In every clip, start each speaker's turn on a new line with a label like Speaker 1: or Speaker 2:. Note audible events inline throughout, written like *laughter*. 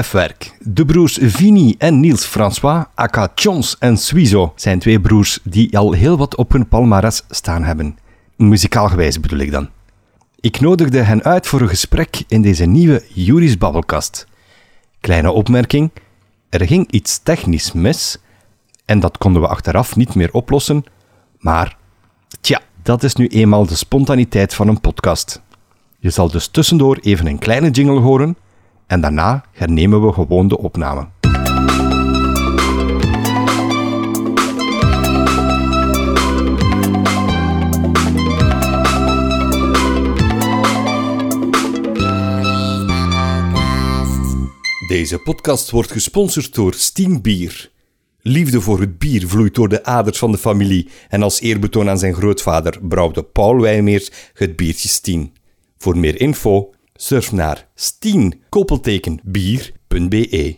Speaker 1: Lefwerk. De broers Vini en Niels François, aka Chons en Suizo, zijn twee broers die al heel wat op hun palmares staan hebben. Muzikaal gewijs bedoel ik dan. Ik nodigde hen uit voor een gesprek in deze nieuwe Juris Babbelkast. Kleine opmerking, er ging iets technisch mis en dat konden we achteraf niet meer oplossen, maar tja, dat is nu eenmaal de spontaniteit van een podcast. Je zal dus tussendoor even een kleine jingle horen en daarna hernemen we gewoon de opname. Deze podcast wordt gesponsord door Stienbier. Liefde voor het bier vloeit door de aders van de familie en als eerbetoon aan zijn grootvader brouwde Paul Wijmeers het biertje Stien. Voor meer info surf naar stien koppelteken bier.be.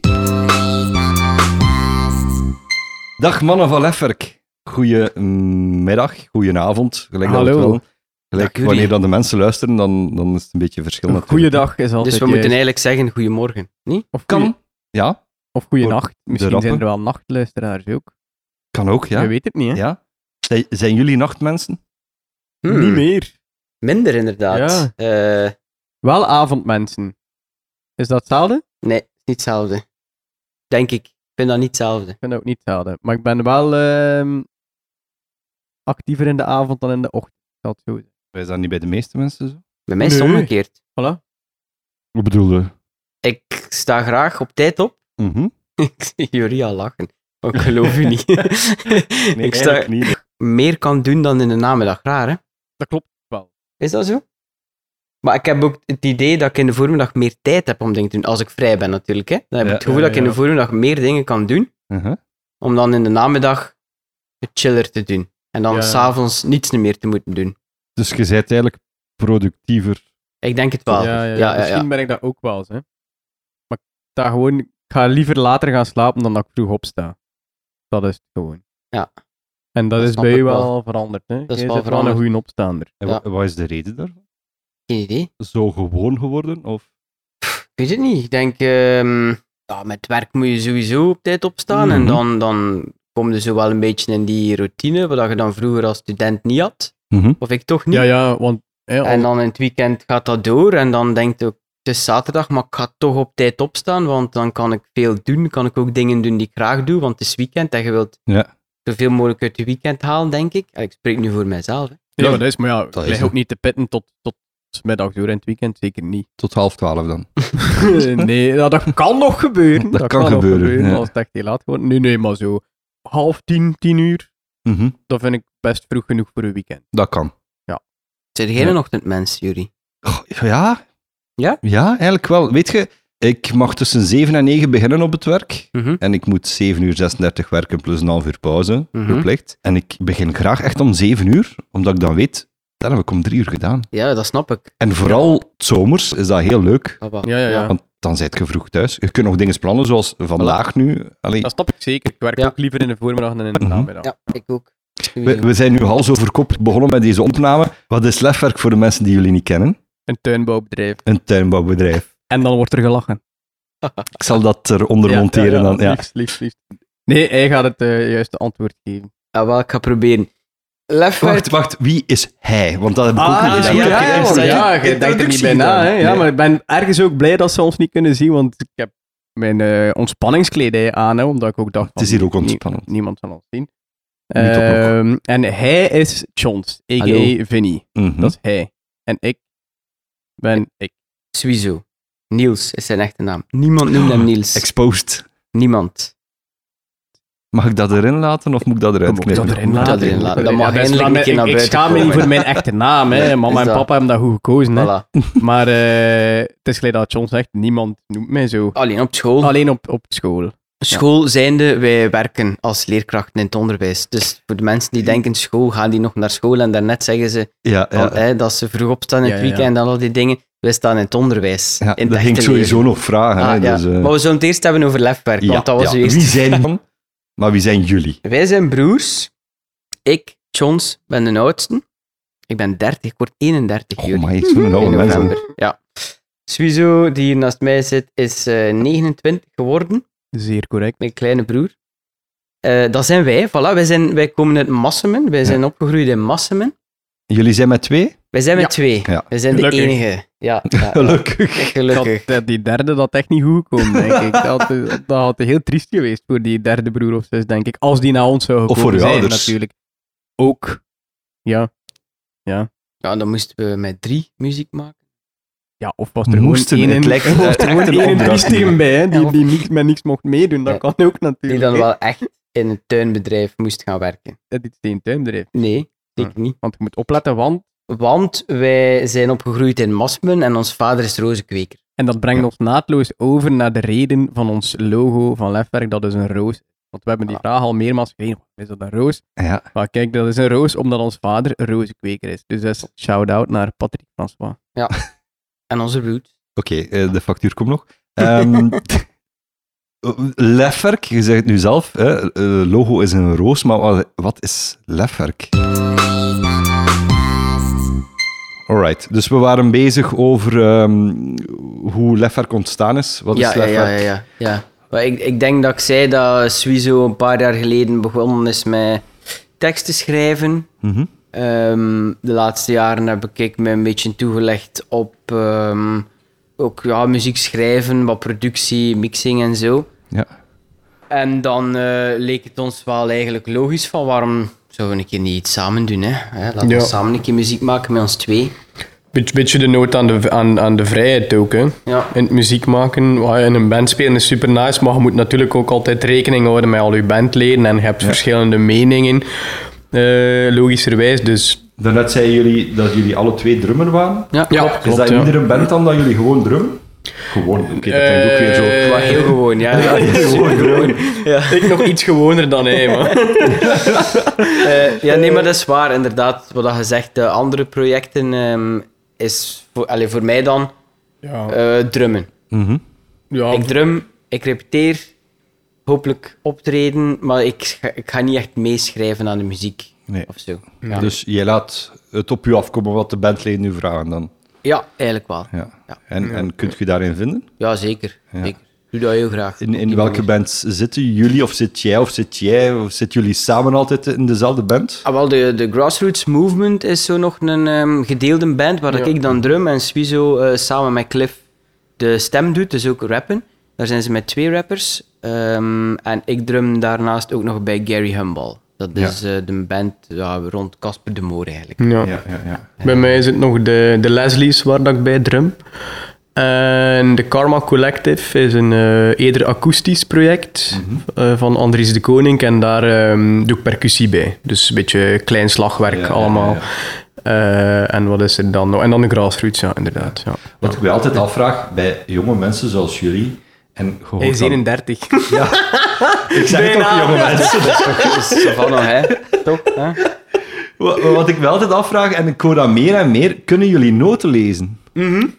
Speaker 1: Dag mannen van Lefwerk. Goedemiddag, goedenavond. Gelijk dat
Speaker 2: Hallo.
Speaker 1: het wel- Gelijk,
Speaker 3: Dag,
Speaker 1: wanneer
Speaker 3: jullie.
Speaker 1: dan de mensen luisteren, dan, dan is het een beetje verschil. natuurlijk.
Speaker 2: Goeiedag is altijd.
Speaker 3: Dus we moeten
Speaker 2: juist.
Speaker 3: eigenlijk zeggen goedemorgen, niet?
Speaker 2: Of
Speaker 1: Kan.
Speaker 2: goeie-
Speaker 1: Ja,
Speaker 2: Of goeienacht. Misschien
Speaker 1: rappen.
Speaker 2: zijn er wel nachtluisteraars ook.
Speaker 1: kan ook, ja.
Speaker 2: Je weet het niet, hè?
Speaker 1: ja. Zijn- Zijn jullie nachtmensen?
Speaker 3: Hmm,
Speaker 2: Niet meer.
Speaker 3: Minder inderdaad. Eh,
Speaker 2: Wel avondmensen. Is dat hetzelfde? Ik
Speaker 3: nee, niet hetzelfde. Denk ik. Ik vind dat niet hetzelfde.
Speaker 2: vind dat ook niet hetzelfde. Maar ik ben wel ehm, actiever in de avond dan in de ochtend. Ik zal het zo zeggen.
Speaker 1: Wij zijn niet bij de meeste mensen zo.
Speaker 3: Bij mij is het
Speaker 2: Nee.
Speaker 3: omgekeerd.
Speaker 2: Voilà.
Speaker 1: Wat bedoel je?
Speaker 3: Ik sta graag op tijd op. *laughs*
Speaker 1: Mhm.
Speaker 3: Ik zie jullie al lachen. Maar Ik geloof u
Speaker 2: *laughs*
Speaker 3: niet. *laughs*
Speaker 1: Nee,
Speaker 3: ik sta
Speaker 1: eigenlijk niet.
Speaker 3: meer kan doen dan in de namiddag. Raar, hè?
Speaker 2: Dat klopt wel.
Speaker 3: Is dat zo? Maar ik heb ook het idee dat ik in de voormiddag meer tijd heb om dingen te doen. Als ik vrij ben natuurlijk, hè. Dan heb ik
Speaker 1: Ja,
Speaker 3: het gevoel
Speaker 2: ja,
Speaker 3: dat ik in
Speaker 2: ja.
Speaker 3: de voormiddag meer dingen kan doen.
Speaker 1: Mhm.
Speaker 3: om dan in de namiddag het chiller te doen. En dan
Speaker 2: Ja.
Speaker 3: s'avonds niets meer te moeten doen.
Speaker 1: Dus je bent eigenlijk productiever.
Speaker 3: Ik denk het wel.
Speaker 2: ja, ja,
Speaker 3: ja, ja.
Speaker 2: Misschien ben ik dat ook wel eens, hè? Maar ik, sta gewoon, ik ga liever later gaan slapen dan dat ik vroeg opsta. Dat is het gewoon.
Speaker 3: Ja.
Speaker 2: En dat,
Speaker 3: Dat
Speaker 2: is
Speaker 3: snap
Speaker 2: bij
Speaker 3: ik
Speaker 2: u wel,
Speaker 3: wel.
Speaker 2: veranderd, hè?
Speaker 3: Dat is
Speaker 2: Jij
Speaker 3: wel
Speaker 2: bent een
Speaker 3: veranderd.
Speaker 2: goede opstaander.
Speaker 1: En
Speaker 3: Ja.
Speaker 1: wa- wat is de reden daarvan?
Speaker 3: Geen idee.
Speaker 1: Zo gewoon geworden? Of...
Speaker 3: Ik weet het niet. Ik denk, ehm, ja, met werk moet je sowieso op tijd opstaan. En
Speaker 1: Mhm.
Speaker 3: dan, dan kom je zo wel een beetje in die routine, wat je dan vroeger als student niet had. Of ik toch niet.
Speaker 2: Ja, ja, want. Hè, als-
Speaker 3: En dan in het weekend gaat dat door. En dan denk je ook, het is zaterdag, maar ik ga toch op tijd opstaan. Want dan kan ik veel doen. Kan ik ook dingen doen die ik graag doe. Want het is weekend en je wilt
Speaker 1: Ja.
Speaker 3: zoveel mogelijk uit je weekend halen, denk ik. En ik spreek nu voor mijzelf. hè.
Speaker 2: Ja,
Speaker 1: Ja,
Speaker 2: maar dat is, maar ja,
Speaker 1: dat
Speaker 2: ik lig
Speaker 1: is-
Speaker 2: ook niet te pitten tot, tot 's middags door in het weekend, zeker
Speaker 1: *laughs*
Speaker 2: niet.
Speaker 1: Tot half twaalf dan.
Speaker 2: nee, ja, dat kan nog gebeuren.
Speaker 1: Dat kan
Speaker 2: nog
Speaker 1: gebeuren, ja.
Speaker 2: Als het echt heel laat wordt. Nee, nee, maar zo half tien, tien uur,
Speaker 1: Mhm.
Speaker 2: dat vind ik best vroeg genoeg voor een weekend.
Speaker 1: Dat kan.
Speaker 3: Zijn jij
Speaker 1: Ja.
Speaker 3: een ochtendmens, Jury?
Speaker 1: Goh, ja?
Speaker 3: Ja?
Speaker 1: Ja, eigenlijk wel. Weet je, ik mag tussen 7 en 9 beginnen op het werk.
Speaker 3: Mhm.
Speaker 1: En ik moet 7 uur 36 werken plus een half uur pauze,
Speaker 3: Mhm.
Speaker 1: verplicht. En ik begin graag echt om 7 uur, omdat ik dan weet, dat heb ik om 3 uur gedaan.
Speaker 3: Ja, dat snap ik. Ah,
Speaker 1: En vooral 's zomers is dat heel leuk,
Speaker 3: Papa.
Speaker 2: Ja, ja, ja.
Speaker 1: want dan zit je vroeg thuis. Je kunt nog dingen plannen, zoals vandaag nu. Allee,
Speaker 2: Dat snap ik zeker. Ik werk
Speaker 3: Ja.
Speaker 2: ook liever in de voormiddag dan in de
Speaker 1: Mhm.
Speaker 2: namiddag.
Speaker 3: Ja, ik ook.
Speaker 1: we, we zijn nu hals over kop begonnen met deze opname. Wat is lefwerk voor de mensen die jullie niet kennen?
Speaker 2: Een tuinbouwbedrijf.
Speaker 1: Een tuinbouwbedrijf.
Speaker 2: En dan wordt er gelachen.
Speaker 1: Ik zal dat eronder monteren. dan, ja.
Speaker 2: Liefst, liefst, liefst. Nee, hij gaat het eh, juiste antwoord geven.
Speaker 3: Ah, wel, ik ga proberen. Lefwerk.
Speaker 1: Wacht, wacht, wie is hij? Want dat heb ik
Speaker 2: Ah,
Speaker 1: ook niet
Speaker 3: ja,
Speaker 1: gedaan.
Speaker 3: ja, ja,
Speaker 2: ja,
Speaker 3: want
Speaker 2: ja,
Speaker 3: ja,
Speaker 2: je denkt er niet
Speaker 1: introductie
Speaker 2: bij na.
Speaker 1: gedaan.
Speaker 2: Hè? Ja,
Speaker 1: Nee.
Speaker 2: maar ik ben ergens ook blij dat ze ons niet kunnen zien, want ik heb mijn eh ontspanningskledij aan, hè, omdat ik ook dacht...
Speaker 1: Het is
Speaker 2: van,
Speaker 1: hier ook
Speaker 2: nie-
Speaker 1: ontspannend.
Speaker 2: niemand zal ons zien.
Speaker 1: Niet op nog.
Speaker 2: Ehm, en hij is Johns,
Speaker 3: Hallo.
Speaker 2: a.k.a. Vinny.
Speaker 1: Mhm.
Speaker 2: Dat is hij. En ik ben Hm? ik.
Speaker 3: Suizo. Niels is zijn echte naam. Niemand noemt
Speaker 1: Oh,
Speaker 3: hem Niels.
Speaker 1: Exposed.
Speaker 3: Niemand.
Speaker 1: Mag ik dat erin laten of moet ik dat eruit knippen?
Speaker 3: laten. Dat erin laten. Dat mag
Speaker 2: Ja, is
Speaker 3: eindelijk
Speaker 2: waar,
Speaker 3: een keer
Speaker 2: ik-
Speaker 3: naar
Speaker 2: Ik
Speaker 3: buiten
Speaker 2: schaam me niet
Speaker 3: komen.
Speaker 2: voor mijn echte naam.
Speaker 3: Nee,
Speaker 2: Hè. Mama
Speaker 3: *laughs*
Speaker 2: en
Speaker 3: is dat.
Speaker 2: papa hebben dat goed gekozen. Hè.
Speaker 3: Voilà.
Speaker 2: Maar eh, het is gelijk dat John zegt, niemand noemt mij zo.
Speaker 3: Alleen op school.
Speaker 2: Alleen op, op school.
Speaker 3: School zijnde, wij werken als leerkrachten in het onderwijs. Dus voor de mensen die denken school, gaan die nog naar school en daarnet zeggen ze
Speaker 1: Ja,
Speaker 3: van,
Speaker 1: ja.
Speaker 3: hè, dat ze vroeg opstaan in het
Speaker 2: Ja, ja, ja.
Speaker 3: weekend en al die dingen. Wij staan in het onderwijs.
Speaker 1: ja
Speaker 3: in het
Speaker 1: dat ging ik
Speaker 3: echte
Speaker 1: sowieso nog vragen.
Speaker 3: leven. Ah,
Speaker 1: hè,
Speaker 3: ja.
Speaker 1: dus, eh,
Speaker 3: Maar we zullen het eerst hebben over lefwerk,
Speaker 1: ja,
Speaker 3: want dat was
Speaker 1: ja.
Speaker 3: uw eerste
Speaker 1: Wie zijn dan? Maar wie zijn jullie?
Speaker 3: Wij zijn broers. Ik, Johns, ben de oudste. Ik ben 30, ik word 31
Speaker 1: Oh
Speaker 3: juli.
Speaker 1: my, zo'n oude
Speaker 3: in
Speaker 1: mensen.
Speaker 3: november. Ja. Suizo, die hier naast mij zit, is eh, 29 geworden.
Speaker 2: Zeer correct.
Speaker 3: Mijn kleine broer. Eh, dat zijn wij. Voilà, wij, zijn, wij komen uit Massemen. Wij zijn opgegroeid in Massemen.
Speaker 1: Jullie zijn met twee?
Speaker 3: Wij zijn met
Speaker 2: Ja.
Speaker 3: twee.
Speaker 1: Ja.
Speaker 3: Wij zijn
Speaker 2: Gelukkig.
Speaker 3: de enige. Ja, ja, ja.
Speaker 1: Gelukkig.
Speaker 3: Gelukkig.
Speaker 2: Dat, eh, die derde dat echt niet goed komt, denk ik. Dat had, eh, dat had heel triest geweest voor die derde broer of zus, denk ik. Als die naar ons zou
Speaker 1: Of
Speaker 2: gekomen
Speaker 1: voor uw
Speaker 2: zijn,
Speaker 1: ouders.
Speaker 2: natuurlijk. Ook. Ja.
Speaker 3: Ja, dan moesten we met drie muziek maken.
Speaker 2: Ja, of was er gewoon
Speaker 1: Moesten,
Speaker 2: één
Speaker 1: het lijkt-
Speaker 2: *laughs* was
Speaker 1: het
Speaker 2: er
Speaker 1: lijkt
Speaker 2: gewoon
Speaker 1: een
Speaker 2: één
Speaker 1: opdracht.
Speaker 2: systeem bij, hè, die,
Speaker 3: Ja.
Speaker 2: die niks, met niks mocht meedoen. Dat
Speaker 3: Ja.
Speaker 2: kan ook
Speaker 3: Die
Speaker 2: natuurlijk.
Speaker 3: dan
Speaker 2: hè.
Speaker 3: wel echt in een tuinbedrijf moest gaan werken.
Speaker 2: Dat eh, is geen tuindrijf.
Speaker 3: Nee, ik
Speaker 1: Hm.
Speaker 3: niet.
Speaker 2: Want je moet opletten, want...
Speaker 3: Want wij zijn opgegroeid in Massemen en ons vader is rozenkweker.
Speaker 2: En dat brengt ons naadloos over naar de reden van ons logo van Lefwerk. Dat is een roos. is. Want we hebben die
Speaker 3: Ah.
Speaker 2: vraag al meermaals gekregen. Is dat een roos?
Speaker 1: Ja.
Speaker 2: Maar kijk, dat is een roos omdat ons vader een rozenkweker is. Dus dat is shout-out naar Patrick François.
Speaker 3: En onze route.
Speaker 1: Oké, eh, de factuur komt nog. Ehm *laughs* lefwerk, je zegt het nu zelf. Hè? eh, logo is een roos, maar wat, wat is lefwerk? Alright, dus we waren bezig over ehm, hoe lefwerk ontstaan is. Wat
Speaker 3: ja,
Speaker 1: is
Speaker 3: ja,
Speaker 1: lefwerk?
Speaker 3: ja, ja, ja, ja. Maar ik, ik denk dat ik zei dat Suizo een paar jaar geleden begonnen is met teksten schrijven.
Speaker 1: Mhm.
Speaker 3: Ehm, de laatste jaren heb ik me een beetje toegelegd op ehm, ook ja, muziek schrijven, wat productie, mixing en zo.
Speaker 1: Ja.
Speaker 3: En dan eh, leek het ons wel eigenlijk logisch van waarom zouden we een keer niet iets samen doen. Hè? Hè, Laten
Speaker 2: Ja.
Speaker 3: we samen een keer muziek maken met ons twee.
Speaker 2: Beetje, beetje de nood aan de, aan, aan de vrijheid ook, hè.
Speaker 3: Ja.
Speaker 2: In het muziek maken, wat je in een band spelen is super nice, maar je moet natuurlijk ook altijd rekening houden met al je bandleden en je hebt verschillende meningen, eh, logischerwijs. Dus
Speaker 1: Daarnet zeiden jullie dat jullie alle twee drummer waren.
Speaker 3: Ja,
Speaker 2: ja,
Speaker 3: klopt.
Speaker 1: is dat
Speaker 2: ja.
Speaker 1: minder een band dan dat jullie gewoon drummen? Gewoon, oké, dat klinkt ook weer zo.
Speaker 2: Eh,
Speaker 3: Maar heel gewoon, ja.
Speaker 1: *laughs* Gewoon drummen.
Speaker 2: Ik nog iets gewoner dan hij, man.
Speaker 3: Eh, ja, nee, maar dat is waar. Inderdaad, wat je zegt, de andere projecten ehm, is voor, allee, voor mij dan
Speaker 2: *laughs* Ja,
Speaker 3: eh, drummen.
Speaker 1: Mhm.
Speaker 2: ja
Speaker 3: Ik drum, ik repeteer, hopelijk optreden, maar ik, scha- ik ga niet echt meeschrijven aan de muziek
Speaker 1: Nee.
Speaker 3: of zo. Ja.
Speaker 1: Dus jij laat het op u afkomen wat de bandleden nu vragen dan.
Speaker 3: ja, eigenlijk wel.
Speaker 1: Ja.
Speaker 3: Ja.
Speaker 1: En, en kunt je daarin vinden?
Speaker 3: Ja, zeker.
Speaker 1: Ja.
Speaker 3: zeker. Doe dat heel graag.
Speaker 1: In,
Speaker 3: Op
Speaker 1: in
Speaker 3: die
Speaker 1: welke
Speaker 3: manier.
Speaker 1: band zitten jullie? Of zit jij? Of zit jij? Of zitten jullie samen altijd in dezelfde band?
Speaker 3: Ah, wel, de, de Grassroots Movement is zo nog een ehm, gedeelde band waar
Speaker 2: Ja.
Speaker 3: ik dan drum en Swizo eh, samen met Cliff de stem doet, dus ook rappen. Daar zijn ze met twee rappers. Ehm, en ik drum daarnaast ook nog bij Gary Humble. Dat
Speaker 1: Ja.
Speaker 3: is eh, de band ja, rond Casper de Moor
Speaker 4: *laughs*
Speaker 3: eigenlijk.
Speaker 2: Ja.
Speaker 1: Ja, ja, ja.
Speaker 2: Bij mij is het nog de, de Leslie's waar dat ik bij drum. En de Karma Collective is een eh, eerder akoestisch project
Speaker 1: Mhm.
Speaker 2: eh, van Andries de Koning. En daar ehm, doe ik percussie bij. Dus een beetje klein slagwerk
Speaker 1: Ja, ja,
Speaker 2: allemaal.
Speaker 1: ja,
Speaker 2: Eh, en wat is er dan nog? En dan de grassroots, ja, inderdaad. Ja.
Speaker 1: Wat ik mij altijd afvraag bij jonge mensen zoals jullie. En gewoon.
Speaker 2: Hij is *laughs* 31.
Speaker 1: Ik zeg toch
Speaker 2: Bijna.
Speaker 1: jonge mensen.
Speaker 3: Dat is toch dat is van nog, hè? Toch? Hè?
Speaker 1: Wat, wat ik me altijd afvraag, en ik hoor dat meer en meer, kunnen jullie noten lezen? Toch
Speaker 3: Mhm.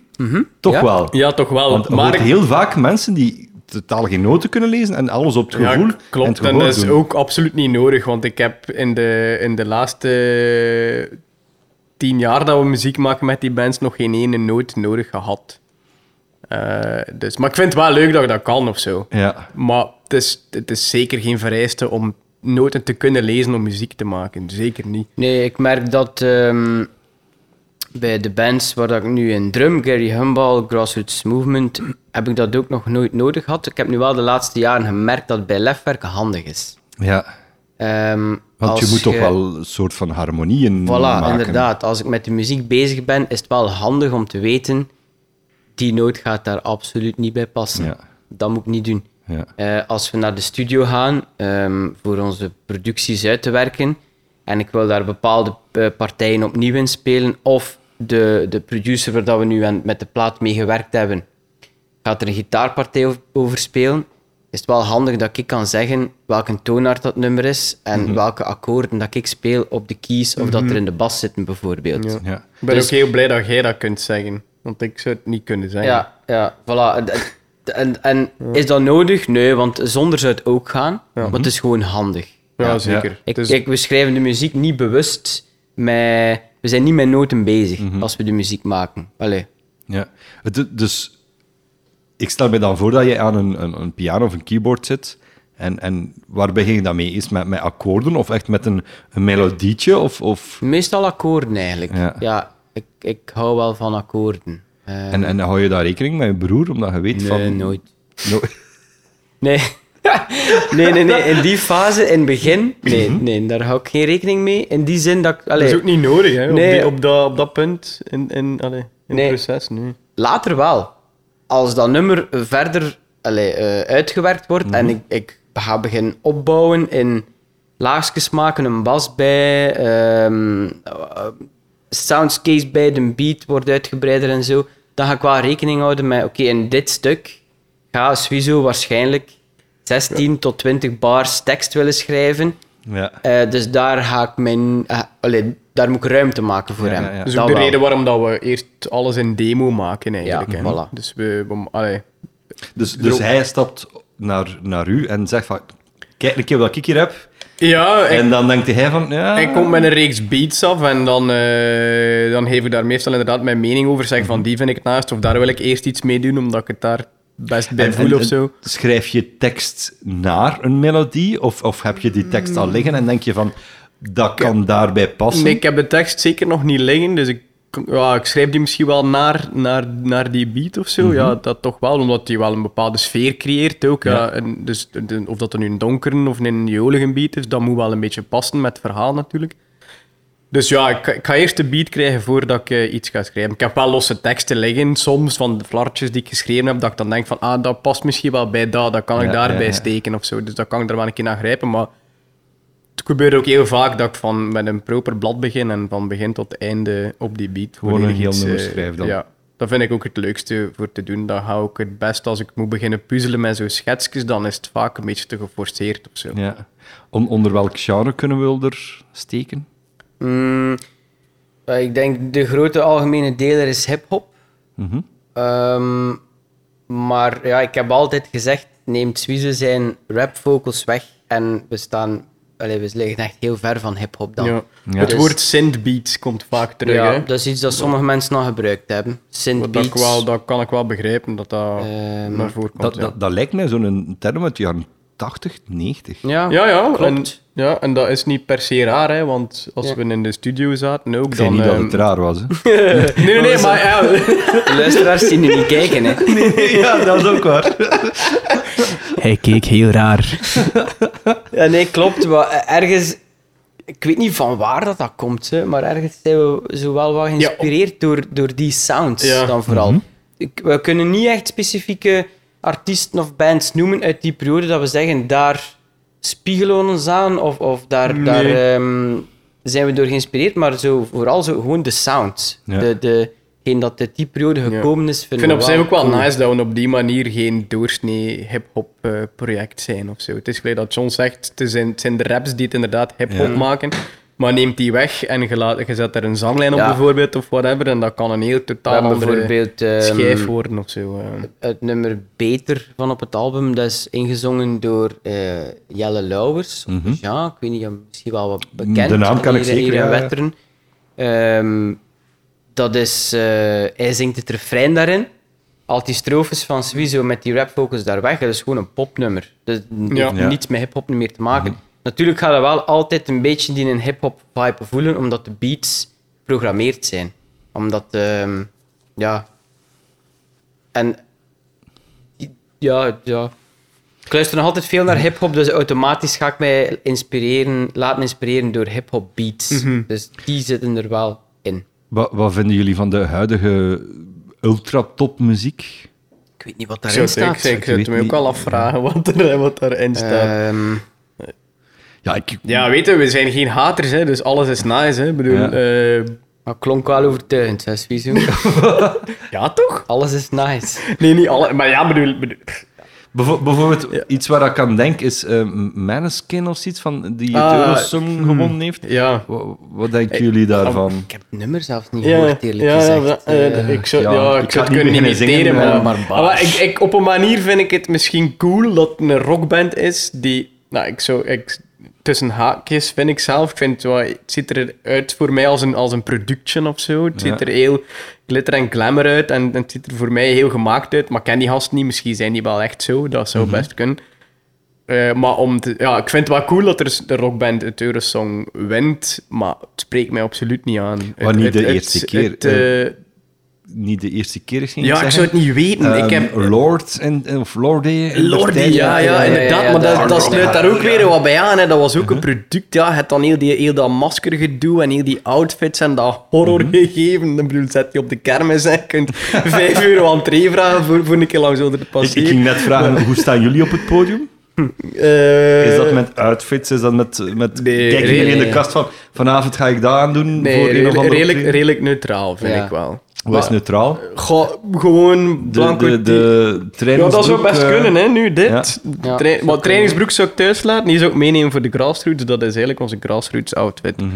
Speaker 3: Ja.
Speaker 1: wel.
Speaker 2: ja, toch wel.
Speaker 1: Want je hoort heel vaak mensen die totaal geen noten kunnen lezen en alles op het gevoel.
Speaker 2: Ja, k-
Speaker 1: en het
Speaker 2: klopt. En,
Speaker 1: gehoor
Speaker 2: dat is
Speaker 1: doen.
Speaker 2: ook absoluut niet nodig, want ik heb in de, in de laatste tien jaar dat we muziek maken met die bands nog geen ene noot nodig gehad. Eh, dus, maar ik vind het wel leuk dat je dat kan of zo.
Speaker 1: Ja.
Speaker 2: Maar het is, het is zeker geen vereiste om noten te kunnen lezen om muziek te maken. Zeker niet.
Speaker 3: Nee, ik merk dat ehm, bij de bands waar dat ik nu in drum, Gary Humble, Grassroots Movement, heb ik dat ook nog nooit nodig gehad. Ik heb nu wel de laatste jaren gemerkt dat het bij lefwerken handig is.
Speaker 1: ja.
Speaker 3: Ehm,
Speaker 1: Want
Speaker 3: als
Speaker 1: je moet toch wel een soort van harmonieën
Speaker 3: Voilà,
Speaker 1: maken.
Speaker 3: inderdaad. Als ik met de muziek bezig ben, is het wel handig om te weten, die noot gaat daar absoluut niet bij passen.
Speaker 1: Ja.
Speaker 3: Dat moet ik niet doen.
Speaker 1: Ja.
Speaker 3: Eh, als we naar de studio gaan ehm, voor onze producties uit te werken en ik wil daar bepaalde eh, partijen opnieuw in spelen of de, de producer waar dat we nu aan, met de plaat mee gewerkt hebben gaat er een gitaarpartij over, over spelen is het wel handig dat ik kan zeggen welke toonaard dat nummer is en
Speaker 2: Mhm.
Speaker 3: welke akkoorden dat ik speel op de keys of dat er in de bas zitten bijvoorbeeld.
Speaker 2: Ja.
Speaker 1: Ja.
Speaker 2: Ik ben
Speaker 3: Dus-
Speaker 2: ook heel blij dat jij dat kunt zeggen, want ik zou het niet kunnen zeggen.
Speaker 3: Ja, ja, voilà. D- d- En, en is dat nodig? Nee, want zonder zou het ook gaan. Want het is gewoon handig.
Speaker 2: Ja, zeker. Dus
Speaker 3: Ik,
Speaker 2: Het is-
Speaker 3: ik, we schrijven de muziek niet
Speaker 2: Mhm.
Speaker 3: bewust met... We zijn niet met noten bezig als we de muziek maken. Allee,
Speaker 1: Ja. Het- dus ik stel me dan voor dat je aan een, een, een piano of een keyboard zit. En, en waar begin je dan mee? Is het met, met akkoorden of echt met een, een melodietje? Of, of...
Speaker 3: Meestal akkoorden eigenlijk.
Speaker 1: Ja.
Speaker 3: Ja, ik, ik hou wel van akkoorden. Eh,
Speaker 1: En, en hou je daar rekening met je broer, omdat je weet
Speaker 3: nee,
Speaker 1: van...
Speaker 3: nooit.
Speaker 1: *laughs* No-
Speaker 4: *laughs*
Speaker 3: Nee. nee, nee, nee. In die fase, in het begin, nee, nee, daar hou ik geen rekening mee. In die zin dat ik...
Speaker 4: Mhm. Dat
Speaker 3: Allee,
Speaker 4: is ook niet nodig, hè?
Speaker 3: Nee.
Speaker 4: Op, die- op, dat, op dat punt in, in, allee, in
Speaker 3: Nee.
Speaker 4: het proces nu.
Speaker 3: Later wel. Als dat nummer verder allee, eh, uitgewerkt wordt
Speaker 4: Mhm.
Speaker 3: en ik, ik ga beginnen opbouwen in laagjes maken, een bas bij, ehm eh, soundscapes bij, de beat wordt uitgebreider en zo, dan ga ik wel rekening houden met, oké, in dit stuk ga Suizo waarschijnlijk 16 tot 20 bars tekst willen schrijven.
Speaker 1: ja.
Speaker 3: Eh, dus daar ga ik mijn... eh, allee, daar moet ik ruimte maken voor
Speaker 1: Ja,
Speaker 3: hem.
Speaker 1: ja, ja.
Speaker 4: Dat is
Speaker 3: Dat
Speaker 4: Dus ook de
Speaker 3: wel.
Speaker 4: reden waarom dat we eerst alles in demo maken, eigenlijk.
Speaker 3: Ja,
Speaker 4: hè.
Speaker 3: voilà.
Speaker 4: Dus we... we allee.
Speaker 1: Dus, dus hij stapt naar, naar u en zegt van... Kijk een keer wat ik hier heb.
Speaker 4: Ja, ik,
Speaker 1: En dan denkt hij van... Ja,
Speaker 4: ik kom met een reeks beats af en dan, eh, dan geef ik daar meestal inderdaad mijn mening over. Zeg van, die vind ik het naast, of daar wil ik eerst iets mee doen, omdat ik het daar best bij
Speaker 1: En-
Speaker 4: voel
Speaker 1: en-
Speaker 4: of
Speaker 1: en
Speaker 4: zo.
Speaker 1: Schrijf je tekst naar een melodie? Of, of heb je die tekst al liggen en denk je van... Dat kan daarbij passen?
Speaker 4: Nee, ik heb de tekst zeker nog niet liggen, dus ik, ja, ik schrijf die misschien wel naar, naar, naar die beat of zo. Ja,
Speaker 1: Mhm.
Speaker 4: dat toch wel, omdat die wel een bepaalde sfeer creëert ook. Ja. en dus de- of dat er nu een donkeren of een jolige beat is, dat moet wel een beetje passen met het verhaal natuurlijk. Dus ja, ik, ik ga eerst de beat krijgen voordat ik eh, iets ga schrijven. Ik heb wel losse teksten liggen, soms van de flartjes die ik geschreven heb, dat ik dan denk van, ah, dat past misschien wel bij dat, dat kan ik
Speaker 1: Ja,
Speaker 4: daarbij
Speaker 1: ja, ja.
Speaker 4: steken of zo. Dus dat kan ik er wel een keer naar grijpen, maar het gebeurt ook heel vaak dat ik van, met een proper blad begin en van begin tot einde op die beat.
Speaker 1: Gewoon een
Speaker 4: volledig
Speaker 1: heel
Speaker 4: iets,
Speaker 1: nummer
Speaker 4: eh,
Speaker 1: schrijf dan.
Speaker 4: Ja, dat vind ik ook het leukste voor te doen. Dan hou ik het best als ik moet beginnen puzzelen met zo'n schetsjes, dan is het vaak een beetje te geforceerd of zo.
Speaker 1: Ja. On- onder welk genre kunnen we er steken?
Speaker 3: Mm, eh, ik denk de grote algemene deler is hip-hop.
Speaker 1: Mhm.
Speaker 3: Ehm, maar ja, ik heb altijd gezegd: neemt Suize zijn rap vocals weg. En we staan, allee, we liggen echt heel ver van hip-hop dan.
Speaker 4: Ja.
Speaker 3: Ja.
Speaker 1: Ja.
Speaker 4: Het
Speaker 3: Dus-
Speaker 4: woord synthbeats komt vaak terug. hè?
Speaker 3: dat is iets dat sommige mensen nog gebruikt hebben. Synth
Speaker 4: Wat dat, ik
Speaker 3: beats.
Speaker 4: wel, dat kan ik wel begrijpen dat dat
Speaker 3: Ehm,
Speaker 4: naar voren komt.
Speaker 1: Dat,
Speaker 4: ja.
Speaker 1: dat, dat lijkt mij zo'n term uit de jaren 80, 90.
Speaker 3: Ja,
Speaker 4: ja, ja,
Speaker 3: klopt.
Speaker 4: En, ja, en dat is niet per se raar, hè, want als
Speaker 3: Ja.
Speaker 4: we in de studio zaten ook,
Speaker 1: Ik zei
Speaker 4: dan...
Speaker 1: niet dat
Speaker 4: ehm,
Speaker 1: het raar
Speaker 4: *laughs*
Speaker 1: was. Hè.
Speaker 4: Nee, nee, nee, maar...
Speaker 3: *laughs*
Speaker 4: ja,
Speaker 3: De luisteraars zien nu niet kijken. Hè.
Speaker 1: ja, dat is ook waar.
Speaker 4: Hij keek heel raar.
Speaker 3: Ja, nee, klopt. Wa- ergens, ik weet niet van waar dat, dat komt, hè, maar ergens zijn we zo wel wat geïnspireerd door, door die sounds
Speaker 4: Ja.
Speaker 3: dan vooral. Ik- we kunnen niet echt specifieke artiesten of bands noemen uit die periode dat we zeggen, daar spiegelen we ons aan of, of daar,
Speaker 4: Nee.
Speaker 3: daar ehm, zijn we door geïnspireerd, maar zo, vooral zo, gewoon de sounds.
Speaker 1: Ja.
Speaker 3: De, de, geen dat uit die periode gekomen is,
Speaker 4: Ik
Speaker 3: vinden
Speaker 4: vind
Speaker 3: we
Speaker 4: op zich
Speaker 3: wel
Speaker 4: ook wel
Speaker 3: cool.
Speaker 4: nice dat we op die manier geen doorsnee hip-hop eh, project zijn of zo. Het is gelijk dat John zegt, het, is in- het zijn de raps die het inderdaad hip-hop
Speaker 1: Ja.
Speaker 4: maken, maar neemt die weg en je, laat- je zet er een zanglijn op
Speaker 3: Ja.
Speaker 4: bijvoorbeeld of whatever en dat kan een heel
Speaker 3: We
Speaker 4: totaal
Speaker 3: hebben
Speaker 4: andere
Speaker 3: bijvoorbeeld ehm,
Speaker 4: schijf worden of zo. eh.
Speaker 3: het nummer Beter van op het album, dat is ingezongen door eh, Jelle Lauwers. of Jean, ik weet niet, ja, misschien wel wat bekend.
Speaker 1: Mhm. De naam kan ik
Speaker 3: hier-
Speaker 1: zeker, eh,
Speaker 3: Hier in
Speaker 1: ja, ja.
Speaker 3: Wetteren. Ehm, dat is, eh, hij zingt het refrein daarin. Al die strofes van Suizo met die rapfocus daar weg, dat is gewoon een popnummer. Dat heeft
Speaker 4: Ja.
Speaker 1: Ja. Mhm.
Speaker 3: niets met hip-hop meer te maken. Natuurlijk gaat dat wel altijd een beetje die een hip-hop vibe voelen, omdat de beats geprogrammeerd zijn. Omdat, ehm, ja. En, ja, ja. Ik luister nog altijd veel naar hip-hop, dus automatisch ga ik mij inspireren, laten inspireren door hip-hop beats.
Speaker 4: Mhm.
Speaker 3: Dus die zitten er wel in.
Speaker 1: Wat, wat vinden jullie van de huidige ultratopmuziek?
Speaker 3: Ik weet niet wat
Speaker 4: Ik
Speaker 3: daarin
Speaker 4: zou
Speaker 3: staat.
Speaker 4: het- ik zou- ik
Speaker 1: Ik
Speaker 4: zou het
Speaker 1: weet
Speaker 4: me ook
Speaker 1: niet.
Speaker 4: wel afvragen wat, er, wat daarin staat.
Speaker 3: Ehm,
Speaker 1: Ja, ik,
Speaker 4: Ja, weet je, we zijn geen haters, hè, dus alles is nice. Hè. Ik bedoel,
Speaker 1: Ja.
Speaker 4: eh,
Speaker 3: maar klonk wel overtuigend, hè, Suizo.
Speaker 4: *laughs* ja toch?
Speaker 3: Alles is nice.
Speaker 4: Nee, niet alle, maar ja, bedoel, bedoel
Speaker 1: Bijvo- bijvoorbeeld, iets waar ik aan denk is eh Maneskin of zoiets van die het
Speaker 4: Ah,
Speaker 1: Eurosong gewonnen heeft.
Speaker 4: ja. oh,
Speaker 1: Wa- Wat, denken jullie daarvan?
Speaker 3: Ik heb het nummer zelfs niet gehoord, eerlijk
Speaker 4: ja,
Speaker 3: gezegd.
Speaker 4: ja, ja,
Speaker 3: Eh,
Speaker 4: ik zou,
Speaker 1: ja,
Speaker 4: ja,
Speaker 1: ik ga
Speaker 4: ik zou het
Speaker 1: niet
Speaker 4: kunnen
Speaker 1: beginnen
Speaker 4: imiteren,
Speaker 1: zingen,
Speaker 4: maar,
Speaker 1: maar baas.
Speaker 4: maar ik, ik, op een manier vind ik het misschien cool dat het een rockband is die... Nou, ik zou, ik, het tussen haakjes, vind ik zelf. Ik vind het, wel- het ziet eruit voor mij als een, als een production of zo. Het
Speaker 1: Ja.
Speaker 4: ziet er heel glitter en glamour uit en, en het ziet er voor mij heel gemaakt uit. Maar ik ken die gast niet, misschien zijn die wel echt zo. Dat
Speaker 1: Mhm.
Speaker 4: zou best kunnen. Eh, maar om te- ja, ik vind het wel cool dat er de rockband het Eurosong wint, maar het spreekt mij absoluut niet aan. Het-
Speaker 1: Oh, niet
Speaker 4: het-
Speaker 1: de
Speaker 4: het-
Speaker 1: eerste keer,
Speaker 4: het, eh,
Speaker 1: Niet de eerste keer, ging
Speaker 4: ja, ik zou het niet weten. ik
Speaker 1: Ehm,
Speaker 4: heb,
Speaker 1: Lord en, Eh, of Lorde.
Speaker 4: Lordi, ja, ja,
Speaker 3: ja, ja,
Speaker 4: inderdaad.
Speaker 3: ja,
Speaker 4: maar
Speaker 3: dat-
Speaker 4: dat, dat sluit daar ook weer wat bij aan. Hè. Dat was ook
Speaker 1: Mhm.
Speaker 4: een product. Ja, het dan heel, die, heel dat maskergedoe en heel die outfits en dat
Speaker 1: Mhm.
Speaker 4: horrorgegeven. Ik bedoel, zet je op de kermis en je
Speaker 1: *laughs*
Speaker 4: kunt vijf euro entree vragen voor, voor een keer langs onder de
Speaker 1: Ik,
Speaker 4: passeer.
Speaker 1: ik ging net vragen, hoe staan jullie op het podium?
Speaker 4: Eh,
Speaker 1: Is dat met outfits? Is dat met... met
Speaker 4: Nee,
Speaker 1: kijk jullie in de
Speaker 3: redelijk-
Speaker 1: kast van, vanavond ga ik dat aan doen?
Speaker 4: Nee,
Speaker 1: voor een of
Speaker 4: redelijk,
Speaker 1: andere
Speaker 4: redelijk,
Speaker 1: optreden?
Speaker 4: redelijk neutraal, vind
Speaker 3: Ja.
Speaker 4: ik wel.
Speaker 1: Wat is neutraal?
Speaker 4: Goh, gewoon
Speaker 1: De,
Speaker 4: blanco
Speaker 1: de, eh, de
Speaker 4: Ja, dat zou best kunnen, hè, nu dit.
Speaker 1: ja.
Speaker 4: Tra-
Speaker 3: zou kunnen.
Speaker 4: maar trainingsbroek zou ik thuis laten, die zou ik meenemen voor de grassroots. Dat is eigenlijk onze grassroots outfit.
Speaker 1: Mhm.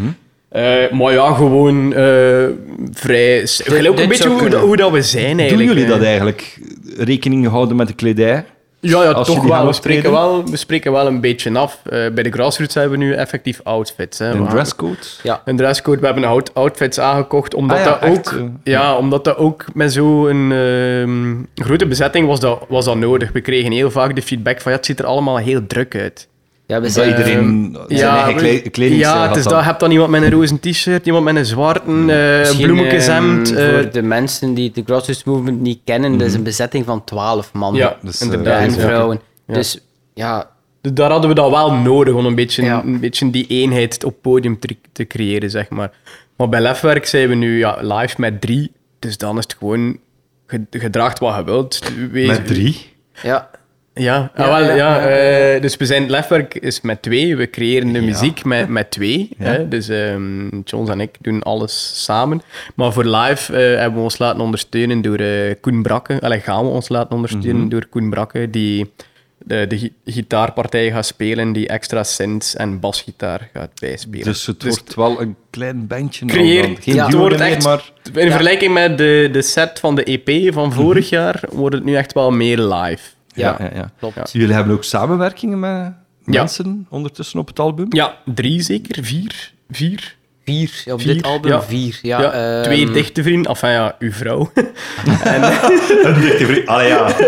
Speaker 4: Eh, maar ja, gewoon eh, vrij... s- Gelijk ook
Speaker 3: dit
Speaker 4: een beetje
Speaker 3: zou
Speaker 4: hoe,
Speaker 3: kunnen.
Speaker 4: dat- hoe dat we zijn eigenlijk. eh,
Speaker 1: Doen jullie
Speaker 4: hè.
Speaker 1: dat eigenlijk? Rekening houden met de kledij?
Speaker 4: Ja, ja
Speaker 1: Als
Speaker 4: toch
Speaker 1: jullie gaan
Speaker 4: wel. We
Speaker 1: optreden?
Speaker 4: spreken wel. We spreken wel een beetje af. Eh, bij de grassroots hebben we nu effectief outfits. Hè.
Speaker 1: Een
Speaker 4: We-
Speaker 1: dresscode?
Speaker 4: een dresscode. We hebben out- outfits aangekocht, omdat,
Speaker 1: Ah ja,
Speaker 4: dat,
Speaker 1: echt,
Speaker 4: ook,
Speaker 1: eh,
Speaker 4: ja, omdat dat ook met zo'n ehm, grote bezetting was dat, was dat nodig. We kregen heel vaak de feedback van ja, het ziet er allemaal heel druk uit. Ehm,
Speaker 3: Ja, we
Speaker 1: Dat
Speaker 3: zijn
Speaker 1: iedereen zijn eigen
Speaker 4: eh, we-
Speaker 1: kle- kledingstijl
Speaker 4: Ja, het
Speaker 1: had Hmm.
Speaker 4: is
Speaker 1: dan.
Speaker 4: dat. Je hebt dan iemand met een roze t-shirt, iemand met een zwarte, eh een
Speaker 3: Misschien,
Speaker 4: bloemetjeshemd.
Speaker 3: ehm,
Speaker 4: eh, Mhm.
Speaker 3: voor de mensen die de Grassroots Movement niet kennen, dat is een bezetting van 12 mannen
Speaker 4: ja,
Speaker 1: Dus, eh,
Speaker 4: inderdaad.
Speaker 3: en
Speaker 4: ja.
Speaker 3: vrouwen.
Speaker 4: Ja.
Speaker 3: Dus ja,
Speaker 4: Dus daar hadden we dat wel nodig om een beetje,
Speaker 3: Ja.
Speaker 4: een beetje die eenheid op podium te, te creëren, zeg maar. Maar bij Lefwerk zijn we nu ja, live met drie, dus dan is het gewoon ge- gedraagt wat je wilt. Wees-
Speaker 1: Met drie?
Speaker 3: ja.
Speaker 4: Ja,
Speaker 3: Ja,
Speaker 4: ah, wel,
Speaker 3: ja,
Speaker 4: ja,
Speaker 3: ja,
Speaker 4: eh, dus we zijn, Lefwerk is met twee, we creëren de muziek met, met twee. Hè? Dus ehm Jones en ik doen alles samen. Maar voor live eh, hebben we ons laten ondersteunen door eh, Koen Brakke. Allee, gaan we ons laten ondersteunen door Koen Brakke, die de, de gi- gitaarpartij gaat spelen, die extra synths en basgitaar gaat bijspelen.
Speaker 1: Dus het wordt wel een klein bandje. nou
Speaker 4: creëer-
Speaker 1: dan. Geen
Speaker 4: ja, het
Speaker 1: duo
Speaker 4: wordt
Speaker 1: meer,
Speaker 4: echt-
Speaker 1: maar...
Speaker 4: in vergelijking met de, de set van de EP van vorig jaar, wordt het nu echt wel meer live.
Speaker 3: Ja,
Speaker 1: klopt.
Speaker 3: klopt.
Speaker 1: Dus Jullie hebben ook samenwerkingen met
Speaker 4: Ja.
Speaker 1: mensen ondertussen op het album?
Speaker 4: Ja, drie zeker, vier. Vier.
Speaker 3: vier. Op
Speaker 4: Vier,
Speaker 3: dit album
Speaker 4: ja.
Speaker 3: vier. Ja,
Speaker 4: Ja,
Speaker 3: ehm,
Speaker 4: twee dichte vrienden, enfin ja, uw vrouw. *laughs*
Speaker 1: Een dichte vriend. Allee, Ah, ja.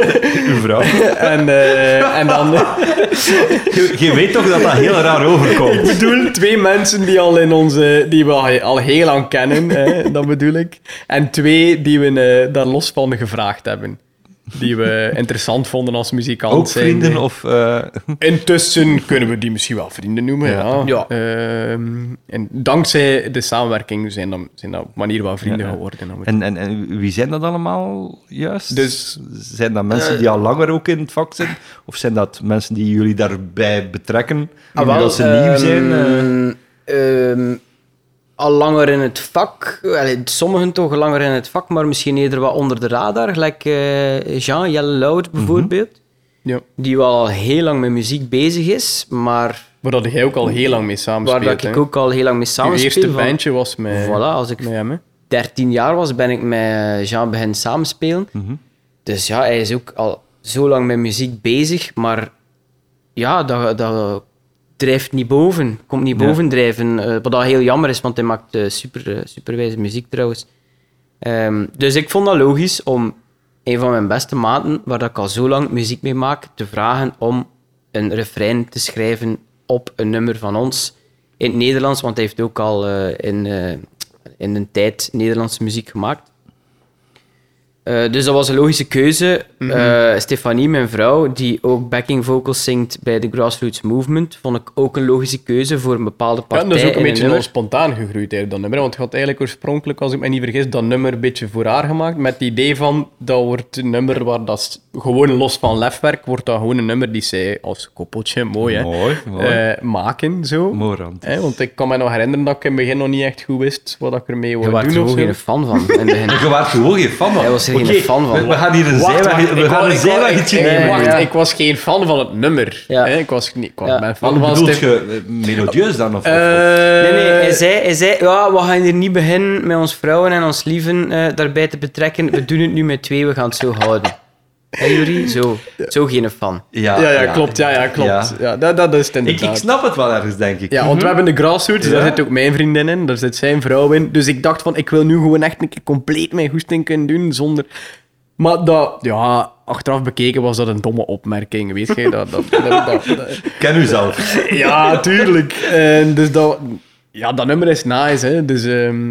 Speaker 1: *laughs* Uw vrouw.
Speaker 4: en, eh, en
Speaker 3: *laughs*
Speaker 4: dan
Speaker 1: Je, je weet toch dat dat heel raar
Speaker 4: *laughs*
Speaker 1: overkomt?
Speaker 4: bedoel twee mensen die, al in onze, die we al, al heel lang kennen, hè, dat bedoel ik. En twee die we eh, daar los van gevraagd hebben. Die we interessant vonden als muzikant.
Speaker 1: Ook
Speaker 4: zijn.
Speaker 1: vrienden of... eh,
Speaker 4: Intussen kunnen we die misschien wel vrienden noemen, ja.
Speaker 3: Ja.
Speaker 4: Ehm, en dankzij de samenwerking zijn, dan, zijn dat op manier wel vrienden
Speaker 1: Ja, ja.
Speaker 4: geworden. dan moet-
Speaker 1: en, en, en wie zijn dat allemaal juist?
Speaker 4: Dus-
Speaker 1: zijn dat mensen die al langer ook in het vak zijn? Of zijn dat mensen die jullie daarbij betrekken?
Speaker 3: Ah, wel,
Speaker 1: omdat ze nieuw zijn? eh?
Speaker 3: ehm, ehm, al langer in het vak. Allee, sommigen toch langer in het vak, maar misschien eerder wat onder de radar. Gelijk eh, Jean, Jelle Lauwert
Speaker 4: Mhm.
Speaker 3: bijvoorbeeld.
Speaker 4: Ja.
Speaker 3: Die wel al heel lang met muziek bezig is, maar
Speaker 4: Waar dat jij ook al heel lang mee
Speaker 3: waar
Speaker 4: samenspeelt.
Speaker 3: dat ik
Speaker 4: hè.
Speaker 3: ook al heel lang mee
Speaker 4: Uw
Speaker 3: samen
Speaker 4: eerste bandje was met,
Speaker 3: Voilà, als ik
Speaker 4: met hem, hè.
Speaker 3: 13 jaar was, ben ik met Jean begin samenspelen. Dus ja, hij is ook al zo lang met muziek bezig, maar ja, dat, dat drijft niet boven, komt niet
Speaker 1: Ja.
Speaker 3: boven drijven. eh, wat dat heel jammer is, want hij maakt eh, super, eh, superwijze muziek trouwens. Ehm, dus ik vond dat logisch om een van mijn beste maten, waar dat ik al zo lang muziek mee maak, te vragen om een refrein te schrijven op een nummer van ons in het Nederlands, want hij heeft ook al eh, in, eh, in een tijd Nederlandse muziek gemaakt. Eh, dus dat was een logische keuze.
Speaker 4: Mhm.
Speaker 3: Eh, Stefanie, mijn vrouw, die ook backing vocals zingt bij de Grassroots Movement, vond ik ook een logische keuze voor een bepaalde
Speaker 4: Ja,
Speaker 3: partij.
Speaker 4: en dat is ook een
Speaker 3: in
Speaker 4: beetje
Speaker 3: nummer.
Speaker 4: spontaan gegroeid, hè, dat nummer. Want je had eigenlijk oorspronkelijk, als ik me niet vergis, dat nummer een beetje voor haar gemaakt. Met het idee van, dat wordt een nummer waar dat s- gewoon los van lefwerk, wordt dat gewoon een nummer die zij als koppeltje, mooi hè,
Speaker 1: Mooi, mooi.
Speaker 4: eh, maken. Zo.
Speaker 1: Mooi, Rand.
Speaker 4: Hè, want ik kan me nog herinneren dat ik in het begin nog niet echt goed wist wat ik ermee
Speaker 3: Je
Speaker 4: wou
Speaker 3: was er
Speaker 4: doen. of
Speaker 3: gewoon
Speaker 4: zo.
Speaker 3: geen fan van in het begin.
Speaker 4: *laughs*
Speaker 1: Je was gewoon geen fan van.
Speaker 3: Hij was er geen
Speaker 1: Oké,
Speaker 3: fan van.
Speaker 1: We, we gaan hier een
Speaker 4: Wacht, wacht,
Speaker 1: zijweg- we
Speaker 4: ik
Speaker 1: gaan
Speaker 4: wou-
Speaker 1: een
Speaker 4: ik wou-
Speaker 1: zijweggetje
Speaker 4: ik- ik-
Speaker 1: nemen.
Speaker 4: Wacht,
Speaker 3: ja.
Speaker 4: ik was geen fan van het nummer.
Speaker 3: Ja.
Speaker 4: Hè, ik was, niet, ik was
Speaker 3: Ja.
Speaker 4: ben fan
Speaker 1: Wat
Speaker 4: van
Speaker 1: bedoelt
Speaker 4: Stef-
Speaker 1: je? eh, Melodieus dan? Of, of-
Speaker 3: Nee, nee,
Speaker 4: Eh,
Speaker 3: hij zei, hij zei ja, we gaan hier niet beginnen met ons vrouwen en ons lieven eh, daarbij te betrekken. We doen het nu met twee, we gaan het zo houden. Hey, Yuri, zo, zo geen fan.
Speaker 4: Ja, ja, klopt. Ja, ja, klopt. Ja.
Speaker 1: Ja.
Speaker 4: dat, dat is het
Speaker 1: Ik,
Speaker 4: inderdaad.
Speaker 1: ik snap het wel ergens, denk ik.
Speaker 4: Ja, want we hebben de grassroots, daar
Speaker 1: Ja.
Speaker 4: zit ook mijn vriendin in, daar zit zijn vrouw in. Dus ik dacht van, ik wil nu gewoon echt een keer compleet mijn goesting kunnen doen zonder... Maar dat, ja, achteraf bekeken was dat een domme opmerking, weet je. Dat, dat, dat, dat- dat-
Speaker 1: Ik ken u zelf.
Speaker 4: ja, tuurlijk. En dus dat, ja, dat nummer is nice, hè. Dus ehm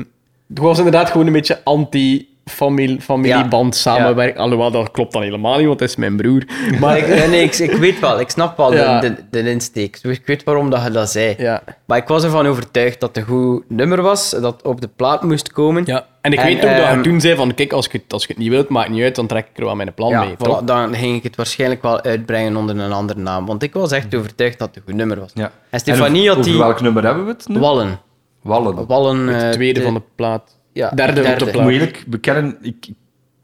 Speaker 4: het was inderdaad gewoon een beetje anti... Familie, familieband, samenwerken. Alhoewel, dat klopt dan helemaal niet, want het is mijn broer. Maar
Speaker 3: Maar *laughs* ik, eh, nee, ik, ik weet wel, ik snap wel
Speaker 4: Ja.
Speaker 3: de, de, de insteek. Ik weet waarom dat je dat zei.
Speaker 4: Ja.
Speaker 3: Maar ik was ervan overtuigd dat het een goed nummer was, dat op de plaat moest komen.
Speaker 4: Ja, en ik
Speaker 3: En,
Speaker 4: weet ook dat
Speaker 3: ehm,
Speaker 4: je toen zei van, kijk, als je, het- als je het niet wilt, maakt niet uit, dan trek ik er wel mijn plan
Speaker 3: Ja,
Speaker 4: mee.
Speaker 3: voilà,
Speaker 4: toch?
Speaker 3: dan ging ik het waarschijnlijk wel uitbrengen onder een andere naam. Want ik was echt overtuigd dat het een goed nummer was.
Speaker 1: Ja.
Speaker 3: En Stefanie
Speaker 1: over-
Speaker 3: had die
Speaker 1: over welk nummer hebben we het nu?
Speaker 3: Wallen.
Speaker 1: Wallen.
Speaker 3: Wallen eh,
Speaker 4: Het tweede van de plaat.
Speaker 3: ja,
Speaker 4: derde, op
Speaker 3: derde.
Speaker 4: de
Speaker 3: Ja.
Speaker 1: Ik moet
Speaker 4: plaat.
Speaker 1: eerlijk bekennen, ik, ik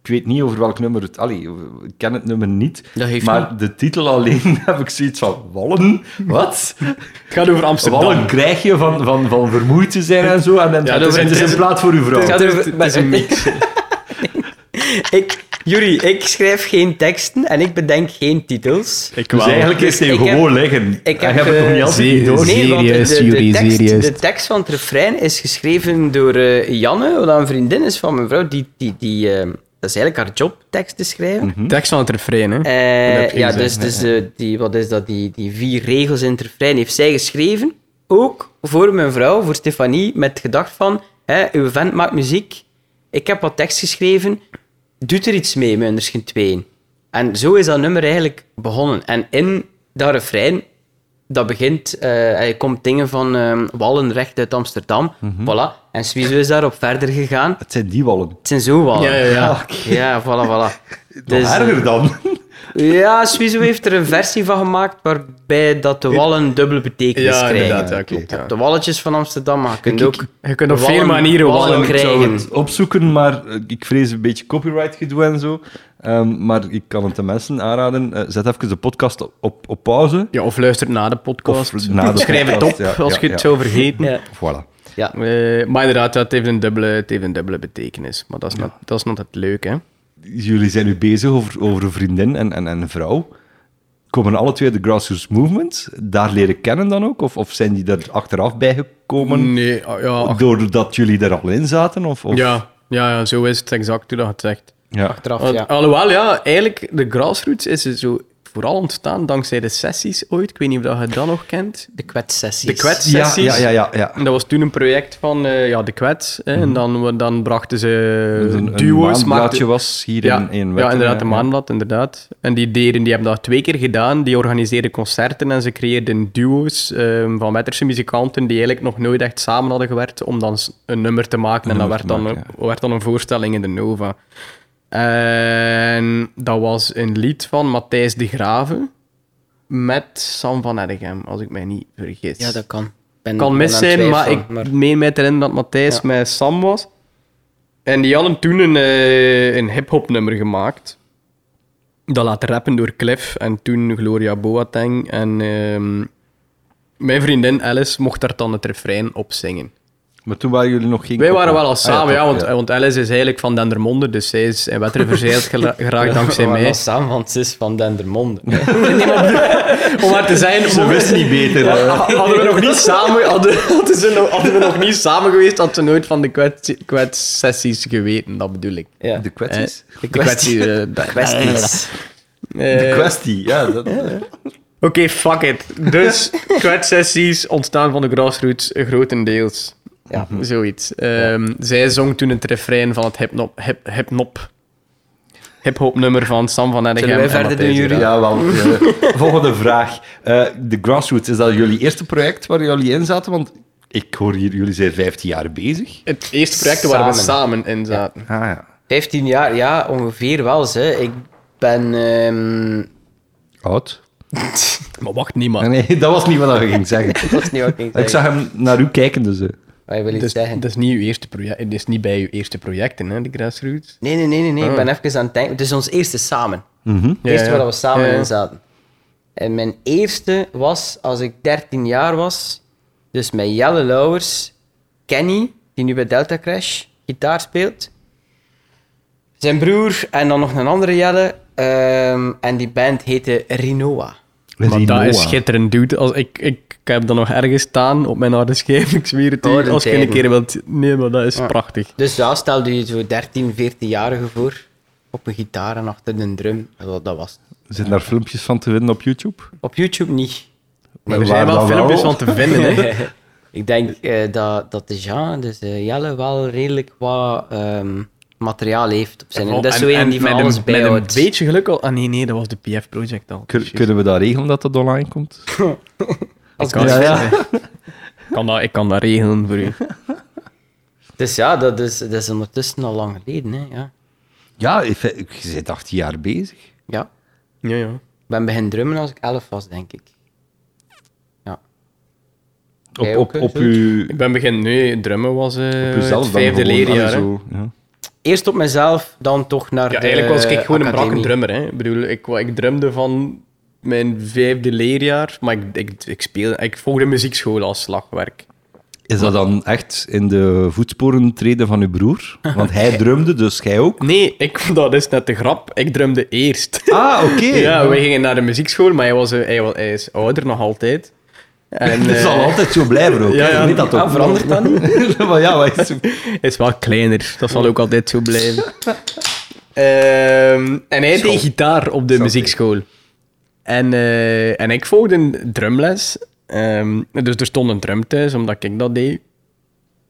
Speaker 1: weet niet over welk nummer het... Allee, ik ken het nummer niet.
Speaker 3: Dat heeft
Speaker 1: maar de titel alleen *laughs* heb ik zoiets van... Wallen? Wat?
Speaker 4: Het gaat over Amsterdam.
Speaker 1: Wallen krijg je van, van, van vermoeid te zijn en zo. En, en
Speaker 4: Ja,
Speaker 1: het,
Speaker 4: dat
Speaker 1: is,
Speaker 4: is-
Speaker 1: het is een plaat voor uw vrouw.
Speaker 3: Het
Speaker 1: Ja,
Speaker 3: gaat
Speaker 4: Het is-
Speaker 3: over-
Speaker 4: het is een mix.
Speaker 3: *laughs* ik, Juri, ik schrijf geen teksten en ik bedenk geen titels.
Speaker 4: Ik
Speaker 1: dus eigenlijk is hij
Speaker 3: Ik heb-
Speaker 1: gewoon liggen.
Speaker 3: ik
Speaker 1: en
Speaker 3: heb,
Speaker 1: je Ah, hebt het nog
Speaker 3: eh,
Speaker 1: niet altijd niet door.
Speaker 4: zeer-
Speaker 3: Nee, want
Speaker 4: Serieus,
Speaker 3: de, de,
Speaker 4: Juri,
Speaker 3: tekst,
Speaker 4: serieus.
Speaker 3: de tekst van het refrein is geschreven door eh, Janne, wat een vriendin is van mijn vrouw, die, die, die eh, dat is eigenlijk haar job, tekst te schrijven.
Speaker 4: Tekst van het refrein, hè.
Speaker 3: Eh,
Speaker 4: Dat heb je
Speaker 3: ja,
Speaker 4: gezegd,
Speaker 3: dus, dus eh, die, wat is dat, die, die vier regels in het refrein heeft zij geschreven. Ook voor mijn vrouw, voor Stefanie, met het gedacht van... Hè, uw vent maakt muziek, ik heb wat tekst geschreven, doet er iets mee met Underskin 2. En zo is dat nummer eigenlijk begonnen. En in dat refrein, dat begint... eh hij komt dingen van ehm, Wallen recht uit Amsterdam.
Speaker 4: Mhm.
Speaker 3: Voilà. En Suizo is daarop verder gegaan.
Speaker 1: Het zijn die wallen.
Speaker 3: Het zijn zo Wallen.
Speaker 4: Ja, ja, ja.
Speaker 3: Ja, voilà, voilà.
Speaker 4: *laughs*
Speaker 1: Nog
Speaker 3: Dus, eh,
Speaker 1: erger
Speaker 3: *laughs*
Speaker 1: dan.
Speaker 3: ja, Suizo heeft er een versie van gemaakt waarbij dat de wallen een dubbele betekenis
Speaker 4: Ja,
Speaker 3: dus krijgen.
Speaker 4: inderdaad, ja, klopt.
Speaker 3: Je
Speaker 4: Ja.
Speaker 3: hebt de walletjes van Amsterdam, maar je kunt ook...
Speaker 4: Je kunt op
Speaker 3: wallen-
Speaker 4: veel manieren
Speaker 3: wallen
Speaker 4: wallen
Speaker 1: Ik zou
Speaker 3: krijgen.
Speaker 1: het opzoeken, maar eh, ik vrees een beetje copyright gedoe en zo. Ehm, maar ik kan het de mensen aanraden. Eh, zet even de podcast op, op, op pauze.
Speaker 4: Ja, of luister na de podcast.
Speaker 1: Of na de
Speaker 4: Schrijf het op,
Speaker 1: podcast, ja,
Speaker 4: als
Speaker 1: ja,
Speaker 4: je het
Speaker 1: ja.
Speaker 4: zou vergeten.
Speaker 3: Ja.
Speaker 1: Voilà.
Speaker 3: Ja.
Speaker 4: Eh, maar inderdaad, ja, het, heeft een dubbele, het heeft een dubbele betekenis. Maar dat is, not, dat is not het leuke, hè.
Speaker 1: Jullie zijn nu bezig over, over een vriendin en, en, en een vrouw. Komen alle twee de grassroots movement daar leren kennen dan ook? Of, of zijn die er achteraf bijgekomen
Speaker 4: Nee, ah, ja, ach-
Speaker 1: doordat jullie er al in zaten? Of, of...
Speaker 4: ja, ja, ja, zo is het exact hoe dat je het zegt.
Speaker 1: ja.
Speaker 3: Achteraf,
Speaker 4: Want,
Speaker 3: ja.
Speaker 4: Alhoewel, ja, eigenlijk, de grassroots is zo vooral ontstaan dankzij de sessies ooit. Ik weet niet of dat je dat nog kent.
Speaker 3: De kwetssessies.
Speaker 4: De
Speaker 1: Ja,
Speaker 4: kwetssessies.
Speaker 1: ja, ja, ja, ja.
Speaker 4: En dat was toen een project van eh, ja, de kwets. Hè, En dan, we- dan brachten ze
Speaker 1: Dus Mhm. een, een
Speaker 4: duo's.
Speaker 1: maandblaadje was hier
Speaker 4: ja,
Speaker 1: in, in
Speaker 4: ja,
Speaker 1: Wetteren,
Speaker 4: inderdaad, de
Speaker 1: ja.
Speaker 4: maanblad, inderdaad. En die, deden, die hebben dat twee keer gedaan. Die organiseerden concerten en ze creëerden duo's ehm, van Wetterse muzikanten die eigenlijk nog nooit echt samen hadden gewerkt om dan s- een nummer te maken. en dat
Speaker 1: nummer
Speaker 4: werd,
Speaker 1: te
Speaker 4: dan,
Speaker 1: maken,
Speaker 4: werd dan een voorstelling in de Nova. En dat was een lied van Matthijs de Graven met Sam van Edegem, als ik mij niet vergis.
Speaker 3: Ja, dat kan. Ben,
Speaker 4: kan
Speaker 3: ben
Speaker 4: mis
Speaker 3: aan het
Speaker 4: zijn, maar ik
Speaker 3: twijfelen, maar-
Speaker 4: meen mij te herinneren dat Matthijs
Speaker 3: Ja.
Speaker 4: met Sam was. En die hadden toen een, eh, een hip-hop nummer gemaakt. Dat laat rappen door Cliff en toen Gloria Boateng. En ehm, mijn vriendin Alice mocht daar dan het refrein op zingen.
Speaker 1: Maar toen waren jullie nog geen...
Speaker 4: Wij waren wel al
Speaker 1: Ah,
Speaker 4: samen, ja,
Speaker 1: toch,
Speaker 4: want, want Alice is eigenlijk van Dendermonde, dus zij is in Wetteren verzeild gera- geraakt dankzij
Speaker 3: We waren
Speaker 4: mij.
Speaker 3: al samen, want ze is van Dendermonde.
Speaker 4: Om haar te zijn,
Speaker 1: Ze wist niet beter. hè.
Speaker 4: Hadden we nog niet samen, hadden, hadden, ze nog, hadden we nog niet samen geweest, had ze nooit van de kwets- kwetssessies geweten, dat bedoel ik.
Speaker 3: Ja.
Speaker 1: De kwesties.
Speaker 4: Eh, De *laughs* kwestie. eh, de
Speaker 3: kwesties.
Speaker 1: De
Speaker 4: Eh,
Speaker 1: kwestie, ja. Dat,
Speaker 4: Oké, fuck it. Dus kwetssessies ontstaan van de grassroots eh, grotendeels.
Speaker 3: Ja.
Speaker 4: Zoiets. Ehm, Zij zong toen het refrein van het hipnop, hip, hipnop, hip-hop nummer van Sam van Edegem.
Speaker 3: Zullen wij
Speaker 4: en
Speaker 3: verder
Speaker 4: Matthijs
Speaker 3: doen,
Speaker 4: de
Speaker 3: Juri?
Speaker 1: Ja,
Speaker 4: Graaf.
Speaker 1: *laughs* wel. eh, volgende vraag. Eh, de Grassroots, is dat jullie eerste project waar jullie in zaten? Want ik hoor hier, jullie zijn 15 jaar bezig.
Speaker 4: Het eerste project waar we
Speaker 3: Samen.
Speaker 4: samen in zaten.
Speaker 1: Ah ja.
Speaker 3: 15 jaar, ja, ongeveer wel. Ze. Ik ben... ehm,
Speaker 1: Oud?
Speaker 4: Maar wacht, niemand.
Speaker 1: Ah. Nee, dat was niet wat ik ging zeggen.
Speaker 3: dat is niet wat ik
Speaker 1: *laughs*
Speaker 3: ging
Speaker 1: Ik
Speaker 3: zeggen.
Speaker 1: zag hem naar u kijken, dus... eh,
Speaker 3: Wat je wil iets
Speaker 4: Dus,
Speaker 3: zeggen.
Speaker 4: dat is niet uw eerste project. Het is niet bij uw eerste projecten, hè, de grassroots.
Speaker 3: Nee, nee, nee, nee. nee. Ik
Speaker 4: Ah. Mhm.
Speaker 3: ben even aan het denken. Het is ons eerste samen.
Speaker 4: Ja,
Speaker 3: Het eerste
Speaker 4: ja.
Speaker 3: waar we samen
Speaker 4: Ja, ja.
Speaker 3: in zaten. En mijn eerste was als ik 13 jaar was. Dus met Jelle Lauwers, Kenny, die nu bij Delta Crash gitaar speelt. Zijn broer en dan nog een andere Jelle. eh, Ehm, en die band heette Rinoa.
Speaker 4: Maar dat
Speaker 1: Rinoa.
Speaker 4: is schitterend, dude. Als ik, ik, ik heb dat nog ergens staan op mijn harde schijf. *laughs* Ik zweer het u.
Speaker 3: Oh, de
Speaker 4: als je een
Speaker 3: tijden.
Speaker 4: keer wilt... Nee, maar dat is
Speaker 3: Ja.
Speaker 4: prachtig.
Speaker 3: Dus daar stelde je zo 13, 14-jarige voor. Op een gitaar en achter een drum. Dat, dat was het.
Speaker 1: Zijn daar filmpjes van te vinden op YouTube?
Speaker 3: Op YouTube niet.
Speaker 1: Maar
Speaker 4: er
Speaker 1: waar
Speaker 4: zijn wel
Speaker 1: dan
Speaker 4: filmpjes
Speaker 1: wel?
Speaker 4: van te
Speaker 3: *laughs*
Speaker 4: vinden, hè.
Speaker 3: Ik denk eh, dat, dat de Jean, dus eh, Jelle, wel redelijk wat ehm, materiaal heeft op zijn...
Speaker 4: En-
Speaker 3: dat is zo
Speaker 4: en
Speaker 3: een die van
Speaker 4: met
Speaker 3: alles
Speaker 4: een, met een
Speaker 3: bijhoudt.
Speaker 4: beetje geluk al... Ah, nee, nee, dat was de PF Project al.
Speaker 1: Kun-
Speaker 4: Shit.
Speaker 1: kunnen we dat regelen dat dat online
Speaker 4: *laughs*
Speaker 1: komt?
Speaker 3: Als
Speaker 4: kan-
Speaker 3: best-
Speaker 1: ja.
Speaker 4: Ik kan dat, ik kan dat regelen voor u.
Speaker 3: Dus ja, dat is, dat is ondertussen al lang geleden. Hè, ja.
Speaker 1: Ja, in fe- je bent 18 jaar bezig.
Speaker 3: ja.
Speaker 4: Ja, ja.
Speaker 3: Ik ben begin drummen als ik 11 was, denk ik. Ja.
Speaker 1: Op,
Speaker 3: Jij
Speaker 1: op,
Speaker 3: ook,
Speaker 1: op,
Speaker 3: zoiets?
Speaker 1: uw,
Speaker 4: Ik ben begin... Nee, drummen was eh
Speaker 1: op uzelf
Speaker 4: het
Speaker 1: dan
Speaker 4: vijfde
Speaker 1: gewoon,
Speaker 4: leerjaar,
Speaker 1: allee,
Speaker 4: hè.
Speaker 1: zo, ja.
Speaker 3: Eerst op mezelf, dan toch naar
Speaker 4: Ja,
Speaker 3: de
Speaker 4: eigenlijk was ik gewoon een brakke
Speaker 3: academie.
Speaker 4: drummer. Hè. Ik bedoel, ik, wa- ik drumde van mijn vijfde leerjaar, maar ik, ik, ik, speelde, ik volgde muziekschool als slagwerk.
Speaker 1: Is dat dan echt in de voetsporen treden van uw broer? Want
Speaker 4: *laughs*
Speaker 1: hij drumde, dus jij ook.
Speaker 4: Nee, ik, *laughs* dat is net de grap. Ik drumde eerst.
Speaker 1: Ah, oké.
Speaker 4: Ja, wij gingen naar de muziekschool, maar hij, was, eh, hij, wa- hij is ouder nog altijd. En,
Speaker 1: Dat
Speaker 4: eh,
Speaker 1: zal altijd zo blijven ook.
Speaker 4: Ja,
Speaker 1: hè.
Speaker 4: ja.
Speaker 1: Weet dat ook.
Speaker 3: Ah, verandert dat
Speaker 1: *laughs* maar ja, wat is...
Speaker 4: Hij is wel kleiner. Dat zal ook altijd zo blijven. Ehm, en hij deed gitaar op de muziekschool. En, eh, en ik volgde een drumles. Ehm, dus er stond een drum thuis, omdat ik dat deed.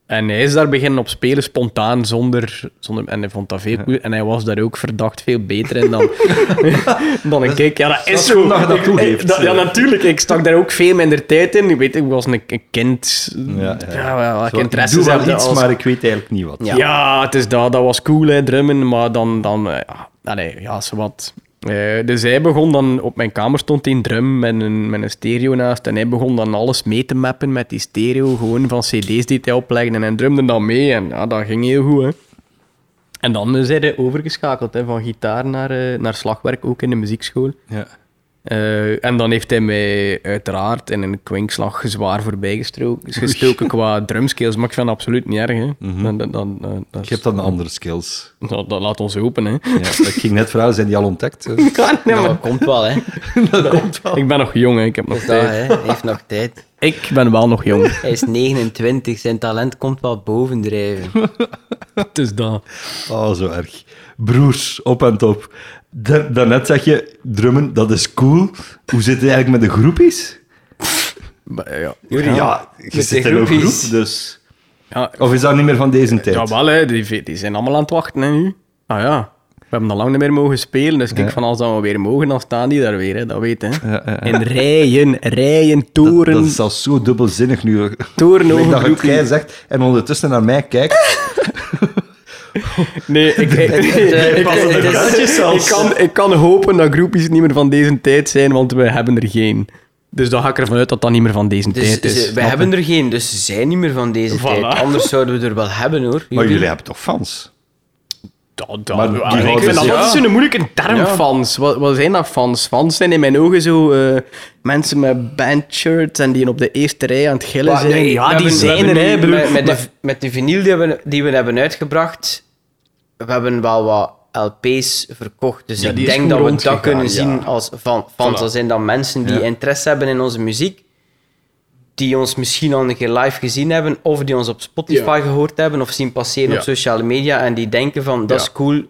Speaker 4: En hij is daar beginnen op spelen, spontaan, zonder... zonder en hij vond dat veel goed. En hij was daar ook verdacht veel beter in
Speaker 1: *laughs*
Speaker 4: dan, dan ik. Ja, dat
Speaker 1: dat is
Speaker 4: is zo.
Speaker 1: goed dat je dat
Speaker 4: Ik-
Speaker 1: toegeeft.
Speaker 4: ik- dat- ja, natuurlijk. Ik stak daar ook veel minder tijd in. Ik weet, ik was een, een kind.
Speaker 1: Ja, ja.
Speaker 4: Ja, wel, wat
Speaker 1: Zo, ik
Speaker 4: interesses
Speaker 1: doe
Speaker 4: heb
Speaker 1: wel
Speaker 4: je
Speaker 1: iets,
Speaker 4: als-
Speaker 1: maar ik weet eigenlijk niet wat.
Speaker 3: Ja.
Speaker 4: ja. het is dat. Dat was cool, hè, drummen. Maar dan... dan eh, ja, allee, ja, zowat. Eh, dus hij begon dan... Op mijn kamer stond een drum met een, met een stereo naast. En hij begon dan alles mee te mappen met die stereo. Gewoon van cd's die hij oplegde. En hij drumde dan mee. En ja, dat ging heel goed, hè. En dan eh, zijn hij overgeschakeld hè, van gitaar naar, eh, naar slagwerk, ook in de muziekschool.
Speaker 1: Ja.
Speaker 4: Eh, en dan heeft hij mij uiteraard in een kwinkslag zwaar voorbij gestro- gestoken qua drumskills. Maar ik vind dat absoluut niet erg. Hè. Dan- dan- dan- dan- dat
Speaker 1: Mhm. Ik
Speaker 4: is-
Speaker 1: heb dan andere skills.
Speaker 4: dat, dat laat ons open, hè.
Speaker 1: Ja, ik ging net vragen, zijn die al
Speaker 4: *laughs*
Speaker 1: ontdekt? Dus- hè?
Speaker 3: *laughs* Ja, dat komt wel, hè.
Speaker 4: Ik ben nog jong, hè. Ik heb nog
Speaker 3: Dus dat,
Speaker 4: tijd.
Speaker 3: hè. Hij heeft nog tijd.
Speaker 4: Ik ben wel nog jong.
Speaker 3: Hij is 29, zijn talent komt wel bovendrijven.
Speaker 4: *laughs* Het is dat.
Speaker 1: Oh, zo erg. Broers, op en top. Da- daarnet zeg je, drummen, dat is cool. Hoe zit het eigenlijk met de groepies?
Speaker 4: Maar, ja.
Speaker 1: Jullie, ja, je
Speaker 3: de
Speaker 1: zit in een
Speaker 3: groepies.
Speaker 1: groep, dus...
Speaker 4: Ja,
Speaker 1: Of is dat niet meer van deze tijd?
Speaker 4: jawel, hè. Die, die zijn allemaal aan het wachten, hè, nu. Ah ja. We hebben al lang niet meer mogen spelen. Dus kijk, van als dat we weer mogen, dan staan die daar weer, hè. Dat weet, hè.
Speaker 1: ja, ja.
Speaker 4: In rijen, rijen,
Speaker 1: dat,
Speaker 4: toren,
Speaker 1: dat is zelfs zo dubbelzinnig nu.
Speaker 4: toren
Speaker 1: Ik
Speaker 4: over
Speaker 1: dat het
Speaker 4: groepen.
Speaker 1: jij zegt en ondertussen naar mij kijkt.
Speaker 4: Nee, *laughs* ik, ik, ik,
Speaker 3: pas op de
Speaker 4: ik- ik-
Speaker 3: kastjes zelfs.
Speaker 4: ik kan, ik kan hopen dat groepjes niet meer van deze tijd zijn, want we hebben er geen. Dus dan ga ik ervan uit dat dat niet meer van deze
Speaker 3: Dus
Speaker 4: tijd is.
Speaker 3: ze- we hebben er geen, dus ze zijn niet meer van deze
Speaker 4: Voilà.
Speaker 3: tijd. Anders zouden we er wel hebben, hoor.
Speaker 1: Maar jullie hebben toch fans?
Speaker 4: Dat, dat,
Speaker 1: Maar die
Speaker 4: ja, Ah, ik
Speaker 1: houden
Speaker 4: vind dat
Speaker 1: zich-
Speaker 4: altijd zo'n moeilijke term,
Speaker 3: Ja.
Speaker 4: fans. Wat, wat zijn dat fans? Fans zijn in mijn ogen zo eh, mensen met bandshirts en die op de eerste rij aan het gillen
Speaker 3: Maar
Speaker 4: zijn.
Speaker 3: nee,
Speaker 4: ja,
Speaker 3: Dus, eh, we
Speaker 4: die
Speaker 3: hebben- we
Speaker 4: zijn er,
Speaker 3: hebben
Speaker 4: hè.
Speaker 3: nu
Speaker 4: bedoel-
Speaker 3: Met, met,
Speaker 4: maar-
Speaker 3: de, met de vinyl die we, die we hebben uitgebracht, we hebben wel wat LP's verkocht. Dus
Speaker 4: Ja, die
Speaker 3: ik
Speaker 4: is
Speaker 3: denk
Speaker 4: goed
Speaker 3: dat we dat
Speaker 4: rondgegaan,
Speaker 3: kunnen
Speaker 4: ja.
Speaker 3: zien als van, fans.
Speaker 4: Voilà.
Speaker 3: Dat zijn dan mensen die
Speaker 1: Ja.
Speaker 3: interesse hebben in onze muziek, die ons misschien al een keer live gezien hebben, of die ons op Spotify gehoord hebben, of zien passeren
Speaker 4: Ja.
Speaker 3: op sociale media, en die denken van, dat
Speaker 4: Ja.
Speaker 3: is cool,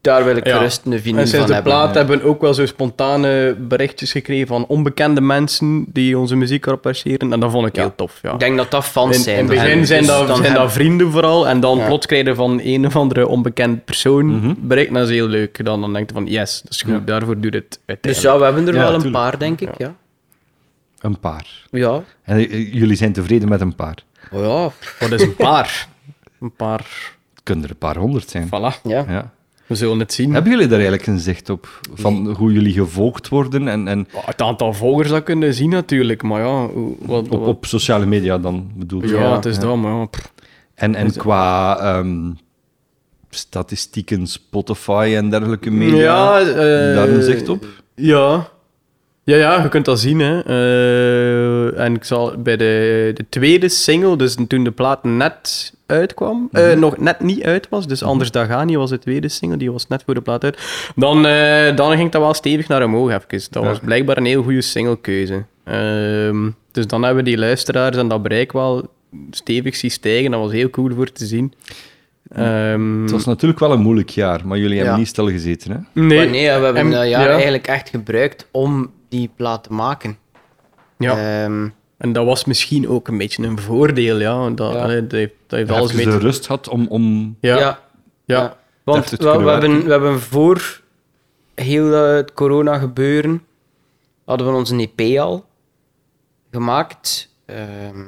Speaker 3: daar wil ik
Speaker 4: Ja.
Speaker 3: gerust een vinyl
Speaker 4: En
Speaker 3: van
Speaker 4: sinds de
Speaker 3: hebben.
Speaker 4: plaat hebben we ook wel zo spontane berichtjes gekregen van onbekende mensen die onze muziek erop passeren. En dat vond ik heel tof, ja.
Speaker 3: Ik denk dat dat fans
Speaker 4: In,
Speaker 3: zijn.
Speaker 4: in het begin
Speaker 3: En
Speaker 4: zijn,
Speaker 3: dus
Speaker 4: dat,
Speaker 3: dan
Speaker 4: zijn
Speaker 3: hebben-
Speaker 4: dat vrienden vooral. En dan
Speaker 3: Ja. Mhm.
Speaker 4: plots krijgen van een of andere onbekend persoon bericht. Dat is heel leuk. Dan, dan denk je van, yes, dat is goed. Daarvoor doet het
Speaker 3: Dus
Speaker 4: uiteindelijk.
Speaker 3: ja, we hebben er
Speaker 1: Ja,
Speaker 3: wel een
Speaker 1: tuurlijk.
Speaker 3: paar, denk ik. Ja.
Speaker 1: Een paar.
Speaker 3: Ja.
Speaker 1: En eh, jullie zijn tevreden met een paar.
Speaker 3: Oh ja,
Speaker 4: Wat is een paar? een paar...
Speaker 1: Het kunnen er een paar honderd zijn.
Speaker 4: Voilà.
Speaker 3: ja.
Speaker 1: Ja.
Speaker 4: We zullen het zien.
Speaker 1: Hebben jullie daar eigenlijk een zicht op? Van hoe jullie gevolgd worden en, en
Speaker 4: Ja, Het aantal volgers dat kunnen zien natuurlijk. Maar ja, hoe- wat...
Speaker 1: op,
Speaker 4: wat-
Speaker 1: op sociale media dan bedoel je?
Speaker 4: ja, het is dat, maar ja, pff.
Speaker 1: En, en qua ehm, statistieken, Spotify en dergelijke media,
Speaker 4: Ja, eh,
Speaker 1: daar een zicht op?
Speaker 4: Ja. Ja, ja, je kunt dat zien. Hè. Eh, en ik zal bij de, de tweede single, dus toen de plaat net uitkwam, eh,
Speaker 2: Mhm.
Speaker 4: nog net niet uit was, dus Anders Dagani was de tweede single, die was net voor de plaat uit, dan, eh, dan ging dat wel stevig naar omhoog even. Dat was blijkbaar een heel goede singlekeuze. Ehm, dus dan hebben die luisteraars en dat bereik wel stevig zien stijgen. Dat was heel cool voor te zien. Ehm,
Speaker 2: Het was natuurlijk wel een moeilijk jaar, maar jullie hebben
Speaker 3: Ja.
Speaker 2: niet stil gezeten. Hè?
Speaker 3: Maar nee, we hebben
Speaker 4: en-
Speaker 3: dat jaar
Speaker 4: ja.
Speaker 3: eigenlijk echt gebruikt om die plaat te maken.
Speaker 4: Ja.
Speaker 3: Ehm,
Speaker 4: En dat was misschien ook een beetje een voordeel, ja. want Dat,
Speaker 3: Ja.
Speaker 4: allee, dat heeft, dat heeft alles
Speaker 2: Even
Speaker 4: mee
Speaker 2: de
Speaker 4: te-
Speaker 2: rust had om... om...
Speaker 4: Ja, ja.
Speaker 3: ja, Ja. Want
Speaker 2: Heeft het
Speaker 3: we, we
Speaker 2: kunnen
Speaker 3: hebben, we hebben voor heel eh, het corona gebeuren, hadden we onze EP al gemaakt. Ehm,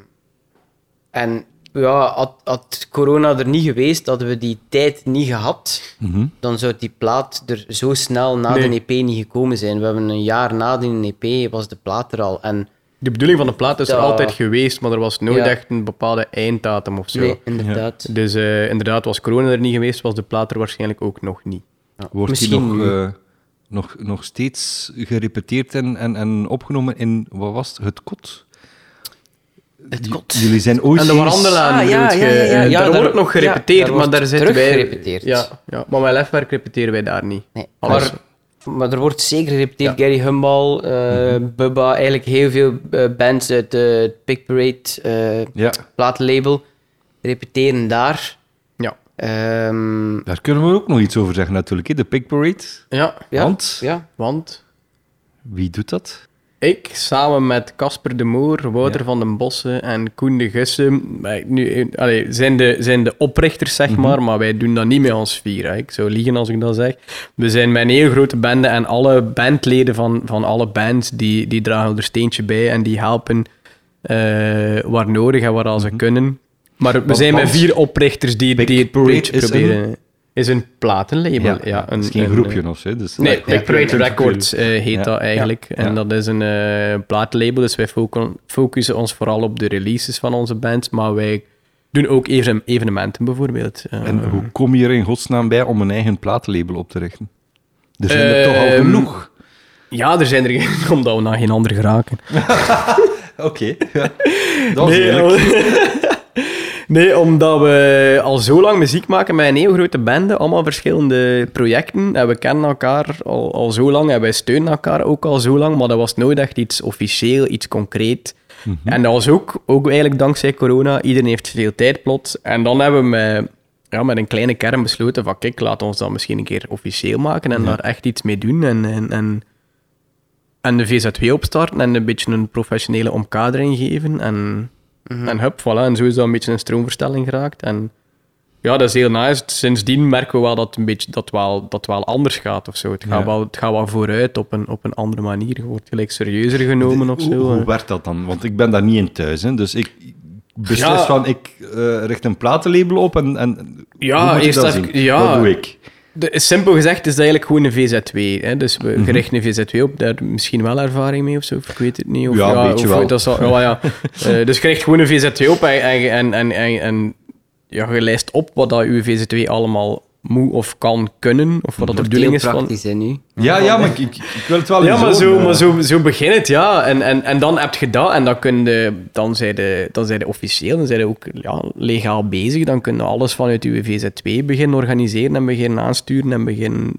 Speaker 3: en ja, had, had corona er niet geweest, hadden we die tijd niet gehad,
Speaker 2: Mhm.
Speaker 3: dan zou die plaat er zo snel na
Speaker 4: Nee.
Speaker 3: de EP niet gekomen zijn. We hebben een jaar na die EP was de plaat er al. En
Speaker 4: De bedoeling van de plaat is er
Speaker 3: Dat-
Speaker 4: altijd geweest, maar er was nooit
Speaker 3: Ja.
Speaker 4: echt een bepaalde einddatum of zo.
Speaker 3: nee, inderdaad.
Speaker 4: Dus eh, inderdaad, was corona er niet geweest, was de plaat er waarschijnlijk ook nog niet.
Speaker 2: Wordt die
Speaker 3: Misschien
Speaker 2: nog,
Speaker 3: nu.
Speaker 2: eh, nog, nog steeds gerepeteerd en, en, en opgenomen in, wat was het, het kot? Het kot. Jullie zijn ooit
Speaker 4: en de
Speaker 2: eens-
Speaker 4: Warandelaan,
Speaker 3: Ah, ja,
Speaker 4: bedoelt
Speaker 3: ja,
Speaker 4: je?
Speaker 3: ja, ja.
Speaker 4: Eh,
Speaker 3: Ja,
Speaker 4: daar,
Speaker 3: daar-
Speaker 4: wordt nog
Speaker 3: ja,
Speaker 4: gerepeteerd,
Speaker 3: daar
Speaker 4: maar
Speaker 3: wordt
Speaker 4: daar zitten wij...
Speaker 3: teruggerepeteerd.
Speaker 4: Ja, ja, maar bij Lefwerk repeteren wij daar niet.
Speaker 3: Nee.
Speaker 4: Alles.
Speaker 3: Maar, maar er wordt zeker gerepeteerd. Gary Humbal, eh, Bubba, eigenlijk heel veel eh, bands uit eh, het Big Parade eh
Speaker 2: Ja,
Speaker 3: platenlabel repeteren daar.
Speaker 4: Ja.
Speaker 3: Ehm,
Speaker 2: daar kunnen we ook nog iets over zeggen natuurlijk. hè. De Pig Parade.
Speaker 4: ja,
Speaker 3: ja,
Speaker 2: Want?
Speaker 3: Ja.
Speaker 4: want
Speaker 2: Wie doet dat?
Speaker 4: ik samen met Casper de Moor, Wouter
Speaker 2: Ja.
Speaker 4: van den Bossen en Koen de Gussen wij- nu, eh, allee, zijn, de, zijn de oprichters,
Speaker 2: Mhm.
Speaker 4: zeg maar, maar wij doen dat niet met ons vier. Hè. Ik zou liegen als ik dat zeg. We zijn met een heel grote bende en alle bandleden van, van alle bands die, die dragen er steentje bij en die helpen eh, waar nodig en waar al ze kunnen. Maar we
Speaker 2: Mhm. Want-
Speaker 4: zijn met
Speaker 2: want
Speaker 4: vier oprichters die,
Speaker 2: Big
Speaker 4: die het
Speaker 2: Parade
Speaker 4: beetje
Speaker 2: is een-
Speaker 4: proberen. is een platenlabel. Ja, een,
Speaker 2: het is geen
Speaker 4: een,
Speaker 2: groepje of zo. Dus
Speaker 4: Nee,
Speaker 2: Ja.
Speaker 4: Big Parade Records eh, heet
Speaker 2: Ja.
Speaker 4: dat eigenlijk.
Speaker 2: Ja.
Speaker 4: En
Speaker 2: Ja.
Speaker 4: dat is een eh plaatlabel, dus wij focon- focussen ons vooral op de releases van onze bands, maar wij doen ook even evenementen bijvoorbeeld. Eh,
Speaker 2: En hoe kom je er in godsnaam bij om een eigen platenlabel op te richten? Er zijn er toch al
Speaker 4: Ehm,
Speaker 2: genoeg.
Speaker 4: Ja, er zijn er geen, *laughs* omdat we naar geen ander geraken.
Speaker 2: Oké. ja. *laughs* Dat is eerlijk.
Speaker 4: om- *laughs* nee, omdat we al zo lang muziek maken met een heel grote bende, allemaal verschillende projecten. En we kennen elkaar al, al zo lang en wij steunen elkaar ook al zo lang, maar dat was nooit echt iets officieel, iets concreet. En dat was ook, ook eigenlijk dankzij corona, iedereen heeft veel tijd plots. En dan hebben we met, ja, met een kleine kern besloten van kijk, laat ons dat misschien een keer officieel maken en daar echt iets mee doen. En, en, en, en de VZW opstarten en een beetje een professionele omkadering geven. En
Speaker 2: Mhm.
Speaker 4: en hup, voilà. En zo is dat een beetje een stroomverstelling geraakt. En ja, dat is heel nice. Sindsdien merken we wel dat het een beetje, dat wel, dat wel anders gaat of zo. Het gaat,
Speaker 2: Ja.
Speaker 4: wel, het gaat wel vooruit op een, op een andere manier. Je wordt gelijk serieuzer genomen of
Speaker 2: Hoe,
Speaker 4: zo.
Speaker 2: hoe
Speaker 4: hè.
Speaker 2: werkt dat dan? Want ik ben daar niet in thuis. Hè? Dus ik beslis
Speaker 4: Ja.
Speaker 2: van, ik eh, richt een platenlabel op en, en
Speaker 4: Ja,
Speaker 2: hoe moet ik
Speaker 4: eerst
Speaker 2: dat
Speaker 4: even-
Speaker 2: zien?
Speaker 4: ja.
Speaker 2: Wat doe ik?
Speaker 4: De, simpel gezegd is dat eigenlijk gewoon een VZW. Hè? Dus
Speaker 2: Mhm.
Speaker 4: we je richten een VZW op, daar misschien wel ervaring mee of zo, of ik weet het niet. Of,
Speaker 2: Ja, een beetje
Speaker 4: of,
Speaker 2: wel.
Speaker 4: Dat
Speaker 2: *laughs*
Speaker 4: zal, ja, ja. Eh, dus je richt gewoon een VZW op en, en, en, en, en, en ja, je lijst op wat dat je VZW allemaal moet of kan kunnen, of wat dat de
Speaker 3: Wordt heel
Speaker 4: bedoeling is van,
Speaker 3: praktisch hè, nu.
Speaker 2: Ja, ja, maar ik, ik, ik wil het wel
Speaker 4: Ja,
Speaker 2: eens
Speaker 4: maar zo,
Speaker 2: horen,
Speaker 4: maar
Speaker 2: eh.
Speaker 4: zo, zo begint het, ja. En, en, en dan heb je dat en dan, kun je, dan, zijn de, dan zijn de officieel, dan zijn je ook ja, legaal bezig. Dan kun je alles vanuit je VZ2 beginnen organiseren en beginnen aansturen en beginnen,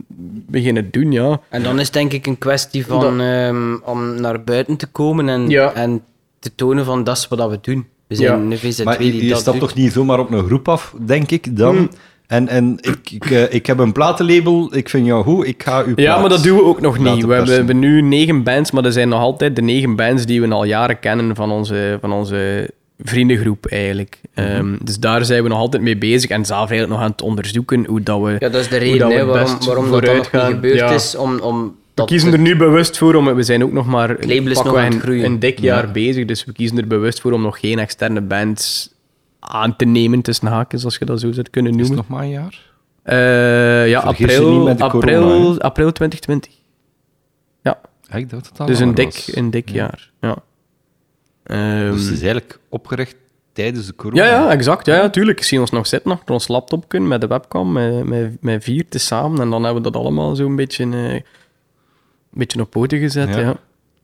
Speaker 4: beginnen doen, ja.
Speaker 3: En dan is het denk ik een kwestie van
Speaker 4: Dat-
Speaker 3: ehm, om naar buiten te komen en,
Speaker 4: Ja.
Speaker 3: en te tonen van dat is wat dat we doen. We zijn
Speaker 4: Ja.
Speaker 3: een VZW
Speaker 2: Maar je,
Speaker 3: die
Speaker 2: je
Speaker 3: dat
Speaker 2: stapt
Speaker 3: doet.
Speaker 2: toch niet zomaar op een groep af, denk ik dan?
Speaker 4: Hmm.
Speaker 2: En, en ik, ik, eh, ik heb een platenlabel, ik vind jou goed, ik ga u
Speaker 4: Ja, maar dat doen we ook nog
Speaker 2: Laten
Speaker 4: niet. We hebben,
Speaker 2: persen.
Speaker 4: we hebben nu negen bands, maar er zijn nog altijd de negen bands die we al jaren kennen van onze, van onze vriendengroep eigenlijk. Ehm, dus daar zijn we nog altijd mee bezig en zelf eigenlijk nog aan het onderzoeken hoe dat we...
Speaker 3: Ja, dat is de
Speaker 4: hoe
Speaker 3: reden
Speaker 4: dat we
Speaker 3: hè,
Speaker 4: het
Speaker 3: waarom,
Speaker 4: best
Speaker 3: waarom dat, dan nog niet
Speaker 4: vooruitgaan.
Speaker 3: gebeurd
Speaker 4: Ja.
Speaker 3: is. Om, om
Speaker 4: We
Speaker 3: dat
Speaker 4: kiezen
Speaker 3: te-
Speaker 4: er nu bewust voor om. We zijn ook nog maar
Speaker 3: label is nog
Speaker 4: pakweg
Speaker 3: aan het
Speaker 4: een-
Speaker 3: groeien.
Speaker 4: een dik jaar bezig, dus we kiezen er bewust voor om nog geen externe bands aan te nemen tussen haakjes, als je dat zo zou kunnen
Speaker 2: Is
Speaker 4: noemen.
Speaker 2: het nog maar een jaar?
Speaker 4: Eh, ja,
Speaker 2: Vergis je
Speaker 4: april,
Speaker 2: niet met de
Speaker 4: april,
Speaker 2: corona,
Speaker 4: april 2020. Ja,
Speaker 2: Ja, ik dacht dat dat
Speaker 4: dus
Speaker 2: langer
Speaker 4: een dik,
Speaker 2: was.
Speaker 4: een dik jaar. Ja. Ehm,
Speaker 2: Dus het is eigenlijk opgericht tijdens de corona.
Speaker 4: ja, ja, exact. Ja, ja, tuurlijk. Ik zie ons nog zitten achter ons laptop kunnen met de webcam, met, met, met vier tezamen. En dan hebben we dat allemaal zo'n beetje, eh, een beetje op poten gezet.
Speaker 2: Ja.
Speaker 4: Ja.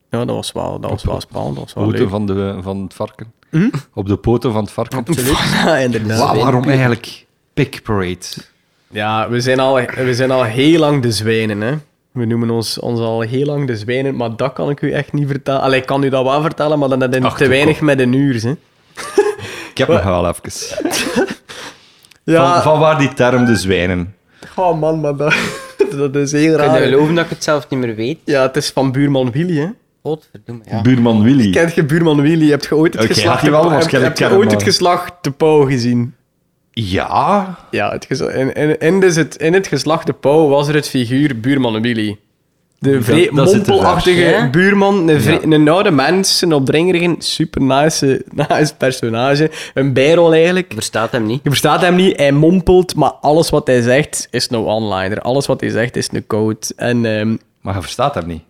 Speaker 4: Ja, dat was wel, dat was wel spannend. Dat was wel
Speaker 3: *laughs*
Speaker 2: Poten
Speaker 4: leuk.
Speaker 2: van, de, van het varken.
Speaker 4: Hm?
Speaker 2: Op de poten van het varken.
Speaker 4: Ja, inderdaad.
Speaker 2: Wa- waarom eigenlijk Pick Parade?
Speaker 4: Ja, we zijn, al, we zijn al heel lang de zwijnen, hè. We noemen ons, ons al heel lang de zwijnen, maar dat kan ik u echt niet vertellen. Allee, ik kan u dat wel vertellen, maar dan dat is
Speaker 2: Ach,
Speaker 4: te
Speaker 2: kom.
Speaker 4: weinig met een uur, hè.
Speaker 2: Ik heb nog wel even.
Speaker 4: Ja,
Speaker 2: Van, van waar die term de zwijnen?
Speaker 4: oh man, maar dat, *laughs* dat is heel
Speaker 3: Kun je
Speaker 4: raar.
Speaker 3: geloven dat ik het zelf niet meer weet?
Speaker 4: Ja, het is van buurman Willy, hè.
Speaker 3: Godverdomme, ja.
Speaker 2: Buurman Willy.
Speaker 4: Kent je buurman Willy? Heb je ooit het
Speaker 2: Oké, had
Speaker 4: geslacht
Speaker 2: hij wel
Speaker 4: heb-
Speaker 2: waarschijnlijk
Speaker 4: heb je
Speaker 2: kennen,
Speaker 4: ooit het
Speaker 2: maar-
Speaker 4: geslacht de pauw gezien?
Speaker 2: Ja,
Speaker 4: Ja, het gez- in, in, in, dus het, in het geslacht de pauw was er het figuur buurman Willy. De vre-
Speaker 2: dat zit er
Speaker 4: mompelachtige
Speaker 3: daar. Ja?
Speaker 4: buurman, een, vre- een oude mens, een opdringerige, super nice, *laughs* nice personage. Een bijrol eigenlijk.
Speaker 3: Je verstaat hem niet.
Speaker 4: Je verstaat hem niet, hij mompelt, maar alles wat hij zegt is nou online. Alles wat hij zegt is nu code. En ehm,
Speaker 2: maar je verstaat hem niet.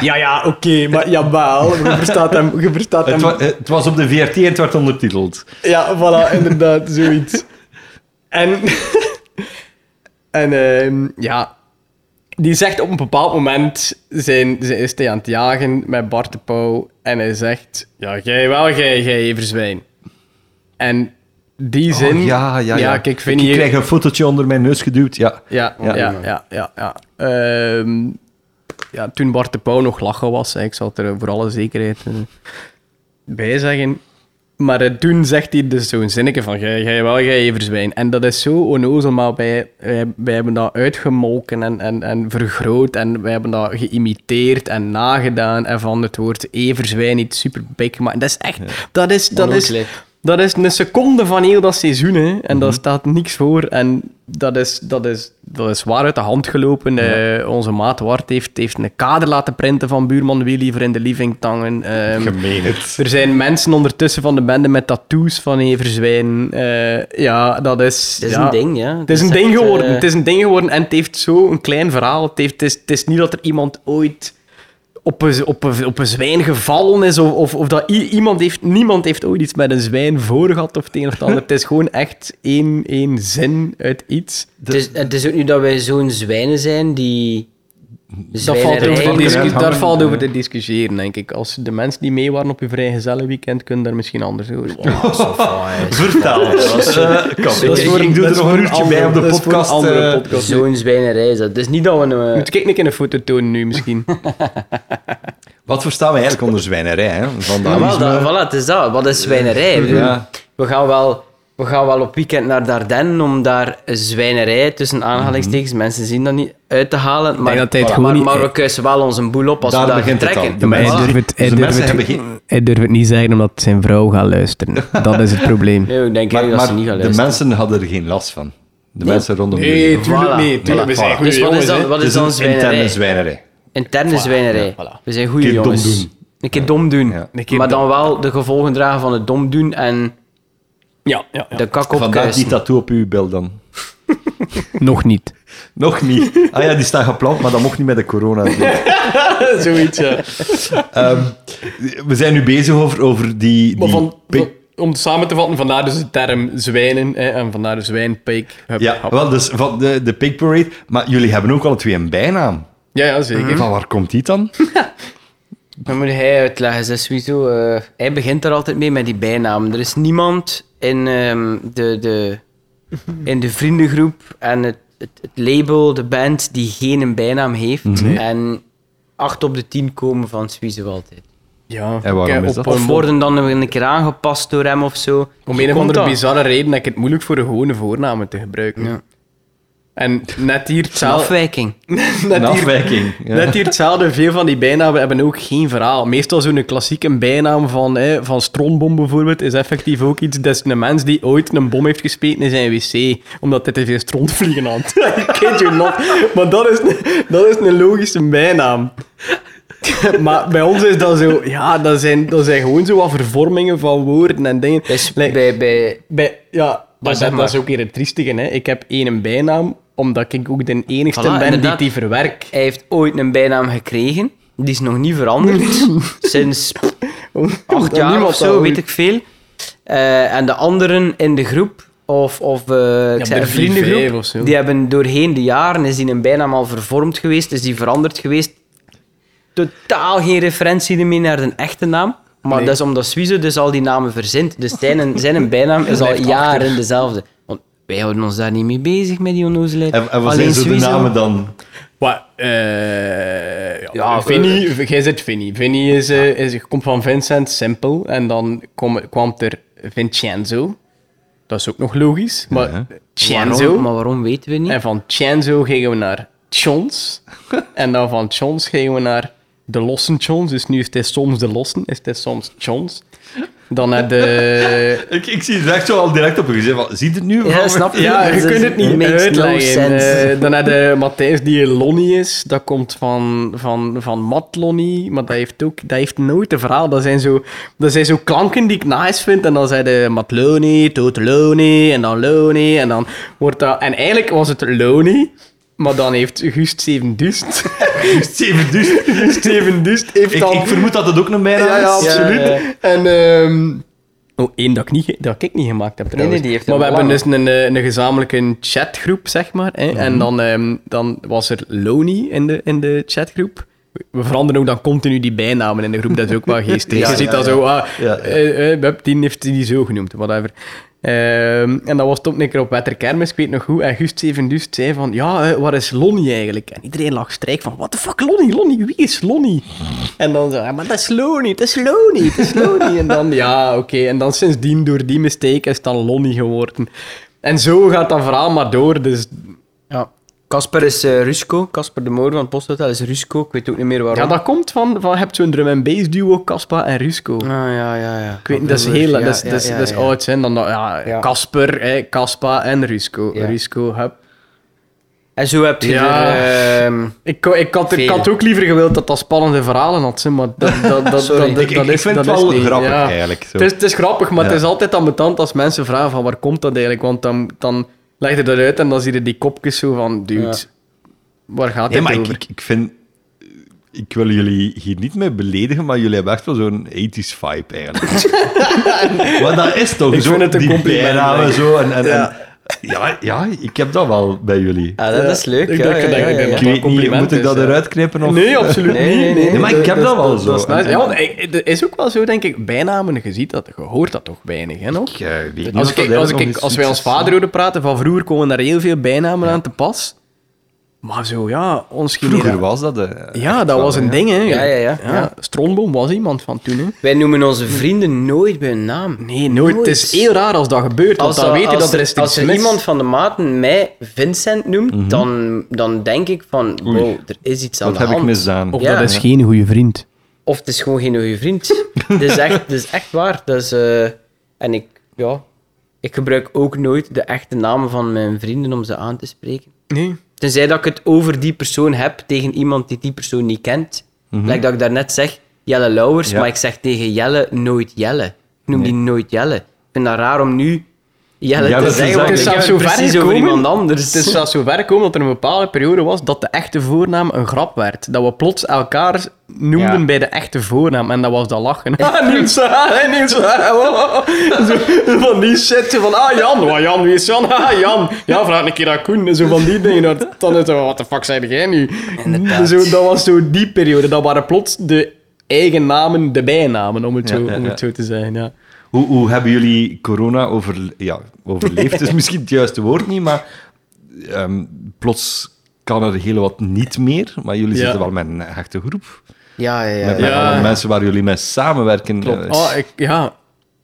Speaker 4: ja, ja, oké, maar jawel, je verstaat hem. Je verstaat hem.
Speaker 2: *laughs* Het, wa- eh, het was op de VRT en het werd ondertiteld.
Speaker 4: Ja, voilà, inderdaad, zoiets. En, *laughs* en ehm, ja, die zegt op een bepaald moment, zijn, zijn, is hij aan het jagen met Bart de Pauw en hij zegt, ja, jij wel, jij, jij verzwijn. En die zin...
Speaker 2: Oh, ja, ja, ja.
Speaker 4: ja. kijk, vind
Speaker 2: ik
Speaker 4: je...
Speaker 2: krijg een fotootje onder mijn neus geduwd. Ja,
Speaker 4: Ja,
Speaker 2: Ja.
Speaker 4: ja, ja, ja. ja, Ehm, ja, toen Bart de Pauw nog lachen was, hè, ik zal het er voor alle zekerheid eh, bij zeggen. Maar eh, toen zegt hij dus zo'n zinnetje van, jij jij wel, jij even zwijn. En dat is zo onnozel, maar wij, wij, wij hebben dat uitgemolken en, en, en vergroot. En wij hebben dat geïmiteerd en nagedaan. En van het woord "Eh, everzwijn iets super big. Maar dat is echt, dat is, dat is,
Speaker 3: Onnozelheid.
Speaker 4: dat is een seconde van heel dat seizoen, hè. En
Speaker 2: Mhm.
Speaker 4: daar staat niks voor. En dat is, dat is, dat is waar uit de hand gelopen. Eh, onze maat Wart heeft, heeft een kader laten printen van buurman Willy voor in de Livingtangen. Ehm,
Speaker 2: gemeen het.
Speaker 4: er zijn mensen ondertussen van de bende met tattoos van Everzwijn. Eh ja, dat is...
Speaker 3: Het is
Speaker 4: ja.
Speaker 3: een ding, ja.
Speaker 4: Het is een
Speaker 3: echt,
Speaker 4: ding geworden.
Speaker 3: eh,
Speaker 4: Het is een ding geworden en het heeft zo'n klein verhaal. Het, heeft, het, is, het is niet dat er iemand ooit op een, op een, op een zwijn gevallen is of, of, of dat i- iemand heeft... Niemand heeft ooit iets met een zwijn voor gehad of het een of het ander. Het is gewoon echt één, één zin uit iets.
Speaker 3: het, is, het is ook niet dat wij zo'n zwijnen zijn die...
Speaker 4: Dat valt
Speaker 3: zwijnerij-
Speaker 4: over te
Speaker 2: Zwijnerij.
Speaker 4: discu-
Speaker 2: Ja.
Speaker 4: daar valt over te discussiëren, denk ik. Als de mensen die mee waren op je vrijgezellenweekend, kunnen daar misschien anders over
Speaker 2: Vertel. Eh, kom,
Speaker 4: Dat is
Speaker 2: ik-
Speaker 4: voor
Speaker 2: ik
Speaker 4: een-
Speaker 2: doe
Speaker 4: dat
Speaker 2: er nog
Speaker 4: is voor
Speaker 2: een
Speaker 4: een
Speaker 2: uurtje bij
Speaker 4: andere-
Speaker 2: op de
Speaker 4: dat is voor een
Speaker 2: podcast.
Speaker 4: andere
Speaker 2: eh,
Speaker 4: podcast.
Speaker 3: Zo'n zwijnerij is dat. Het is niet dat we... een, eh,
Speaker 4: Moet ik een foto tonen nu *laughs* misschien?
Speaker 2: wat verstaan we eigenlijk onder zwijnerij? Hè?
Speaker 3: Ah,
Speaker 2: Vandalisme.
Speaker 3: wel, dat,
Speaker 4: eh,
Speaker 3: voilà, het is dat. Wat is zwijnerij? Ik bedoel,
Speaker 2: Ja.
Speaker 3: We, gaan wel, we gaan wel op weekend naar Dardenne om daar zwijnerij, tussen aanhalingstekens, mensen zien dat niet, uit te halen. Maar,
Speaker 4: Mhm. dat hij het
Speaker 3: voilà,
Speaker 4: gewoon
Speaker 3: maar,
Speaker 4: niet-
Speaker 3: maar we kuisen wel onze boel op als
Speaker 2: Daar
Speaker 3: we daar
Speaker 2: begint het
Speaker 3: vertrekken.
Speaker 2: al. De
Speaker 4: Maar hij
Speaker 2: mensen-
Speaker 4: durft, het, hij,
Speaker 2: de
Speaker 4: durft
Speaker 2: mensen
Speaker 4: het,
Speaker 2: hebben geen-
Speaker 4: hij durft het niet zeggen omdat zijn vrouw gaat luisteren. Dat is het probleem.
Speaker 3: Nee, ik denk
Speaker 2: Maar,
Speaker 3: eigenlijk dat
Speaker 2: maar
Speaker 3: ze niet gaan
Speaker 2: de
Speaker 3: luisteren.
Speaker 2: mensen hadden er geen last van. De mensen rondom jullie.
Speaker 4: Nee, tuurlijk
Speaker 3: Voilà.
Speaker 4: niet. Tuurlijk, we zijn
Speaker 2: Voilà.
Speaker 4: goede
Speaker 3: Dus wat is
Speaker 4: jongens, hè.
Speaker 3: dan, wat
Speaker 2: Het is
Speaker 3: is dan
Speaker 2: een interne
Speaker 3: zwijnerij?
Speaker 2: zwijnerij.
Speaker 3: Interne zwijnerij.
Speaker 4: ja, voilà.
Speaker 3: We zijn goede
Speaker 2: Een keer dom
Speaker 3: jongens.
Speaker 2: doen.
Speaker 3: Een keer dom doen.
Speaker 2: Ja.
Speaker 4: Een keer
Speaker 3: Maar dan
Speaker 4: dom.
Speaker 3: wel de gevolgen dragen van het dom doen en
Speaker 4: Ja, ja, ja.
Speaker 3: de kak
Speaker 2: Vandaar die
Speaker 3: opkuisen.
Speaker 2: tattoo op uw bil
Speaker 3: *laughs*
Speaker 2: dan.
Speaker 4: nog niet.
Speaker 2: Nog niet. Ah ja, die staat gepland, maar dat mocht niet met de corona.
Speaker 4: Zoiets, ja.
Speaker 2: Ehm, we zijn nu bezig over, over die,
Speaker 4: Maar
Speaker 2: die
Speaker 4: van,
Speaker 2: pik-
Speaker 4: om het samen te vatten, vandaar dus de term zwijnen hè, en vandaar de zwijnpeek. Hup,
Speaker 2: Ja,
Speaker 4: hap.
Speaker 2: wel, dus van de, de Pig Parade. Maar jullie hebben ook alle twee een bijnaam.
Speaker 4: ja, ja, zeker.
Speaker 2: Van waar komt die dan?
Speaker 3: Dan moet hij uitleggen, zes Wieso. eh, hij begint er altijd mee met die bijnaam. Er is niemand in, ehm, de, de, in de vriendengroep en het, het, het label, de band, die geen een bijnaam heeft.
Speaker 2: Mhm.
Speaker 3: En acht op de tien komen van Suizo altijd.
Speaker 4: Ja,
Speaker 2: En waarom
Speaker 4: Kijk,
Speaker 2: is
Speaker 4: op
Speaker 2: dat?
Speaker 4: een-
Speaker 3: Of worden dan een keer aangepast door hem of zo.
Speaker 4: Om
Speaker 3: Hoe
Speaker 4: een of
Speaker 3: komt
Speaker 4: andere
Speaker 3: dat?
Speaker 4: bizarre reden heb ik het moeilijk voor de gewone voornamen te gebruiken. En net hier
Speaker 3: Een
Speaker 4: hetzelfde...
Speaker 3: afwijking.
Speaker 2: Een
Speaker 4: *laughs* Net hier,
Speaker 2: afwijking. Ja.
Speaker 4: net hier hetzelfde. Veel van die bijnamen hebben ook geen verhaal. Meestal zo'n klassieke bijnaam van, hè, van Stronbom bijvoorbeeld is effectief ook iets. Dat is een mens die ooit een bom heeft gespeten in zijn wc. Omdat hij te veel strontvliegen had. *laughs* I kid you not. Maar dat is, een- dat is een logische bijnaam. *laughs* maar bij ons is dat zo... Ja, dat zijn, dat zijn gewoon zo wat vervormingen van woorden en dingen.
Speaker 3: Dus
Speaker 4: Like-
Speaker 3: bij, bij,
Speaker 4: bij, ja, maar
Speaker 3: zeg
Speaker 4: dat,
Speaker 3: maar.
Speaker 4: dat is ook weer het triestige. Hè. Ik heb één bijnaam, omdat ik ook de enigste
Speaker 3: Voilà,
Speaker 4: ben
Speaker 3: inderdaad.
Speaker 4: die die verwerk.
Speaker 3: hij heeft ooit een bijnaam gekregen. Die is nog niet veranderd.
Speaker 4: *laughs*
Speaker 3: Sinds acht
Speaker 4: Omdat
Speaker 3: jaar
Speaker 4: niemand
Speaker 3: of
Speaker 4: dat
Speaker 3: zo,
Speaker 4: ooit-
Speaker 3: weet ik veel. Eh, en de anderen in de groep, of, of eh, ik zei, een
Speaker 4: er vier, vijf
Speaker 3: vriendengroep,
Speaker 4: of zo.
Speaker 3: die hebben doorheen de jaren, is die een bijnaam al vervormd geweest, is die veranderd geweest. totaal geen referentie meer naar de echte naam. Maar
Speaker 4: Nee.
Speaker 3: dat is omdat Suizo dus al die namen verzint. Dus zijn, en- zijn
Speaker 4: *laughs*
Speaker 3: en bijnaam is al
Speaker 4: Blijft
Speaker 3: jaren dezelfde. Want wij houden ons daar niet mee bezig met die onnozelheid.
Speaker 1: En, en wat
Speaker 3: Alleen
Speaker 1: zijn zo de
Speaker 3: Suizo-
Speaker 1: namen dan?
Speaker 4: Maar, eh, ja,
Speaker 3: Ja,
Speaker 4: Vinnie, jij zit Vinnie. Vinnie is, eh, is, komt van Vincent, simpel. En dan kom, kwam er Vincenzo. Dat is ook nog logisch. Maar Cienzo.
Speaker 3: Waarom, maar waarom weten we niet?
Speaker 4: En van Cienzo gingen we naar Chons. en dan van Chons gingen we naar de lossen Chons. Dus nu is hij soms de lossen, is hij soms Chons. Dan naar de...
Speaker 1: Ik, ik zie het echt zo al direct op je gezicht. van, Ziet het nu?
Speaker 3: Ja, snap je?
Speaker 4: Ja, je
Speaker 3: Dat
Speaker 4: kunt
Speaker 3: is-
Speaker 4: het niet
Speaker 3: makes no
Speaker 4: uitleggen.
Speaker 3: sense.
Speaker 4: Eh, dan naar de Matthijs die Lonnie is. Dat komt van, van, van Matt Lonnie. Maar dat heeft, ook, dat heeft nooit een verhaal. Dat zijn, zo, dat zijn zo klanken die ik nice vind. En dan zei de Matt Lonnie, Toot Lonnie, en dan Lonnie. En dan wordt dat... En eigenlijk was het Lonnie. Maar dan heeft Gust Steven Dust... *laughs*
Speaker 1: Steven Dust.
Speaker 4: Steven Dust heeft
Speaker 1: Ik,
Speaker 4: dan...
Speaker 1: ik vermoed dat dat ook een bijnaam is.
Speaker 4: Ja, ja, absoluut.
Speaker 3: Ja,
Speaker 4: *laughs* En ehm oh, één dat ik, niet, ge- dat ik niet gemaakt heb trouwens.
Speaker 3: nee, die heeft
Speaker 4: maar we
Speaker 3: hem
Speaker 4: hebben dus
Speaker 3: belangen.
Speaker 4: een, eh, een gezamenlijke chatgroep, zeg maar. Hè? En dan, ehm, dan was er Loni in de, in de chatgroep. We veranderen ook dan continu die bijnamen in de groep. Dat is ook wel geestig.
Speaker 1: Ja,
Speaker 4: Je ziet
Speaker 1: ja,
Speaker 4: dat
Speaker 1: ja.
Speaker 4: zo. Ah,
Speaker 1: Ja, ja.
Speaker 4: eh, eh, Web, die heeft die zo genoemd, whatever. Ehm, en dat was toch een keer op Wetterkermis, ik weet nog goed. En Gust Sevendust zei van, ja, eh, waar is Lonnie eigenlijk? En iedereen lag strijk van, what the fuck, Lonnie? Lonnie, wie is Lonnie? En dan zo, "Ah, maar dat is Lonnie, dat is Lonnie, dat is Lonnie. en dan, ja, oké. En dan sindsdien, door die mistake, is het dan Lonnie geworden. En zo gaat dat verhaal maar door, dus...
Speaker 3: Ja. Casper is eh, Rusco. Casper de Moor van het Posthotel is Rusco. Ik weet ook niet meer waarom.
Speaker 4: Ja, dat komt van, van je hebt zo'n drum-and-bass duo, Caspa en Rusco.
Speaker 3: Ah, ja, ja, ja.
Speaker 4: Ik weet niet, dat is heel, dat is, dat is, dat is
Speaker 3: ja.
Speaker 4: oud, hè. Dan, dat- ja,
Speaker 3: Ja.
Speaker 4: Casper, hè, Caspa en Rusco.
Speaker 3: Ja.
Speaker 4: Rusco, hup.
Speaker 3: En zo heb je
Speaker 4: Ja.
Speaker 3: er... ehm,
Speaker 4: Ik, ko- ik, had, ik
Speaker 3: Veel.
Speaker 4: had ook liever gewild dat dat spannende verhalen had, hè, maar dat, dat,
Speaker 3: *laughs*
Speaker 4: dat,
Speaker 3: Sorry.
Speaker 4: dat, dat,
Speaker 1: Ik- ik-
Speaker 4: dat
Speaker 1: ik
Speaker 4: is,
Speaker 1: vind
Speaker 4: dat
Speaker 1: het
Speaker 4: is
Speaker 1: wel
Speaker 4: niet.
Speaker 1: grappig
Speaker 4: ja.
Speaker 1: eigenlijk, zo.
Speaker 4: Het is, het is grappig, maar
Speaker 1: Ja.
Speaker 4: het is altijd ambetant als mensen vragen van waar komt dat eigenlijk, want dan, dan leg je dat uit en dan zie je die kopjes zo van, dude,
Speaker 3: Ja.
Speaker 4: waar gaat
Speaker 1: Nee,
Speaker 4: dit
Speaker 1: maar ik,
Speaker 4: over?
Speaker 1: ik, ik vind... Ik wil jullie hier niet mee beledigen, maar jullie hebben echt wel zo'n 80s vibe
Speaker 4: *laughs*
Speaker 1: eigenlijk. Want dat is toch
Speaker 4: Ik
Speaker 1: zo,
Speaker 4: vind het een
Speaker 1: die
Speaker 4: compliment,
Speaker 1: bijnamen
Speaker 4: eigenlijk.
Speaker 1: zo. En, en,
Speaker 4: Ja.
Speaker 1: ja. ja, ja, ik heb dat wel bij jullie.
Speaker 3: ah, dat is leuk.
Speaker 4: Ik
Speaker 3: ja,
Speaker 4: denk
Speaker 3: ja,
Speaker 4: dat
Speaker 3: ja,
Speaker 4: ik
Speaker 3: ja,
Speaker 4: denk
Speaker 3: ja.
Speaker 1: ik
Speaker 4: dat
Speaker 1: weet niet,
Speaker 4: compliment
Speaker 1: moet ik
Speaker 4: is,
Speaker 1: dat
Speaker 4: ja.
Speaker 1: eruit knippen? Of...
Speaker 4: Nee, absoluut
Speaker 3: Nee,
Speaker 4: niet.
Speaker 3: nee, nee.
Speaker 1: Nee, maar ik heb dat wel zo.
Speaker 4: is
Speaker 1: En-
Speaker 4: nice.
Speaker 1: en-
Speaker 4: Ja, want ik- er is ook wel zo, denk ik, bijnamen, je ziet dat, je hoort dat toch weinig, hè, nog?
Speaker 1: Ik, eh, weet niet of
Speaker 4: Als,
Speaker 1: dat
Speaker 4: ik,
Speaker 1: eigenlijk
Speaker 4: als,
Speaker 1: nog
Speaker 4: ik,
Speaker 1: iets
Speaker 4: als wij
Speaker 1: is.
Speaker 4: ons vader horen praten, van vroeger komen daar heel veel bijnamen aan te pas. Maar zo, ja, ons
Speaker 1: Vroeger
Speaker 4: genera-
Speaker 1: was dat... eh,
Speaker 4: Ja, dat was een ding, hè.
Speaker 3: Ja, ja, ja. Ja.
Speaker 4: Stromboom was iemand van toen, hè.
Speaker 3: Wij noemen onze vrienden nooit bij hun naam.
Speaker 4: Nee, nooit. Het is heel raar als dat gebeurt, want dan weet je dat er is
Speaker 3: als
Speaker 4: iets mis.
Speaker 3: iemand van de maten mij Vincent noemt,
Speaker 1: Mhm.
Speaker 3: dan, dan denk ik van, wow, er is iets aan
Speaker 1: Dat
Speaker 3: de
Speaker 1: heb ik
Speaker 3: hand.
Speaker 1: misdaan.
Speaker 3: Of- Ja.
Speaker 4: geen goede vriend.
Speaker 3: Of het is gewoon geen goede *laughs* vriend. dat, is echt, dat is echt waar. Dat is, eh, en ik, ja, ik gebruik ook nooit de echte namen van mijn vrienden om ze aan te spreken.
Speaker 4: Nee.
Speaker 3: Tenzij dat ik het over die persoon heb tegen iemand die die persoon niet kent. Like dat ik daarnet zeg, Jelle Lauwers,
Speaker 1: Ja.
Speaker 3: maar ik zeg tegen Jelle nooit Jelle. Ik noem die nooit Jelle. Ik vind dat raar om nu Jelle
Speaker 1: Jelle
Speaker 3: te
Speaker 1: te
Speaker 3: zeggen,
Speaker 1: zeggen.
Speaker 3: want
Speaker 4: Het
Speaker 3: ik
Speaker 4: is
Speaker 3: heb
Speaker 4: zelfs
Speaker 3: het
Speaker 4: zo ver
Speaker 3: precies
Speaker 4: gekomen,
Speaker 3: over iemand anders.
Speaker 4: Het is zelfs zo ver gekomen dat er een bepaalde periode was dat de echte voornaam een grap werd. Dat we plots elkaar noemden
Speaker 3: Ja.
Speaker 4: bij de echte voornaam. En dat was dat lachen. Ah, Niels, ah, Niels. ah, wow, wow. Zo Van die shit. zo Van, ah, Jan. Wat, Jan, wie is Jan? Ah, Jan. Ja, vraag een keer aan Koen. Zo van die dingen. Dat- Dan is het, wat de fuck zei jij nu?
Speaker 3: Inderdaad.
Speaker 4: Zo, dat was zo die periode. Dat waren plots de eigen namen, de bijnamen, om het zo,
Speaker 1: ja,
Speaker 4: om
Speaker 1: ja.
Speaker 4: het zo te zeggen. Ja.
Speaker 1: Hoe, hoe hebben jullie corona overle- ja, overleefd? is misschien het juiste woord niet, maar ehm, plots kan er heel wat niet meer. Maar jullie
Speaker 4: Ja.
Speaker 1: zitten wel met een hechte groep.
Speaker 3: Ja, ja, ja.
Speaker 1: Met, met
Speaker 4: Ja.
Speaker 1: alle mensen waar jullie mee samenwerken. Eh,
Speaker 4: Oh, ik, ja.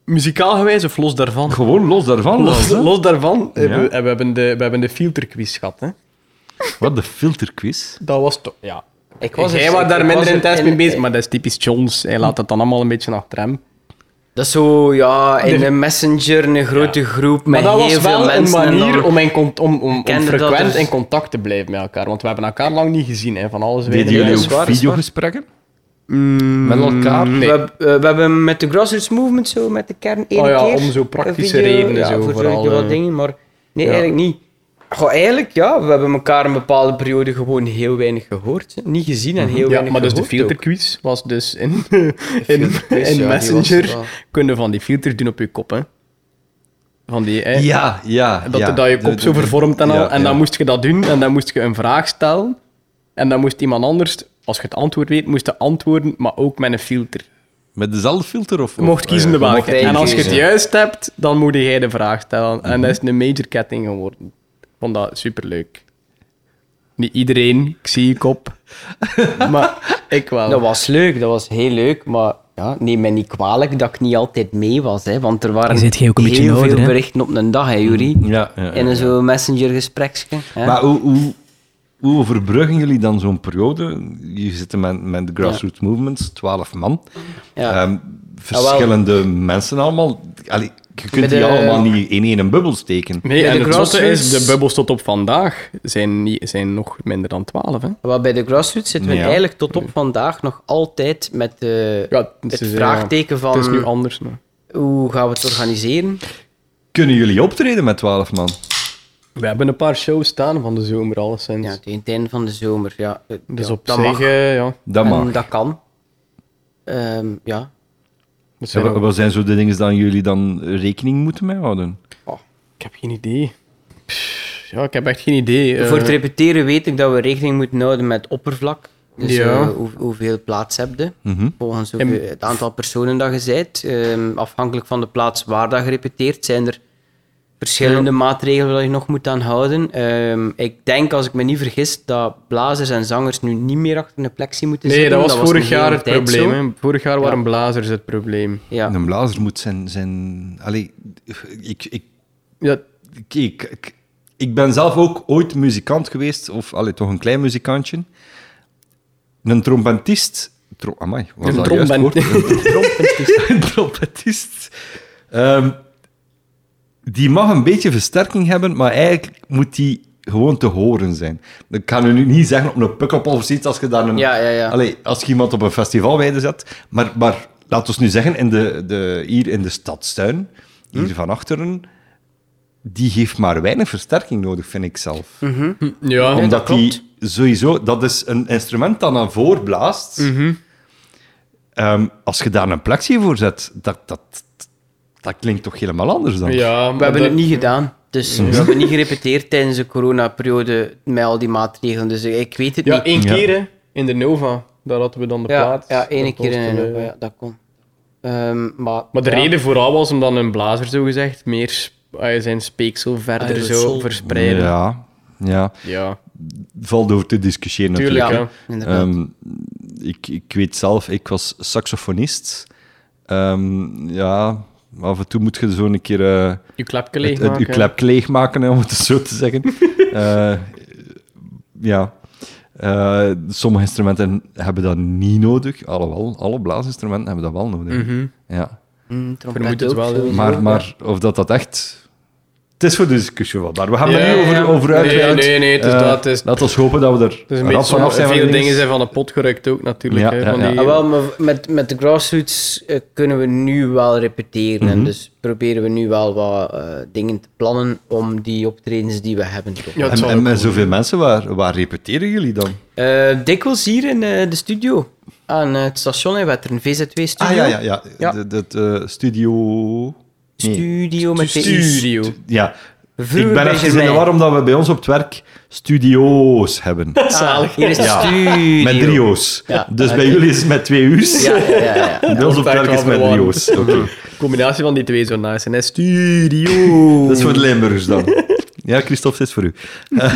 Speaker 4: Muzikaal gewijs of los daarvan?
Speaker 1: Gewoon los daarvan.
Speaker 4: Los,
Speaker 1: hè?
Speaker 4: los daarvan, eh,
Speaker 1: Ja.
Speaker 4: we, we hebben de, we hebben de filterquiz gehad. Hè.
Speaker 1: Wat de filterquiz.
Speaker 4: Dat was toch... Ja.
Speaker 3: Ik
Speaker 4: Jij
Speaker 3: er-
Speaker 4: was
Speaker 3: ik
Speaker 4: daar minder
Speaker 3: was dus er
Speaker 4: intens mee bezig, maar dat is typisch Jones. Hij laat dat dan allemaal een beetje achter hem.
Speaker 3: Dat is zo, ja, in
Speaker 4: Ah, De-
Speaker 3: een messenger, een grote groep met
Speaker 4: Maar dat
Speaker 3: heel
Speaker 4: was
Speaker 3: veel
Speaker 4: wel een
Speaker 3: mensen. en dan-
Speaker 4: manier om, in cont- om, om, om
Speaker 3: kende dat dus.
Speaker 4: frequent
Speaker 3: er-
Speaker 4: in contact te blijven met elkaar. Want we hebben elkaar lang niet gezien, hè, van alles
Speaker 1: Deden
Speaker 4: weten. Dus-
Speaker 1: jullie
Speaker 3: dat is waar,
Speaker 1: ook
Speaker 3: dat is
Speaker 1: videogesprekken? Met elkaar?
Speaker 4: Nee.
Speaker 3: We, heb- eh, we hebben met de grassroots movement zo, met de kern één
Speaker 4: Oh ja,
Speaker 3: keer
Speaker 4: om zo
Speaker 3: een
Speaker 4: praktische
Speaker 3: video,
Speaker 4: redenen
Speaker 3: ja,
Speaker 4: zo
Speaker 3: voor
Speaker 4: vooral,
Speaker 3: zo wat
Speaker 4: eh.
Speaker 3: dingen, maar nee,
Speaker 4: Ja.
Speaker 3: eigenlijk niet. Goh, eigenlijk, ja, we hebben elkaar een bepaalde periode gewoon heel weinig gehoord. hè. Niet gezien en heel
Speaker 4: Ja,
Speaker 3: weinig
Speaker 4: maar dus de
Speaker 3: gehoord ook.
Speaker 4: filterquiz was dus in, *laughs* in,
Speaker 3: filterquiz,
Speaker 4: in
Speaker 3: ja, die was
Speaker 4: Messenger.
Speaker 3: wel-
Speaker 4: Kun je van die filter doen op je kop, hè. Van die... hè.
Speaker 1: Ja, ja.
Speaker 4: Dat,
Speaker 1: ja.
Speaker 4: dat je kop
Speaker 1: De-
Speaker 4: zo
Speaker 1: de-
Speaker 4: vervormt en al.
Speaker 1: ja,
Speaker 4: en
Speaker 1: ja.
Speaker 4: dan moest je dat doen en dan moest je een vraag stellen. En dan moest iemand anders als je het antwoord weet, moest je antwoorden, maar ook met een filter.
Speaker 1: Met dezelfde filter? Of, eh,
Speaker 4: Je mocht kiezen de
Speaker 1: de
Speaker 4: welke.
Speaker 3: één
Speaker 4: En als je het
Speaker 3: kiezen.
Speaker 4: juist hebt, dan moet jij de vraag stellen. En dat is een major ketting geworden. Ik vond dat superleuk. Niet iedereen, ik zie je kop. maar ik wel.
Speaker 3: Dat was leuk, dat was heel leuk, maar ja, neem me niet kwalijk dat ik niet altijd mee was, hè, want er waren
Speaker 5: Je zit jij ook een beetje
Speaker 3: heel
Speaker 5: ouder,
Speaker 3: veel
Speaker 5: hè?
Speaker 3: berichten op een dag, hè, Juri?
Speaker 1: Mhm. Ja, ja, ja.
Speaker 3: In een zo'n messengergesprekje. hè.
Speaker 1: Maar hoe, hoe, hoe overbruggen jullie dan zo'n periode? Je zit met, met de grassroots movements, twaalf man.
Speaker 3: Ja. Ah,
Speaker 1: Ehm, verschillende mensen allemaal. Allee, je kunt
Speaker 3: Met
Speaker 1: die
Speaker 3: de-
Speaker 1: allemaal niet in één een bubbel steken.
Speaker 4: Nee,
Speaker 3: Bij
Speaker 4: en
Speaker 3: de
Speaker 4: het zotte is, de
Speaker 3: grassroots-
Speaker 4: bubbels tot op vandaag zijn, niet, zijn nog minder dan 12. Hè?
Speaker 3: Wel, bij de grassroots zitten we
Speaker 1: Ja.
Speaker 3: eigenlijk tot op vandaag nog altijd met eh,
Speaker 4: Ja, het
Speaker 3: het
Speaker 4: is, eh,
Speaker 3: vraagteken
Speaker 4: Het is nu
Speaker 3: van
Speaker 4: anders. nou.
Speaker 3: hoe gaan we het organiseren?
Speaker 1: Kunnen jullie optreden met twaalf man?
Speaker 4: We hebben een paar shows staan van de zomer, alleszins.
Speaker 3: Ja, tegen het einde van de zomer. Ja, eh,
Speaker 4: dus
Speaker 3: ja,
Speaker 4: op
Speaker 3: dat
Speaker 4: zich,
Speaker 3: mag.
Speaker 4: eh, ja.
Speaker 1: Dat mag.
Speaker 3: En dat kan. Ehm, ja.
Speaker 4: Dat zijn
Speaker 1: Wa-
Speaker 4: ook-
Speaker 1: Wat zijn zo de dingen die jullie dan rekening moeten mee houden?
Speaker 4: Ik heb geen idee. Pff, Ja, ik heb echt geen idee. Eh,
Speaker 3: Voor het repeteren weet ik dat we rekening moeten houden met oppervlak. Dus
Speaker 4: Ja. Mhm.
Speaker 3: eh, hoe- hoeveel plaats heb je? Volgens ook,
Speaker 4: En-
Speaker 3: eh, het aantal personen dat je bent. Ehm, afhankelijk van de plaats waar dat je repeteert, zijn er verschillende maatregelen dat je nog moet aan houden. Ehm, ik denk, als ik me niet vergis, dat blazers en zangers nu niet meer achter een plexi moeten
Speaker 4: Nee,
Speaker 3: zitten.
Speaker 4: dat was vorig
Speaker 3: een hele
Speaker 4: jaar het
Speaker 3: tijd
Speaker 4: probleem.
Speaker 3: zo.
Speaker 4: hè. Vorig jaar waren blazers het probleem.
Speaker 3: Ja.
Speaker 1: Een blazer moet zijn... zijn allee, ik, ik,
Speaker 4: Ja,
Speaker 1: ik, ik, ik- ik ben zelf ook ooit muzikant geweest, of allee, toch een klein muzikantje. Een trompetist... Tro, amai, was
Speaker 4: Een
Speaker 1: dat juist
Speaker 4: trompen-
Speaker 1: woord? Een trompetist. *laughs* een trompetist. Ehm, die mag een beetje versterking hebben, maar eigenlijk moet die gewoon te horen zijn. Ik kan nu niet zeggen op een pukkelpop of zoiets, als je daar een...
Speaker 3: Ja, ja, ja.
Speaker 1: Allee, als je iemand op een festivalweide zet, maar, maar laten we nu zeggen, in de, de, hier in de stadstuin, hier
Speaker 3: Hm?
Speaker 1: van achteren, die heeft maar weinig versterking nodig, vind ik zelf.
Speaker 4: *laughs* ja.
Speaker 3: Nee,
Speaker 1: Omdat
Speaker 3: dat klopt.
Speaker 1: die sowieso, dat is een instrument dat naar voren blaast.
Speaker 4: Mhm.
Speaker 1: Ehm, als je daar een plexi voor zet, dat, dat, dat klinkt toch helemaal anders dan.
Speaker 4: ja
Speaker 3: We hebben het niet gedaan. Dus we hebben niet gerepeteerd tijdens de coronaperiode met al die maatregelen. Dus ik weet het
Speaker 4: Ja,
Speaker 3: niet.
Speaker 4: één
Speaker 1: Ja.
Speaker 4: keer hè. in de Nova. Daar hadden we dan de
Speaker 3: ja,
Speaker 4: plaats.
Speaker 3: Ja, ene
Speaker 4: Dat
Speaker 3: keer
Speaker 4: was
Speaker 3: in een
Speaker 4: toen, eh,
Speaker 3: open, ja, dat kon. Ehm, maar,
Speaker 4: Maar de
Speaker 3: ja.
Speaker 4: reden vooral was om dan een blazer, zo gezegd, meer sp- ah, zijn speeksel verder
Speaker 3: Ah,
Speaker 4: zo
Speaker 3: zo.
Speaker 4: verspreiden. Ja,
Speaker 1: ja, ja. Valt over te discussiëren natuurlijk.
Speaker 4: tuurlijk.
Speaker 3: Ja,
Speaker 4: hè.
Speaker 3: inderdaad.
Speaker 1: Ehm, ik, ik weet zelf, ik was saxofonist. Ehm, ja, af en toe moet je zo een keer eh,
Speaker 4: Je klapje
Speaker 1: het, het, je
Speaker 4: leegmaken.
Speaker 1: klep leegmaken, hè, om het zo te zeggen.
Speaker 4: *laughs*
Speaker 1: Eh, ja. Eh, sommige instrumenten hebben dat niet nodig, alhoewel, alle blaasinstrumenten hebben dat wel nodig.
Speaker 4: Mhm.
Speaker 1: Ja.
Speaker 3: Mm, trompet
Speaker 4: Vermoed het
Speaker 3: ook,
Speaker 4: wel,
Speaker 3: sowieso.
Speaker 1: Maar, maar of dat dat echt... Het is voor de discussie wat, maar we gaan
Speaker 4: Ja,
Speaker 1: er niet
Speaker 4: ja.
Speaker 1: over, over
Speaker 4: Nee,
Speaker 1: uitweiden.
Speaker 4: nee, nee, het is
Speaker 1: Eh,
Speaker 4: dat, het is-
Speaker 1: Laten we hopen dat we er
Speaker 4: Het is een
Speaker 1: rap
Speaker 4: beetje
Speaker 1: vanaf
Speaker 4: zo,
Speaker 1: zijn. van
Speaker 4: veel
Speaker 1: die
Speaker 4: dingen
Speaker 1: dingen.
Speaker 4: zijn van de pot gerukt ook natuurlijk.
Speaker 1: Ja,
Speaker 4: hè,
Speaker 1: ja,
Speaker 4: van
Speaker 1: ja.
Speaker 4: die-
Speaker 3: Ah, wel, maar met, met de grassroots eh, kunnen we nu wel repeteren.
Speaker 1: Mhm.
Speaker 3: En dus proberen we nu wel wat eh, dingen te plannen om die optredens die we hebben. te
Speaker 4: Ja, het
Speaker 1: En,
Speaker 4: zal
Speaker 1: en
Speaker 4: ook
Speaker 1: met
Speaker 4: wel.
Speaker 1: zoveel mensen, waar, waar repeteren jullie dan?
Speaker 3: Eh, dikwijls hier in eh, de studio. Aan eh, het station in Wetteren, VZ2-studio.
Speaker 1: Ah ja, ja, ja.
Speaker 3: Ja.
Speaker 1: De, de,
Speaker 4: eh,
Speaker 1: de studio. Nee.
Speaker 3: Studio met de
Speaker 4: Studio.
Speaker 1: ja.
Speaker 3: Vroeger
Speaker 1: ik ben
Speaker 3: bij
Speaker 1: even in de
Speaker 3: Germain.
Speaker 1: war omdat we bij ons op het werk studio's hebben.
Speaker 3: Zalig. Hier is het
Speaker 1: Ja.
Speaker 3: studio.
Speaker 1: Met drie O's.
Speaker 3: Ja.
Speaker 1: Dus bij jullie is het met twee U's.
Speaker 3: Ja, ja, ja. ja.
Speaker 1: *laughs* Bij ons op het werk is het met drie O's. Oké.
Speaker 4: De combinatie van die twee zo nice. En hij *laughs* studio.
Speaker 1: Dat is voor de Limburgers dan. Ja, Christophe, dit is voor
Speaker 3: *laughs*
Speaker 1: u. Eh,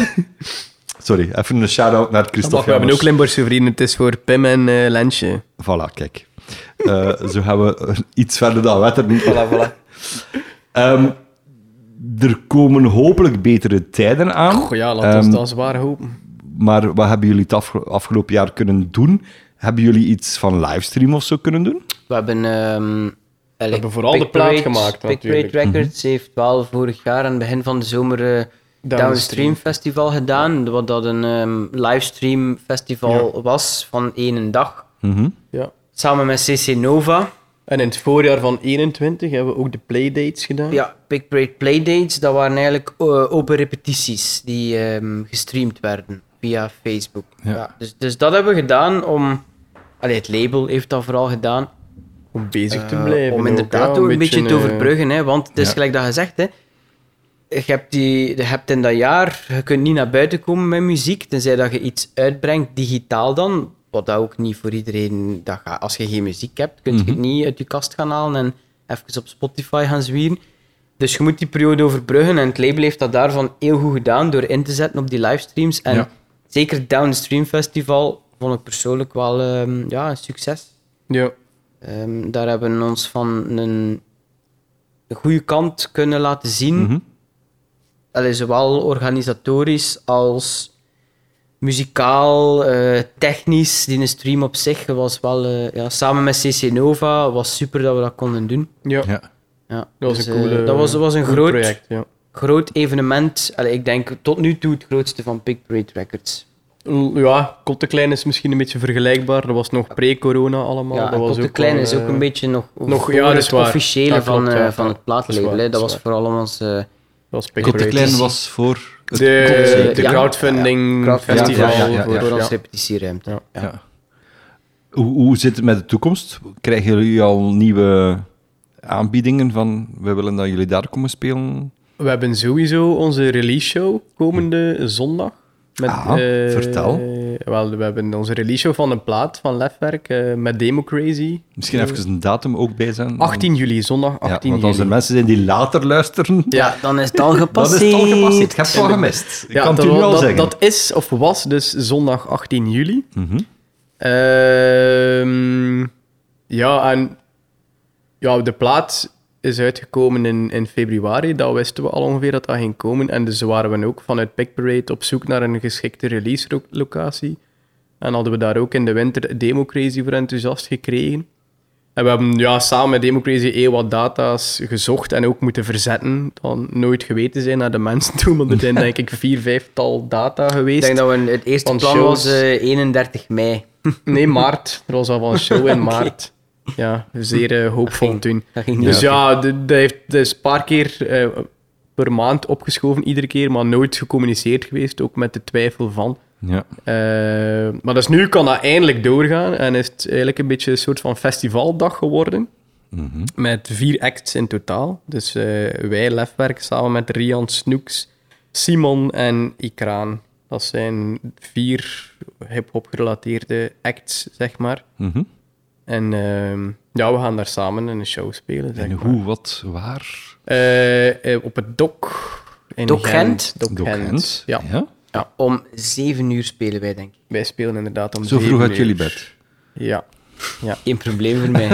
Speaker 1: sorry, even een shout-out naar Christophe.
Speaker 4: Mag, we hebben ook
Speaker 1: Jammers.
Speaker 4: Limburgse vrienden. Het is voor Pim en eh, Lensje.
Speaker 1: Voilà, kijk. Eh, zo gaan we eh, iets verder dan wetteren.
Speaker 3: Voilà, voilà.
Speaker 1: Ehm, er komen hopelijk betere tijden aan.
Speaker 4: Goh, ja, laat ons
Speaker 1: Ehm,
Speaker 4: dat zwaar hopen.
Speaker 1: Maar wat hebben jullie het afge- afgelopen jaar kunnen doen? Hebben jullie iets van livestream of zo kunnen doen?
Speaker 3: We hebben... ehm, eigenlijk
Speaker 4: hebben vooral de
Speaker 3: Pick
Speaker 4: plaat
Speaker 3: Parade-
Speaker 4: gemaakt,
Speaker 3: Pick Parade
Speaker 4: natuurlijk. Mhm.
Speaker 3: Records heeft wel vorig jaar aan het begin van de zomer eh Downstream Festival gedaan. Wat dat een ehm, livestream festival was van één dag.
Speaker 4: Ja.
Speaker 3: Samen met CC Nova.
Speaker 4: En in het voorjaar van 21 hebben we ook de playdates gedaan.
Speaker 3: Ja, Big Parade Playdates, dat waren eigenlijk eh, open repetities die ehm, gestreamd werden via Facebook. Ja. dus, dus dat hebben we gedaan om... Allee, het label heeft dat vooral gedaan.
Speaker 4: Om bezig te
Speaker 3: eh,
Speaker 4: blijven.
Speaker 3: om
Speaker 4: ook,
Speaker 3: inderdaad
Speaker 4: ja,
Speaker 3: ook een beetje te
Speaker 4: eh,
Speaker 3: overbruggen. Hè, want het is gelijk dat je zegt, hè, je, hebt die, je hebt in dat jaar... Je kunt niet naar buiten komen met muziek, tenzij dat je iets uitbrengt, digitaal dan. Wat wat dat ook niet voor iedereen... Dat gaat. Als je geen muziek hebt, kun je het niet uit je kast gaan halen en even op Spotify gaan zwieren. Dus je moet die periode overbruggen. En het label heeft dat daarvan heel goed gedaan door in te zetten op die livestreams. En
Speaker 1: Ja.
Speaker 3: zeker het Downstream Festival vond ik persoonlijk wel ehm, ja, een succes.
Speaker 4: eh, Ja.
Speaker 3: Ehm, daar hebben we ons van een, een goede kant kunnen laten zien.
Speaker 4: Mhm.
Speaker 3: Allee, zowel organisatorisch als muzikaal, eh, technisch. Die stream op zich was wel... eh, ja, samen met CC Nova was super dat we dat konden doen.
Speaker 4: Ja.
Speaker 1: Ja.
Speaker 3: Ja,
Speaker 4: Dat was
Speaker 3: dus,
Speaker 4: een
Speaker 3: eh,
Speaker 4: coole,
Speaker 3: dat was, dat was een
Speaker 4: cool
Speaker 3: groot,
Speaker 4: project. Ja.
Speaker 3: groot evenement. Allee, ik denk tot nu toe het grootste van Big Parade Records.
Speaker 4: ja, Kotteklein is misschien een beetje vergelijkbaar. Dat was nog pre-corona allemaal.
Speaker 3: Ja,
Speaker 4: dat was
Speaker 3: de Klein
Speaker 4: wel,
Speaker 3: is ook
Speaker 4: eh,
Speaker 3: een beetje nog,
Speaker 4: nog-
Speaker 3: voor
Speaker 4: ja, dat is
Speaker 3: het
Speaker 4: waar.
Speaker 3: officiële
Speaker 4: Dat
Speaker 3: van,
Speaker 4: klopt,
Speaker 3: eh,
Speaker 4: ja,
Speaker 3: van
Speaker 4: ja.
Speaker 3: het plaatlabel.
Speaker 4: Dat is
Speaker 3: hè.
Speaker 4: waar,
Speaker 3: Dat
Speaker 4: dat is
Speaker 3: was vooral ons... eh,
Speaker 4: Dat was Big
Speaker 1: Kotte
Speaker 4: Parade.
Speaker 1: Klein was voor het
Speaker 4: De,
Speaker 1: concert.
Speaker 4: de
Speaker 3: Ja.
Speaker 4: crowdfunding
Speaker 3: Crowdfunding,
Speaker 4: festival.
Speaker 1: ja, ja, ja, ja.
Speaker 3: voor ons
Speaker 4: voor-
Speaker 3: repetitieruimte.
Speaker 4: Ja.
Speaker 3: Ja.
Speaker 1: Ja. Hoe, hoe zit het met de toekomst? Krijgen jullie al nieuwe aanbiedingen van we willen dat jullie daar komen spelen?
Speaker 4: We hebben sowieso onze release show komende zondag. Met,
Speaker 1: Ah,
Speaker 4: eh,
Speaker 1: vertel.
Speaker 4: Wel, we hebben onze release show van een plaat van Lefwerk eh, met Demo Crazy.
Speaker 1: Misschien even een datum ook bij zijn.
Speaker 4: 18 juli, zondag
Speaker 1: Ja,
Speaker 4: 18
Speaker 1: want als er
Speaker 4: juli.
Speaker 1: mensen zijn die later *laughs* luisteren,
Speaker 3: Ja, dan is het al
Speaker 1: dan is
Speaker 3: gepasseerd.
Speaker 1: het al gepasseerd. Ik heb het al gemist. Ik kan het u
Speaker 4: dat,
Speaker 1: nu al
Speaker 4: dat,
Speaker 1: zeggen.
Speaker 4: dat is of was dus zondag 18 juli.
Speaker 1: Mhm.
Speaker 4: Ehm, ja, en ja, de plaat is uitgekomen in, in februari. Dat wisten we al ongeveer dat dat ging komen. En dus waren we ook vanuit Pick Parade op zoek naar een geschikte release-locatie. En hadden we daar ook in de winter Democracy voor enthousiast gekregen. En we hebben ja, samen met Democracy heel wat data's gezocht en ook moeten verzetten. Dan nooit geweten zijn naar de mensen toe, want er zijn denk ik vier, vijftal data
Speaker 3: Ik
Speaker 4: geweest.
Speaker 3: denk dat we het eerste
Speaker 4: Van
Speaker 3: plan
Speaker 4: shows.
Speaker 3: was eh, 31 mei.
Speaker 4: Nee, maart. Er was al wel een show
Speaker 3: *laughs*
Speaker 4: in maart. Ja, zeer eh, hoopvol toen.
Speaker 3: Dat ging niet.
Speaker 4: Dus ja, d- dat heeft dat is een paar keer eh, per maand opgeschoven, iedere keer, maar nooit gecommuniceerd geweest, ook met de twijfel van.
Speaker 1: Ja.
Speaker 4: Eh, maar dus nu kan dat eindelijk doorgaan en is het eigenlijk een beetje een soort van festivaldag geworden.
Speaker 1: Mhm.
Speaker 4: Met vier acts in totaal. Dus eh, wij, Lefwerk, samen met Rian Snoeks, Simon en Ikraan. Dat zijn vier hip-hop gerelateerde acts, zeg maar.
Speaker 1: Mhm.
Speaker 4: En ehm, ja, we gaan daar samen een show spelen. Zeg
Speaker 1: En
Speaker 4: maar.
Speaker 1: hoe, wat, waar?
Speaker 4: Eh, eh, op het Dok. In
Speaker 3: Dok Gent?
Speaker 4: Dok
Speaker 1: Doc
Speaker 4: Gent.
Speaker 1: Hens.
Speaker 4: Ja.
Speaker 3: Om 7 uur spelen wij, denk ik.
Speaker 4: wij spelen inderdaad om
Speaker 1: Zo vroeg
Speaker 4: zeven
Speaker 1: uit jullie
Speaker 4: uur.
Speaker 1: bed.
Speaker 4: Ja.
Speaker 3: Geen probleem *laughs* voor mij.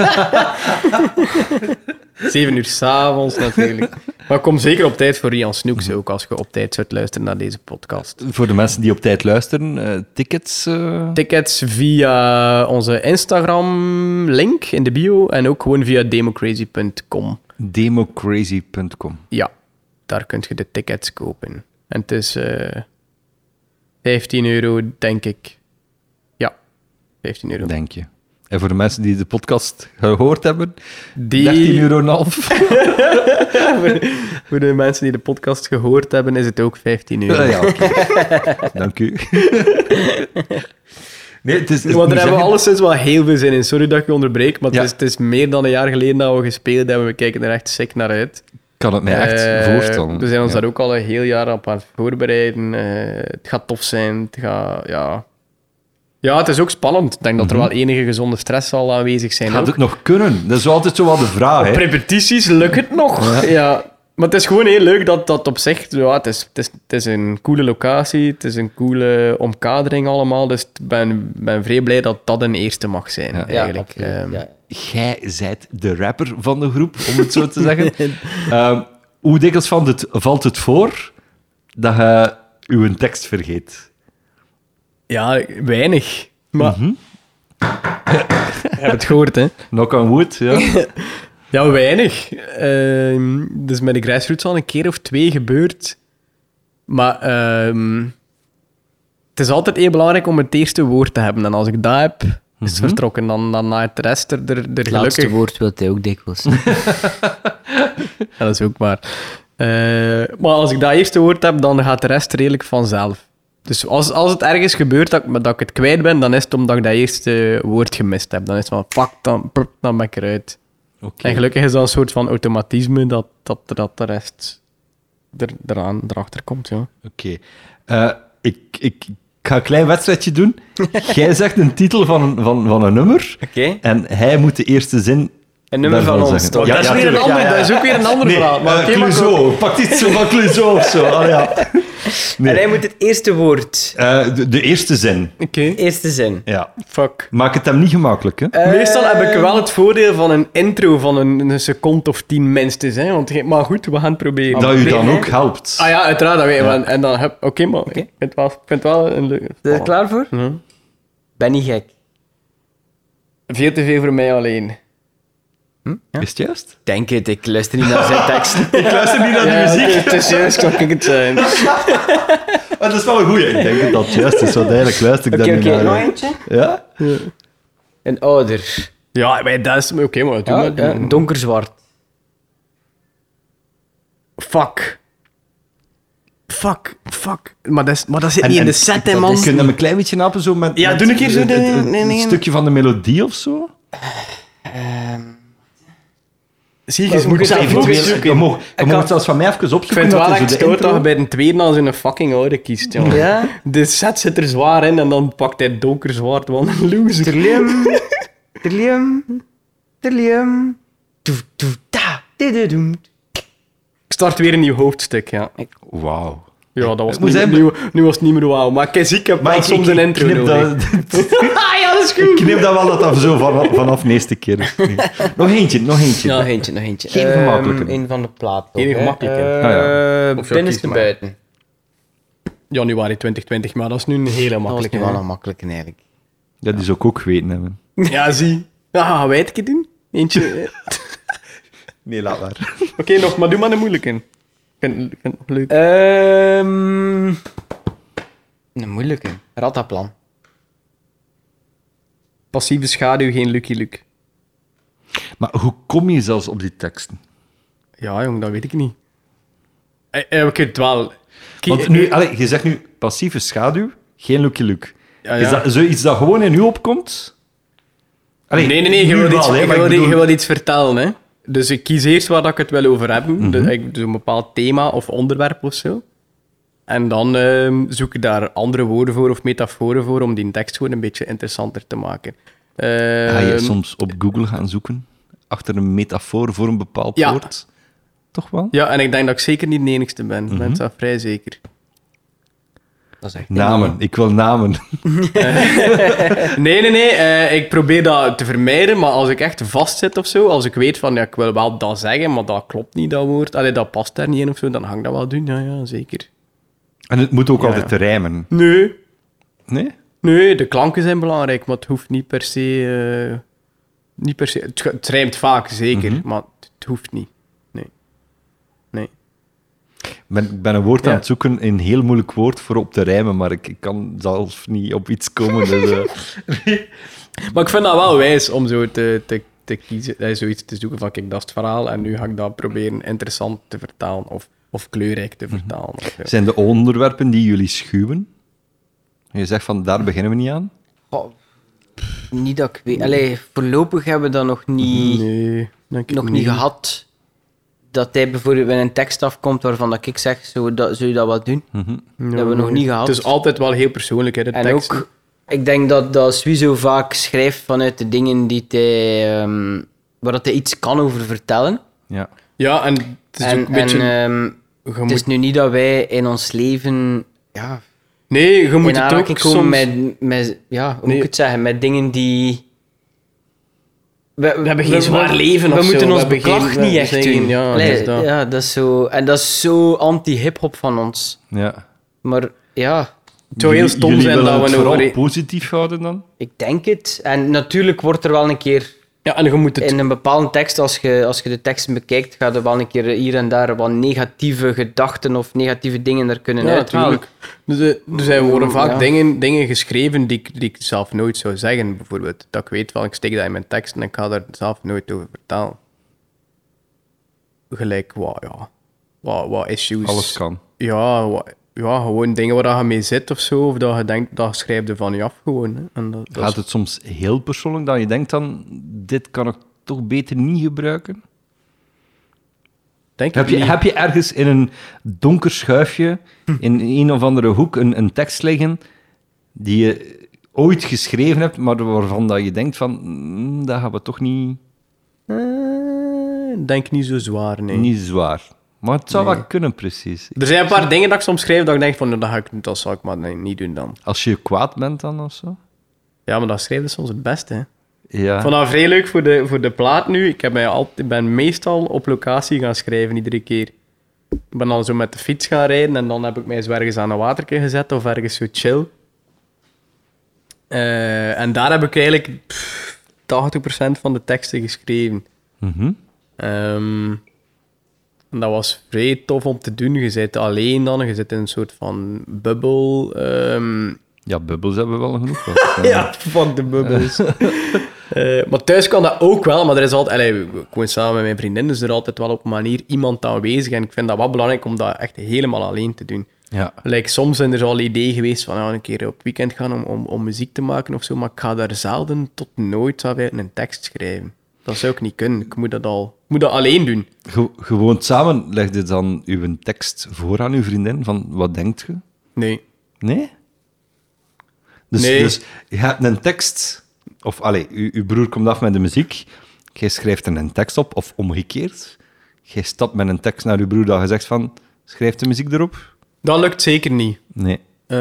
Speaker 4: Zeven uur s'avonds natuurlijk. maar kom zeker op tijd voor Rian Snoeks ook, als je op tijd zult luisteren naar deze podcast.
Speaker 1: Voor de mensen die op tijd luisteren, eh, tickets. eh,
Speaker 4: Tickets via onze Instagram-link in de bio en ook gewoon via democrazy.com.
Speaker 1: democrazy.com.
Speaker 4: Ja, daar kun je de tickets kopen. En het is eh 15 euro, denk ik. Ja, 15 euro.
Speaker 1: Denk je. En voor de mensen die de podcast gehoord hebben,
Speaker 4: Die-
Speaker 1: 13,5 euro. en
Speaker 4: *laughs*
Speaker 1: half.
Speaker 4: Voor de mensen die de podcast gehoord hebben, is het ook 15 euro.
Speaker 1: Ah, ja, oké. Dank
Speaker 4: *laughs*
Speaker 1: u. nee, het is, het moet
Speaker 4: Want daar hebben we
Speaker 1: Dus zeggen-
Speaker 4: alleszins wel heel veel zin in. Sorry dat ik je onderbreek, maar
Speaker 1: Ja.
Speaker 4: het, is, het is meer dan een jaar geleden dat we gespeeld hebben. We kijken er echt sick naar uit.
Speaker 1: kan het mij echt
Speaker 4: Eh,
Speaker 1: voorstellen.
Speaker 4: We zijn ons
Speaker 1: Ja.
Speaker 4: daar ook al een heel jaar op aan het voorbereiden. Eh, het gaat tof zijn. Het gaat, ja. ja, het is ook spannend. Ik denk dat er wel enige gezonde stress zal aanwezig zijn.
Speaker 1: Mhm. Gaat
Speaker 4: ook.
Speaker 1: het nog kunnen? Dat is altijd zo wel de vraag.
Speaker 4: Op
Speaker 1: hè.
Speaker 4: repetities lukt het nog. Ja. Maar het is gewoon heel leuk dat dat op zich... Ja, het, is, het, is, het is een coole locatie, het is een coole omkadering allemaal. Dus ik ben, ben vrij blij dat dat een eerste mag zijn,
Speaker 1: Ja.
Speaker 4: eigenlijk.
Speaker 3: absoluut,
Speaker 4: Ehm,
Speaker 3: ja.
Speaker 1: Jij zijt de rapper van de groep, om het zo te zeggen.
Speaker 4: *laughs*
Speaker 1: Ehm, hoe dikwijls valt het, valt het voor dat je uw tekst vergeet?
Speaker 4: ja, weinig. Maar...
Speaker 1: Mhm.
Speaker 4: *laughs* Je hebt het gehoord, hè?
Speaker 1: Knock on wood,
Speaker 4: *laughs*
Speaker 1: ja.
Speaker 4: Ja, weinig. Ehm, dus met de grassroots al een keer of twee gebeurd. Maar ehm, het is altijd heel belangrijk om het eerste woord te hebben. En als ik dat heb, is het vertrokken. Dan, dan na het rest er, er, er
Speaker 3: Het Mhm. laatste
Speaker 4: gelukkig...
Speaker 3: woord wil hij ook dikwijls.
Speaker 4: Ja, dat is ook waar. Eh, maar als ik dat eerste woord heb, dan gaat de rest redelijk vanzelf. Dus als, als het ergens gebeurt dat ik, dat ik het kwijt ben, dan is het omdat ik dat eerste woord gemist heb. Dan is het van, fuck, dan, prup, dan ben ik eruit.
Speaker 1: Oké.
Speaker 4: En gelukkig is dat een soort van automatisme dat, dat, dat de rest er, eraan, erachter komt. Ja.
Speaker 1: Oké. Eh, ik, ik ga een klein wedstrijdje
Speaker 4: *laughs*
Speaker 1: doen. Jij zegt een titel van een, van, van een nummer.
Speaker 3: *laughs* Oké.
Speaker 1: En hij moet de eerste zin
Speaker 3: Een nummer
Speaker 1: daarvan
Speaker 3: van ons,
Speaker 1: zeggen.
Speaker 3: toch?
Speaker 4: Oh, dat, is weer een
Speaker 1: tuurlijk,
Speaker 4: ander, dat is ook weer een ander
Speaker 1: Nee,
Speaker 4: verhaal. Maar
Speaker 1: eh,
Speaker 4: oké, maar goed.
Speaker 1: Clouseau. Pak iets zo van Clouseau of zo. Ah, ja.
Speaker 3: En hij moet het eerste woord.
Speaker 1: Eh, de, de eerste zin.
Speaker 4: Oké,
Speaker 3: Eerste zin.
Speaker 1: Ja.
Speaker 4: fuck.
Speaker 1: Maak het hem niet gemakkelijk,
Speaker 4: Eh,
Speaker 1: hè?
Speaker 4: Meestal heb ik wel het voordeel van een intro van een, een seconde of tien minstens. Hè, want, ge- maar goed, we gaan het proberen.
Speaker 1: dat u
Speaker 3: nee,
Speaker 1: dan
Speaker 3: nee.
Speaker 1: ook helpt.
Speaker 4: Ah ja, uiteraard. Dat weet ik wel. En dan heb Oké, maar ik vind het wel, ik vind het wel een leuke.
Speaker 3: Ben je er klaar voor?
Speaker 4: Mhm.
Speaker 3: Ben niet gek.
Speaker 4: Veel te veel voor mij alleen.
Speaker 1: Is het juist?
Speaker 3: Denk het, ik luister niet naar zijn tekst.
Speaker 1: Ik luister niet naar de
Speaker 4: Ja,
Speaker 1: muziek.
Speaker 4: Het is juist, Eh, kan ik het zijn.
Speaker 1: Maar dat is wel een goeie. Ik denk dat dat juist is, want eigenlijk luister ik
Speaker 3: *laughs* Oké,
Speaker 1: daar
Speaker 3: oké,
Speaker 1: niet
Speaker 3: nog
Speaker 1: naar. eh,
Speaker 3: eentje.
Speaker 1: Ja?
Speaker 3: eh, Een ouder.
Speaker 4: Ja, maar dat is... Oké, maar doe
Speaker 3: Ja,
Speaker 4: maar. doe
Speaker 3: ja,
Speaker 4: maar.
Speaker 3: donkerzwart.
Speaker 4: Fuck. Fuck, fuck. Maar dat, is, maar dat zit
Speaker 1: En-
Speaker 4: niet in
Speaker 1: en
Speaker 4: de set, hè,
Speaker 1: dat
Speaker 4: man.
Speaker 1: is- Kun je hem een klein beetje nappen zo met...
Speaker 4: Ja,
Speaker 1: met
Speaker 4: doe een keer zo,
Speaker 1: het- het-
Speaker 4: nee,
Speaker 1: het-
Speaker 4: nee, nee.
Speaker 1: Een stukje van de melodie of zo?
Speaker 4: Zie je,
Speaker 1: Je
Speaker 4: je moet
Speaker 1: moet
Speaker 4: het
Speaker 1: het
Speaker 4: zelf
Speaker 1: eventueel... Je
Speaker 4: opzoeken.
Speaker 1: mag, je mag het zelfs van mij even
Speaker 4: Ik
Speaker 1: opzoeken.
Speaker 4: vind het
Speaker 1: want
Speaker 4: wel
Speaker 1: is
Speaker 4: echt
Speaker 1: zo de
Speaker 4: stoot dat
Speaker 1: intro.
Speaker 4: je bij de tweede als je een fucking oude kiest, jongen.
Speaker 3: Ja.
Speaker 4: De set zit er zwaar in en dan pakt hij donker zwart, want *laughs* een loser.
Speaker 3: Terlium. Terlium. Terlium. Doe, doe, da. Dididoem.
Speaker 4: Ik start weer een nieuw hoofdstuk, ja.
Speaker 1: Wauw.
Speaker 4: Ja, dat was
Speaker 1: Het moet
Speaker 4: niet,
Speaker 1: zijn-
Speaker 4: nu, nu was het niet meer wauw. Maar kijk, ik heb wel soms een intro
Speaker 1: knip
Speaker 4: nodig.
Speaker 1: dat, *laughs*
Speaker 4: Ah,
Speaker 1: Ik knip dat wel dat dat zo vanaf, vanaf de eerste keer is. Nee. Nog eentje, nog eentje.
Speaker 3: Nog eentje, nog eentje.
Speaker 1: Geen
Speaker 3: Ehm,
Speaker 1: gemakkelijke.
Speaker 3: Een van de plaat. toch,
Speaker 4: Geen
Speaker 3: hè?
Speaker 4: gemakkelijke.
Speaker 3: Eh,
Speaker 1: Ah, ja.
Speaker 4: Of ja, kies
Speaker 3: Binnenste
Speaker 4: maar.
Speaker 3: buiten.
Speaker 4: Januari 2020, maar dat is nu een hele
Speaker 3: Dat was
Speaker 4: makkelijke.
Speaker 3: nu wel
Speaker 4: hè.
Speaker 3: een makkelijke eigenlijk.
Speaker 1: Dat is ook ook geweten hebben.
Speaker 4: Ja, zie. Ah, Ja, weet ik het doen? Eentje.
Speaker 1: Nee, laat maar.
Speaker 4: Oké, nog, maar doe maar een moeilijke. Ik vind, ik vind het leuk.
Speaker 3: Ehm een moeilijke. Rattaplan.
Speaker 4: Passieve schaduw, geen Lucky Luke.
Speaker 1: Maar hoe kom je zelfs op die teksten?
Speaker 4: Ja, jong, dat weet ik niet. Eh, eh, we kunnen het wel. Kie-
Speaker 1: Want nu, allee, je zegt nu passieve schaduw, geen Lucky Luke.
Speaker 4: Ja,
Speaker 1: Is
Speaker 4: ja.
Speaker 1: dat zoiets dat gewoon in u opkomt? Allee,
Speaker 4: nee, nee, nee, je
Speaker 1: nu
Speaker 4: wilt
Speaker 1: wel,
Speaker 4: iets,
Speaker 1: hè,
Speaker 4: je
Speaker 1: maar ik
Speaker 4: wilt- je
Speaker 1: bedoel-
Speaker 4: wilt iets vertellen. Hè? Dus ik kies eerst waar dat ik het wil over heb. dus, ik- dus een bepaald thema of onderwerp of zo. En dan ehm, zoek ik daar andere woorden voor of metaforen voor om die tekst gewoon een beetje interessanter te maken.
Speaker 1: Ga je
Speaker 4: Ehm,
Speaker 1: soms op Google gaan zoeken achter een metafoor voor een bepaald
Speaker 4: Ja.
Speaker 1: woord? Toch wel?
Speaker 4: Ja, en ik denk dat ik zeker niet de enigste ben. Mensen zijn vrij zeker.
Speaker 3: Dat is echt
Speaker 1: Namen, ik wil namen.
Speaker 4: Nee, nee, nee. eh, ik probeer dat te vermijden, maar als ik echt vastzit of zo, als ik weet van ja, ik wil wel dat zeggen, maar dat klopt niet, dat woord. Allee, dat past daar niet in of zo, dan hang ik dat wel doen. Ja, ja, zeker.
Speaker 1: En het moet ook
Speaker 4: Ja,
Speaker 1: altijd rijmen.
Speaker 4: Nee,
Speaker 1: Nee?
Speaker 4: nee, de klanken zijn belangrijk, maar het hoeft niet per se. eh, niet per se. Het, ge- het rijmt vaak, zeker, maar het, het hoeft niet. Nee. Nee.
Speaker 1: Ik ben, ik ben een woord
Speaker 4: Ja.
Speaker 1: aan het zoeken, een heel moeilijk woord voor op te rijmen, maar ik, ik kan zelf niet op iets komen. Dus, *laughs* eh.
Speaker 4: Maar ik vind dat wel wijs om zo te, te, te kiezen, eh, zoiets te zoeken van kijk, dat is het verhaal en nu ga ik dat proberen interessant te vertalen of, of kleurrijk te vertalen. of zo.
Speaker 1: Zijn de onderwerpen die jullie schuwen? Je zegt van, daar beginnen we niet aan.
Speaker 3: Goh, pff, niet dat ik weet. Allee, voorlopig hebben we dat nog niet,
Speaker 4: Nee, denk ik
Speaker 3: nog niet gehad. Dat hij bijvoorbeeld met een tekst afkomt waarvan dat ik zeg, zou, dat, zou je dat wel doen?
Speaker 1: Mhm.
Speaker 4: Nee,
Speaker 3: dat hebben we nog
Speaker 4: nee.
Speaker 3: niet gehad.
Speaker 4: Het is altijd wel heel persoonlijk, hè, de
Speaker 3: En
Speaker 4: tekst.
Speaker 3: ook, ik denk dat, dat Suizo vaak schrijft vanuit de dingen die hij, ehm, waar dat hij iets kan over vertellen.
Speaker 1: Ja.
Speaker 4: Ja, en het is
Speaker 3: en
Speaker 4: ook een beetje...
Speaker 3: en ehm,
Speaker 4: je
Speaker 3: het is
Speaker 4: moet-
Speaker 3: nu niet dat wij in ons leven ja,
Speaker 4: nee, je moet
Speaker 3: in
Speaker 4: het ook
Speaker 3: aanraking komen
Speaker 4: soms...
Speaker 3: met, met, ja, hoe moet
Speaker 4: Nee.
Speaker 3: ik het zeggen, met dingen die... We,
Speaker 4: hebben geen zwaar leven
Speaker 3: we
Speaker 4: of zo.
Speaker 3: moeten
Speaker 4: We
Speaker 3: ons
Speaker 4: hebben
Speaker 3: beklag
Speaker 4: geen-
Speaker 3: niet
Speaker 4: we
Speaker 3: echt
Speaker 4: zeggen,
Speaker 3: doen.
Speaker 4: ja, dus
Speaker 3: Allee,
Speaker 4: dat is dat.
Speaker 3: ja, dat is zo... En dat is zo anti-hiphop van ons.
Speaker 1: ja.
Speaker 3: Maar ja,
Speaker 4: Het zou heel
Speaker 1: Jullie-
Speaker 4: stom
Speaker 1: jullie
Speaker 4: zijn
Speaker 1: willen
Speaker 4: dat
Speaker 1: het
Speaker 4: we
Speaker 1: vooral
Speaker 4: over...
Speaker 1: positief houden dan?
Speaker 3: ik denk het. En natuurlijk wordt er wel een keer
Speaker 4: Ja, en je moet het...
Speaker 3: in een bepaalde tekst, als je, als je de teksten bekijkt, gaat er wel een keer hier en daar wat negatieve gedachten of negatieve dingen er kunnen
Speaker 4: Ja,
Speaker 3: uithalen.
Speaker 4: natuurlijk. Dus, eh, er zijn worden vaak
Speaker 3: Ja.
Speaker 4: dingen, dingen geschreven die ik, die ik zelf nooit zou zeggen, bijvoorbeeld. Dat ik weet van, ik steek dat in mijn tekst en ik ga daar zelf nooit over vertellen. Gelijk, wat, ja. Wat, wat issues.
Speaker 1: Alles kan.
Speaker 4: Ja, wat- ja, gewoon dingen waar je mee zit of zo, of dat je denkt, dat schrijf je van je af gewoon. Hè. En dat, dat is-
Speaker 1: Gaat het soms heel persoonlijk dat je denkt dan, dit kan ik toch beter niet gebruiken?
Speaker 4: denk ik
Speaker 1: Heb je,
Speaker 4: niet. Hm.
Speaker 1: heb je ergens in een donker schuifje, in een of andere hoek, een, een tekst liggen die je ooit geschreven hebt, maar waarvan dat je denkt van, mm, dat gaan we toch niet,
Speaker 4: Eh, denk niet zo zwaar, nee.
Speaker 1: niet zwaar. Maar het zou wel kunnen, precies.
Speaker 4: Er zijn een paar dingen dat ik soms schrijf dat ik denk van, nou, dat, ga ik, dat zou ik maar nee, niet doen dan.
Speaker 1: Als je kwaad bent dan of zo.
Speaker 4: Ja, maar dat schrijven is soms het beste, hè.
Speaker 1: Ja.
Speaker 4: Ik vond dat vrij leuk voor de, voor de plaat nu. Ik, heb mij altijd, ik ben meestal op locatie gaan schrijven, iedere keer. Ik ben dan zo met de fiets gaan rijden en dan heb ik mij eens ergens aan een waterke gezet of ergens zo chill. Eh, en daar heb ik eigenlijk pff, 80% van de teksten geschreven.
Speaker 1: Mhm.
Speaker 4: Ehm, en dat was vrij tof om te doen. Je zit alleen dan, je zit in een soort van bubbel. ehm,
Speaker 1: ja, bubbels hebben we wel genoeg. gehad.
Speaker 4: *laughs* ja, fuck de bubbels. *laughs* Eh, maar thuis kan dat ook wel, maar er is altijd... Allee, ik woon samen met mijn vriendin, dus er is altijd wel op een manier iemand aanwezig. En ik vind dat wel belangrijk om dat echt helemaal alleen te doen.
Speaker 1: ja.
Speaker 4: Like, soms zijn er al ideeën geweest van ja, een keer op weekend gaan om, om, om muziek te maken of zo, maar ik ga daar zelden tot nooit zou ik een tekst schrijven. Dat zou ik niet kunnen. Ik moet dat, al, ik moet dat alleen doen.
Speaker 1: Ge- gewoon samen legde dan uw tekst voor aan uw vriendin van wat denkt je?
Speaker 4: Nee.
Speaker 1: Nee? Dus,
Speaker 4: Nee.
Speaker 1: dus je hebt een tekst, of allee, uw, uw broer komt af met de muziek, jij schrijft er een tekst op, of omgekeerd. Jij stapt met een tekst naar uw broer dat je zegt van, schrijf de muziek erop?
Speaker 4: Dat lukt zeker niet.
Speaker 1: Nee.
Speaker 4: Eh,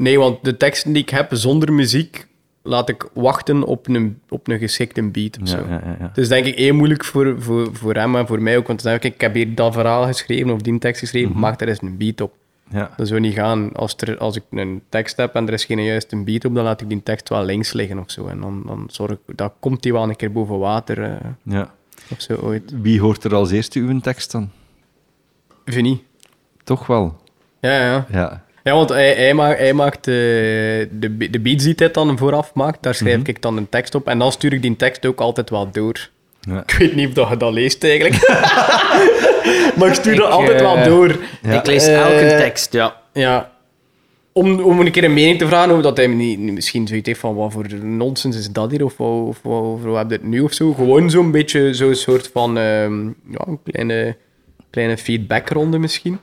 Speaker 4: nee, want de teksten die ik heb zonder muziek, laat ik wachten op een, op een geschikte beat of
Speaker 1: Ja,
Speaker 4: zo.
Speaker 1: ja, ja, ja.
Speaker 4: Het is denk ik heel moeilijk voor, voor, voor hem en voor mij ook, want dan denk ik, ik heb hier dat verhaal geschreven of die tekst geschreven,
Speaker 1: Mhm.
Speaker 4: maak daar eens een beat op.
Speaker 1: Ja.
Speaker 4: Dat zou niet gaan. Als, er, als ik een tekst heb en er is geen juiste beat op, dan laat ik die tekst wel links liggen of zo. En dan, dan zorg ik, dan komt die wel een keer boven water eh,
Speaker 1: ja.
Speaker 4: of zo ooit.
Speaker 1: Wie hoort er als eerste uw tekst dan?
Speaker 4: Vind je niet?
Speaker 1: Toch wel.
Speaker 4: Ja, ja.
Speaker 1: Ja.
Speaker 4: Ja, want hij, hij maakt, hij maakt eh, de, be- de beats die hij dan vooraf maakt, daar schrijf ik dan een tekst op. En dan stuur ik die tekst ook altijd wel door.
Speaker 1: Ja.
Speaker 4: Ik weet niet of dat je dat leest eigenlijk. *laughs* maar ik stuur dat altijd wel
Speaker 3: eh,
Speaker 4: door.
Speaker 3: Ik lees
Speaker 4: Eh,
Speaker 3: elke tekst, ja.
Speaker 4: Ja. Om, om een keer een mening te vragen, of dat hij niet, niet- misschien zoiets heeft van wat voor nonsens is dat hier, of wat, of wat, of wat heb je dit nu of zo. Gewoon zo'n beetje zo'n soort van ehm, ja, een kleine, kleine feedbackronde misschien.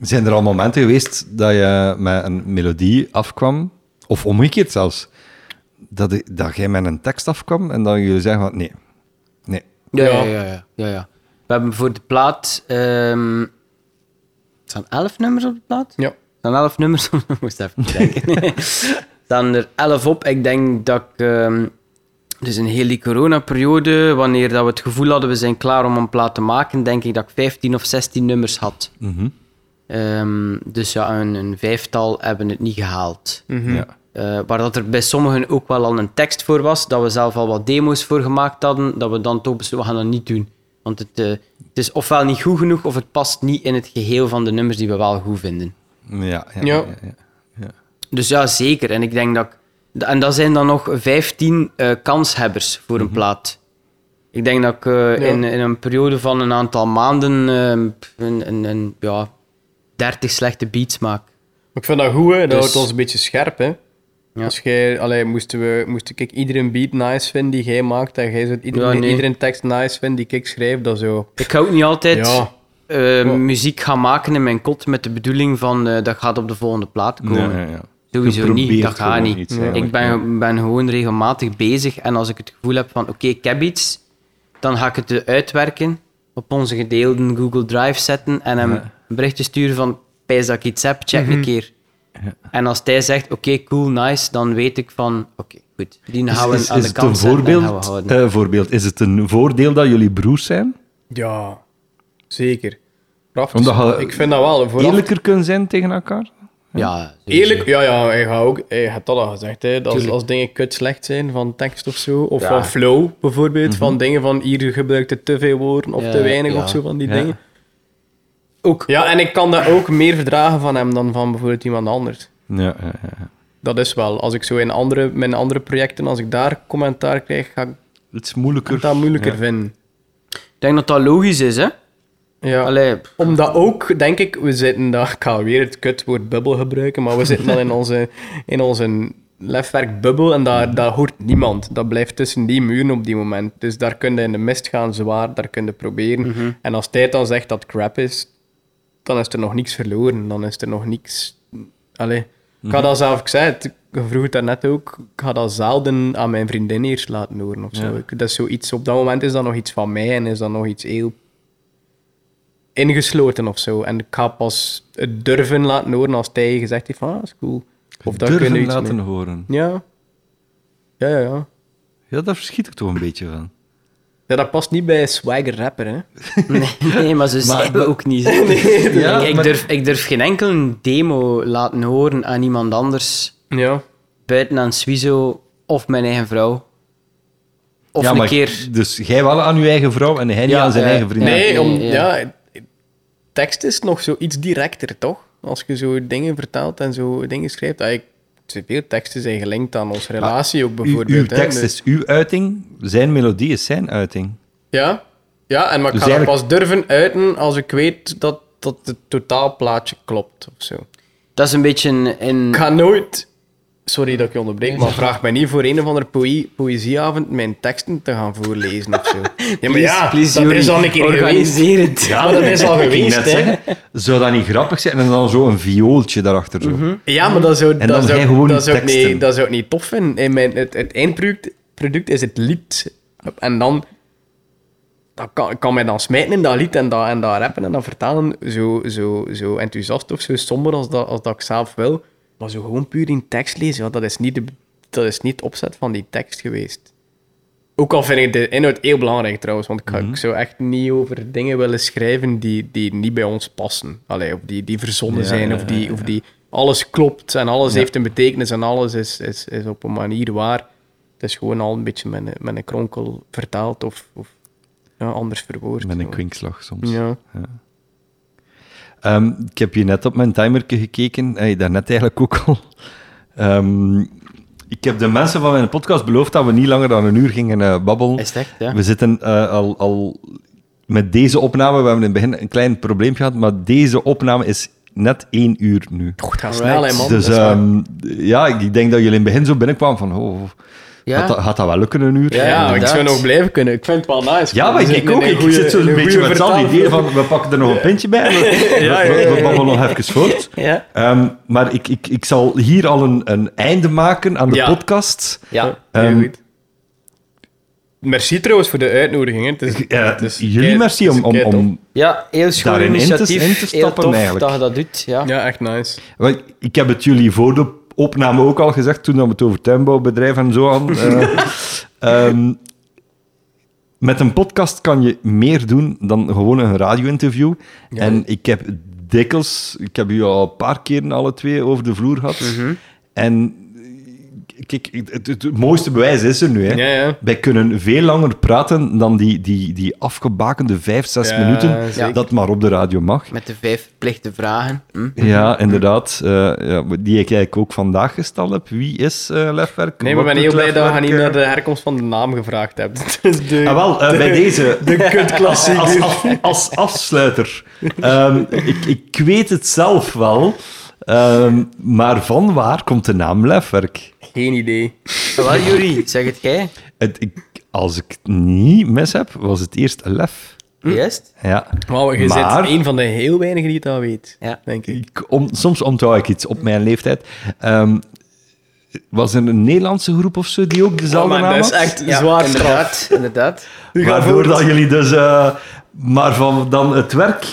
Speaker 1: Zijn er al momenten geweest dat je met een melodie afkwam, of omgekeerd zelfs, dat, i- dat jij met een tekst afkwam en dat jullie zeggen van nee, nee.
Speaker 3: Ja, ja,
Speaker 4: Ja.
Speaker 3: ja. ja, ja, ja. We hebben voor de plaat... ehm, er staan elf nummers op de plaat?
Speaker 4: Ja.
Speaker 3: Er staan elf nummers *laughs* op. Ik moest even denken. Er staan er elf op. Ik denk dat ik... ehm, dus in heel die coronaperiode, wanneer dat we het gevoel hadden we zijn klaar om een plaat te maken, denk ik dat ik 15 of 16 nummers had.
Speaker 1: Mhm.
Speaker 3: Ehm, dus ja, een, een vijftal hebben het niet gehaald.
Speaker 1: ja.
Speaker 3: Eh, waar dat er bij sommigen ook wel al een tekst voor was, dat we zelf al wat demo's voor gemaakt hadden, dat we dan toch besloten, we gaan dat niet doen. Want het, eh, het is ofwel niet goed genoeg, of het past niet in het geheel van de nummers die we wel goed vinden.
Speaker 1: Ja, ja,
Speaker 4: Ja.
Speaker 1: ja, ja.
Speaker 3: Dus ja, zeker. En ik denk dat... ik- En dat zijn dan nog 15 eh, kanshebbers voor een plaat. Ik denk dat ik eh,
Speaker 4: Ja.
Speaker 3: in, in een periode van een aantal maanden eh, pff, een, een, een, ja, 30 slechte beats maak.
Speaker 4: Maar ik vind dat goed, hè. dat
Speaker 3: Dus-
Speaker 4: houdt ons een beetje scherp. Hè.
Speaker 3: Ja.
Speaker 4: Als jij, allee, moesten we, moest ik iedere beat nice vinden die jij maakt en jij zou iedereen,
Speaker 3: Ja, nee.
Speaker 4: iedere tekst nice vinden die ik schrijf, dat zo.
Speaker 3: Ik ga ook niet altijd...
Speaker 4: Ja.
Speaker 3: eh, muziek gaan maken in mijn kot met de bedoeling van eh, dat gaat op de volgende plaat komen.
Speaker 1: Ja, ja, ja. Je
Speaker 3: Sowieso
Speaker 1: probeert
Speaker 3: niet, dat gaat
Speaker 1: gewoon
Speaker 3: niet.
Speaker 1: iets,
Speaker 3: ik
Speaker 1: eigenlijk,
Speaker 3: ben, ben gewoon regelmatig bezig en als ik het gevoel heb van oké, ik heb iets, dan ga ik het eh, uitwerken, op onze gedeelden Google Drive zetten en hem een berichtje sturen van pijs dat ik iets heb, check
Speaker 1: Mhm.
Speaker 3: een keer. En als hij zegt oké, cool, nice, dan weet ik van oké, goed, die
Speaker 1: Is,
Speaker 3: gaan we
Speaker 1: is,
Speaker 3: aan
Speaker 1: is
Speaker 3: de
Speaker 1: het een
Speaker 3: kant zetten en gaan we
Speaker 1: voorbeeld,
Speaker 3: houden.
Speaker 1: eh, voorbeeld? Is het een voordeel dat jullie broers zijn?
Speaker 4: Ja, zeker. Raf,
Speaker 1: Omdat je
Speaker 4: ik vind dat wel. Vooraf,
Speaker 1: Eerlijker kunnen zijn tegen elkaar?
Speaker 3: ja,
Speaker 4: Eerlijk? Ja, ja, hij gaat ook. Hij had dat al gezegd. Hè, dat als,
Speaker 3: Tuurlijk.
Speaker 4: als dingen kut slecht zijn van tekst of zo. Of
Speaker 3: Ja.
Speaker 4: van flow bijvoorbeeld. Van dingen van hier gebruikte te veel woorden of
Speaker 3: Ja,
Speaker 4: te weinig
Speaker 3: ja.
Speaker 4: of zo van die
Speaker 1: Ja.
Speaker 4: dingen.
Speaker 3: Ook.
Speaker 4: Ja, en ik kan dat ook meer verdragen van hem dan van bijvoorbeeld iemand anders.
Speaker 1: Ja, ja, ja.
Speaker 4: Dat is wel. Als ik zo in andere, mijn andere projecten, als ik daar commentaar krijg, ga ik
Speaker 1: Het is moeilijker.
Speaker 4: dat moeilijker
Speaker 1: Ja.
Speaker 4: vinden.
Speaker 3: Ik denk dat dat logisch is, hè?
Speaker 4: Ja.
Speaker 3: Allee,
Speaker 4: Omdat ook, denk ik, we zitten daar... Ik ga weer het kutwoord bubbel gebruiken, maar we zitten dan in onze, in onze lefwerkbubbel en daar, daar hoort niemand. Dat blijft tussen die muren op die moment. Dus daar kun je in de mist gaan, zwaar, daar kun je proberen. En als tijd dan zegt dat crap is, dan is er nog niks verloren. Dan is er nog niks... Allee, Ik
Speaker 1: Mhm.
Speaker 4: ga dat zelf, ik zei het, ik vroeg het daarnet ook, ik ga dat zelden aan mijn vriendin eerst laten horen of zo. Ik- Dat is zoiets, op dat moment is dat nog iets van mij en is dat nog iets heel ingesloten of zo. En ik ga pas het durven laten horen als hij gezegd heeft van, ah, dat is cool. Of dat kun je
Speaker 1: Durven
Speaker 4: iets
Speaker 1: laten
Speaker 4: mee.
Speaker 1: horen.
Speaker 4: Ja. Ja, ja, ja.
Speaker 1: Ja, daar verschiet ik toch een beetje van.
Speaker 4: Ja, dat past niet bij swagger rapper, hè.
Speaker 3: Nee, *laughs* nee, maar ze zijn we ook
Speaker 1: *laughs*
Speaker 3: niet.
Speaker 1: Ja,
Speaker 3: ik, ik,
Speaker 1: maar-
Speaker 3: durf, ik durf geen enkele demo laten horen aan iemand anders
Speaker 4: Ja.
Speaker 3: buiten aan Swizo of mijn eigen vrouw. Of
Speaker 1: ja,
Speaker 3: een
Speaker 1: maar
Speaker 3: keer.
Speaker 1: Dus jij wel aan uw eigen vrouw en hij niet
Speaker 3: Ja,
Speaker 1: aan zijn
Speaker 3: eh,
Speaker 1: eigen vriendin.
Speaker 3: Ja,
Speaker 4: Nee,
Speaker 3: nee,
Speaker 4: om,
Speaker 3: ja.
Speaker 4: ja. tekst is nog zoiets directer, toch? Als je zo dingen vertaalt en zo dingen schrijft. Ah, ik- Veel teksten zijn gelinkt aan onze relatie ook,
Speaker 1: Uw,
Speaker 4: bijvoorbeeld.
Speaker 1: uw
Speaker 4: hè.
Speaker 1: tekst
Speaker 4: Dus-
Speaker 1: is uw uiting, zijn melodie is zijn uiting.
Speaker 4: Ja, ja en maar ik
Speaker 1: Dus
Speaker 4: ga dat
Speaker 1: eigenlijk-
Speaker 4: pas durven uiten als ik weet dat, dat het totaalplaatje klopt of zo.
Speaker 3: Dat is een beetje een. een-
Speaker 4: Ik ga nooit... Sorry dat ik je onderbreek, maar vraag mij niet voor een of andere poë- poëzieavond mijn teksten te gaan voorlezen
Speaker 1: *laughs*
Speaker 4: of zo. Ja, maar ja,
Speaker 3: Please,
Speaker 4: dat is
Speaker 3: Yuri,
Speaker 4: al een keer geweest.
Speaker 3: organiseer het.
Speaker 4: Ja, maar dat is
Speaker 1: Ik
Speaker 4: al
Speaker 1: ging
Speaker 4: geweest,
Speaker 1: net
Speaker 4: hè.
Speaker 1: zeggen, zou dat niet grappig zijn? En dan zo een viooltje daarachter. Zo.
Speaker 4: Ja, maar dat zou,
Speaker 1: dan
Speaker 4: dat zou,
Speaker 1: jij gewoon
Speaker 4: dat zou ik
Speaker 1: teksten.
Speaker 4: niet, dat zou ik niet tof vinden. In mijn, het, het eindproduct product is het lied. En dan... Dat kan, ik kan mij dan smijten in dat lied en dat, en dat rappen en dat vertalen. Zo, zo, zo enthousiast of zo somber als dat, als dat ik zelf wil. Maar zo gewoon puur in tekst lezen, ja, dat, is niet de, dat is niet de opzet van die tekst geweest. Ook al vind ik de inhoud heel belangrijk trouwens, want ik, ga-
Speaker 1: Mhm.
Speaker 4: ik zou echt niet over dingen willen schrijven die, die niet bij ons passen. Allee, of die, die verzonnen zijn, of die, of die alles klopt en alles heeft een betekenis en alles is, is, is op een manier waar. Het is gewoon al een beetje met een, met een kronkel vertaald of, of ja, anders verwoord.
Speaker 1: Met een
Speaker 4: Zo.
Speaker 1: kwinkslag soms.
Speaker 4: Ja.
Speaker 1: Ehm, ik heb hier net op mijn timerke gekeken. Hey, daarnet eigenlijk ook al. Ehm, ik heb de mensen van mijn podcast beloofd dat we niet langer dan een uur gingen eh, babbelen.
Speaker 3: Is het echt, ja?
Speaker 1: We zitten eh, al, al met deze opname. We hebben in het begin een klein probleem gehad, maar deze opname is net één uur nu.
Speaker 4: Och, het gaat snel, hè, man.
Speaker 1: dus
Speaker 4: Dat is waar.
Speaker 1: ehm, ja, ik ik denk dat jullie in het begin zo binnenkwamen van, oh, oh,
Speaker 3: Ja.
Speaker 1: gaat, dat, gaat dat wel lukken een uur?
Speaker 4: ja,
Speaker 3: Ja,
Speaker 4: ik
Speaker 3: inderdaad.
Speaker 4: zou nog blijven kunnen. Ik vind het wel nice.
Speaker 1: Ja, maar
Speaker 4: We
Speaker 1: ik, ik
Speaker 4: zitten in
Speaker 1: ook.
Speaker 4: een
Speaker 1: Ik
Speaker 4: goeie-
Speaker 1: zit
Speaker 4: in
Speaker 1: zo'n
Speaker 4: een
Speaker 1: beetje
Speaker 4: goeie
Speaker 1: met hetzelfde
Speaker 4: vertaal-
Speaker 1: idee van, we pakken er nog een pintje bij. We,
Speaker 4: *laughs* Ja,
Speaker 1: we-
Speaker 4: ja, ja,
Speaker 1: we
Speaker 4: ja.
Speaker 1: babbelen nog even voort.
Speaker 4: *laughs* Ja.
Speaker 1: Ehm, maar ik, ik, ik zal hier al een, een einde maken aan de
Speaker 4: Ja.
Speaker 1: podcast.
Speaker 3: Ja.
Speaker 4: Heel
Speaker 1: Ehm,
Speaker 4: goed. Merci trouwens voor de uitnodiging. hè. Het is,
Speaker 1: Eh,
Speaker 4: het is
Speaker 1: jullie
Speaker 4: kei-
Speaker 1: merci
Speaker 4: het is
Speaker 1: om... om,
Speaker 4: kei tof.
Speaker 1: om
Speaker 3: Ja, heel schoon
Speaker 1: Daarin in te-
Speaker 3: initiatief.
Speaker 1: in te
Speaker 3: heel
Speaker 1: stappen
Speaker 3: tof
Speaker 1: eigenlijk.
Speaker 3: dat je dat doet. Ja.
Speaker 4: Ja, echt nice.
Speaker 1: wel, ik heb het jullie voor de opname ook al gezegd, toen we het over tuinbouwbedrijven en zo
Speaker 4: *laughs*
Speaker 1: hadden. Eh, ehm, met een podcast kan je meer doen dan gewoon een radio-interview. En ik heb dikwijls... Ik heb u al een paar keren alle twee over de vloer gehad.
Speaker 4: Mhm.
Speaker 1: En eh, kijk, het, het- het mooiste bewijs is er nu. Hè.
Speaker 4: Ja, ja.
Speaker 1: Wij kunnen veel langer praten dan die, die, die afgebakende vijf, zes
Speaker 4: Ja,
Speaker 1: minuten
Speaker 4: zeker.
Speaker 1: dat maar op de radio mag.
Speaker 3: Met de vijf verplichte vragen. Hm?
Speaker 1: Ja, inderdaad. eh, ja, die ik eigenlijk ook vandaag gesteld heb. Wie is eh Lefwerk?
Speaker 4: Nee, maar
Speaker 1: Wat
Speaker 4: ik ben heel
Speaker 1: doet
Speaker 4: blij dat je
Speaker 1: Lefwerk,
Speaker 4: niet
Speaker 1: eh?
Speaker 4: naar de herkomst van de naam gevraagd hebt. *laughs* Dat is *laughs* de,
Speaker 1: Ah, wel, eh, bij deze.
Speaker 4: de kutklassieker.
Speaker 1: Als, af- als afsluiter. Ehm, ik, ik weet het zelf wel. ehm, maar van waar komt de naam Lefwerk?
Speaker 4: Geen idee.
Speaker 3: Wel, Juri, zeg het jij.
Speaker 1: Het, ik, als ik het niet mis heb, was het eerst Lef.
Speaker 3: Juist?
Speaker 1: Ja.
Speaker 4: Wauw, je
Speaker 1: Maar-
Speaker 4: bent een van de heel weinigen die dat weet.
Speaker 3: Ja.
Speaker 4: Denk ik.
Speaker 1: Ik om, soms onthoud ik iets op mijn leeftijd. Ehm, was er een Nederlandse groep of zo die ook dezelfde
Speaker 4: maar
Speaker 1: naam
Speaker 4: Oh, dat
Speaker 1: had?
Speaker 4: is echt
Speaker 3: Ja,
Speaker 4: zwaar straf.
Speaker 3: inderdaad, inderdaad.
Speaker 4: U gaat
Speaker 1: Waardoor
Speaker 4: voort.
Speaker 1: dat jullie dus... eh, maar van dan het werk,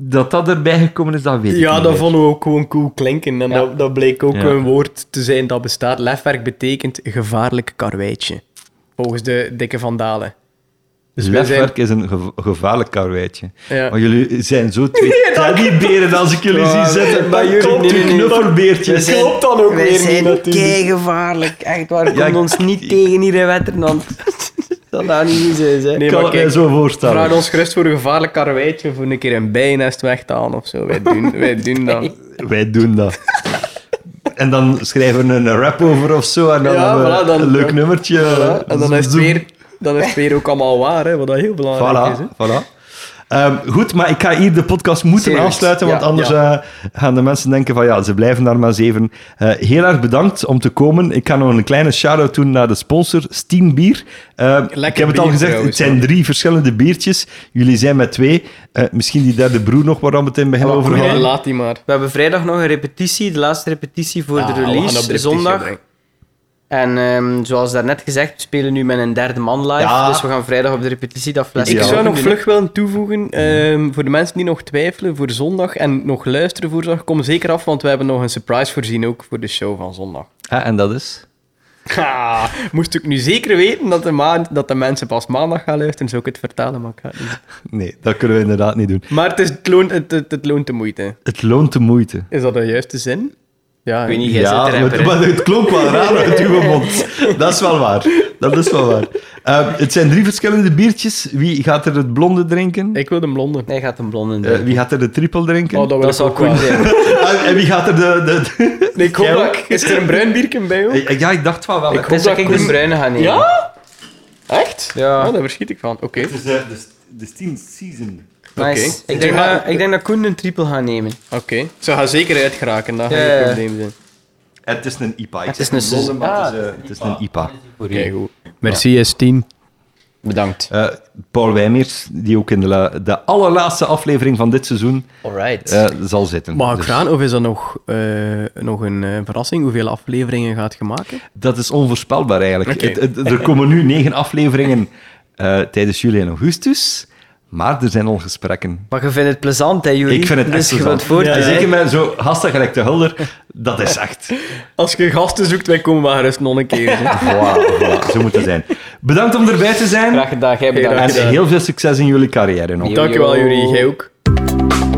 Speaker 1: dat dat erbij gekomen is, dat weet ik
Speaker 4: Ja,
Speaker 1: niet
Speaker 4: dat
Speaker 1: meer.
Speaker 4: vonden we ook gewoon cool klinken. En dat, dat bleek ook
Speaker 1: Ja.
Speaker 4: een woord te zijn dat bestaat. Lefwerk betekent gevaarlijk karweitje. Volgens de dikke vandalen. Dus wij zijn-
Speaker 1: Lefwerk is een gev- gevaarlijk karweitje.
Speaker 4: Ja.
Speaker 1: Maar jullie zijn
Speaker 4: *laughs*
Speaker 1: zo twee teddyberen als ik jullie zie zitten.
Speaker 4: maar
Speaker 1: Dat
Speaker 4: jullie-
Speaker 1: klopt,
Speaker 4: nee, nee,
Speaker 1: die
Speaker 4: nee.
Speaker 1: knuffelbeertjes.
Speaker 4: Dat klopt dan ook weer niet natuurlijk.
Speaker 3: gevaarlijk. Echt waar, we
Speaker 1: Ja, ik-
Speaker 3: niet tegen hier in
Speaker 4: *laughs*
Speaker 3: Wetterland. dat nou niet eens is, hè.
Speaker 4: Nee,
Speaker 1: Ik kan
Speaker 4: maar
Speaker 1: het mij
Speaker 4: kijk,
Speaker 1: zo voorstellen.
Speaker 4: vraag ons gerust voor een gevaarlijk karweitje voor een keer een bijennest weg te halen of zo. Wij doen, wij doen
Speaker 3: *laughs*
Speaker 4: dat.
Speaker 1: Wij doen
Speaker 4: *laughs*
Speaker 1: dat. En dan schrijven we een rap over of zo. En dan
Speaker 4: Ja,
Speaker 1: hebben we
Speaker 4: voilà, dan-
Speaker 1: een leuk
Speaker 4: ja.
Speaker 1: nummertje.
Speaker 4: Voilà. En dan is, het
Speaker 1: Zoem.
Speaker 4: weer, dan is het weer ook allemaal waar, hè, wat dat heel belangrijk is. Hè.
Speaker 1: Voilà, voilà. Ehm, goed, maar ik ga hier de podcast moeten
Speaker 3: Serieus,
Speaker 1: afsluiten, want
Speaker 3: ja,
Speaker 1: anders eh, gaan de mensen denken van ja, ze blijven daar maar zeven. Eh, heel erg bedankt om te komen. Ik ga nog een kleine shout-out doen naar de sponsor, Steen Bier. Eh, ik heb het al
Speaker 4: bier
Speaker 1: gezegd,
Speaker 4: trouwens,
Speaker 1: het zijn drie verschillende biertjes. Jullie zijn met twee. Eh, misschien die derde broer nog, waar we het in het begin
Speaker 4: Wat
Speaker 1: over
Speaker 4: goed,
Speaker 1: hadden.
Speaker 4: Laat die maar.
Speaker 3: We hebben vrijdag nog een repetitie, de laatste repetitie voor
Speaker 4: Ah,
Speaker 3: de
Speaker 4: we gaan op
Speaker 3: release,
Speaker 4: repetitie,
Speaker 3: zondag.
Speaker 4: denk ik.
Speaker 3: En ehm, zoals daarnet gezegd, we spelen nu met een derde man live. Dus we gaan vrijdag op de repetitie dat flesje
Speaker 4: Ik
Speaker 1: Ja.
Speaker 4: zou
Speaker 3: open
Speaker 4: nog
Speaker 3: doen.
Speaker 4: vlug willen toevoegen, ehm, voor de mensen die nog twijfelen, voor zondag en nog luisteren voor zondag, kom zeker af, want we hebben nog een surprise voorzien ook voor de show van zondag.
Speaker 1: Ah, en dat is?
Speaker 4: Ha, *laughs* moest ik nu zeker weten dat de, maand, dat de mensen pas maandag gaan luisteren, zou ik het vertellen, maar ik ga het niet doen.
Speaker 1: Nee, dat kunnen we inderdaad niet doen.
Speaker 4: Maar het, is, het, loont, het, het, het loont de moeite.
Speaker 1: Het loont de moeite.
Speaker 4: Is dat de juiste zin? Ja,
Speaker 3: Ik weet niet, jij
Speaker 1: Ja,
Speaker 3: zit
Speaker 1: maar,
Speaker 3: rapper.
Speaker 1: maar het klonk wel raar uit
Speaker 3: *laughs*
Speaker 1: uw mond. Dat is wel waar. Dat is wel waar. Eh, het zijn drie verschillende biertjes. Wie gaat er het blonde drinken?
Speaker 4: Ik wil de blonde.
Speaker 3: Hij gaat een blonde
Speaker 1: Eh,
Speaker 3: doen.
Speaker 1: wie gaat er de triple drinken? Ah,
Speaker 4: Oh, dat wil
Speaker 3: dat
Speaker 4: ik
Speaker 3: zal
Speaker 4: ook wel.
Speaker 3: cool zijn.
Speaker 1: en, en wie gaat er de... de, de-
Speaker 4: Nee, ik hoop
Speaker 1: Jij
Speaker 4: dat-
Speaker 1: ook?
Speaker 4: Is er een bruin bierken bij ook?
Speaker 1: Eh, Ja, ik dacht van wel.
Speaker 4: Ik
Speaker 3: Het is
Speaker 4: hoop
Speaker 3: dat
Speaker 4: dat
Speaker 3: ik de
Speaker 4: Koen-
Speaker 3: bruine ga nemen.
Speaker 4: Ja? Echt?
Speaker 3: Ja.
Speaker 4: Oh, daar verschiet ik van. Oké.
Speaker 1: Het is eh, de, de Steam Season.
Speaker 3: Nice.
Speaker 4: Oké.
Speaker 3: Ik, denk
Speaker 4: Ja.
Speaker 3: dat, ik denk dat Koen een triple gaat nemen.
Speaker 4: Oké. Ze gaan zeker uitgeraken, dat gaat
Speaker 3: Ja,
Speaker 4: geen
Speaker 3: ja.
Speaker 4: probleem zijn.
Speaker 1: En het is een IPA. Ik
Speaker 3: Het is
Speaker 1: zeg
Speaker 3: een
Speaker 1: blonde, maar
Speaker 3: ah,
Speaker 1: het is, eh, het is een IPA.
Speaker 3: Voor
Speaker 4: Oké,
Speaker 3: u.
Speaker 4: goed. Merci, S10.
Speaker 3: Bedankt.
Speaker 1: Eh, Paul Wijmeers, die ook in de, la- de allerlaatste aflevering van dit seizoen
Speaker 3: Alright.
Speaker 1: eh, zal zitten.
Speaker 4: Mag ik
Speaker 1: Dus
Speaker 4: vragen, of is dat nog, eh, nog een eh, verrassing? Hoeveel afleveringen gaat je maken?
Speaker 1: Dat is onvoorspelbaar eigenlijk.
Speaker 4: Oké.
Speaker 1: Het- het- er komen nu negen afleveringen eh, tijdens juli en augustus, maar er zijn al gesprekken.
Speaker 3: Maar je vindt het plezant, hè, jullie?
Speaker 1: Ik vind het
Speaker 3: dus
Speaker 1: echt
Speaker 3: je
Speaker 1: plezant.
Speaker 3: wilt voort.
Speaker 1: En
Speaker 3: hè?
Speaker 1: Zeker met zo'n gasten gelijk de Hulder, dat is echt...
Speaker 4: Als je gasten zoekt, wij komen maar gerust nog een keer. *laughs*
Speaker 1: Wauw, wauw, zo moet het zijn. Bedankt om erbij te zijn
Speaker 3: Graag gedaan, jij bedankt.
Speaker 4: Graag
Speaker 1: en heel veel succes in jullie carrière nog.
Speaker 3: gedaan.
Speaker 4: Dankjewel,
Speaker 3: Yo.
Speaker 4: jullie. Jij ook.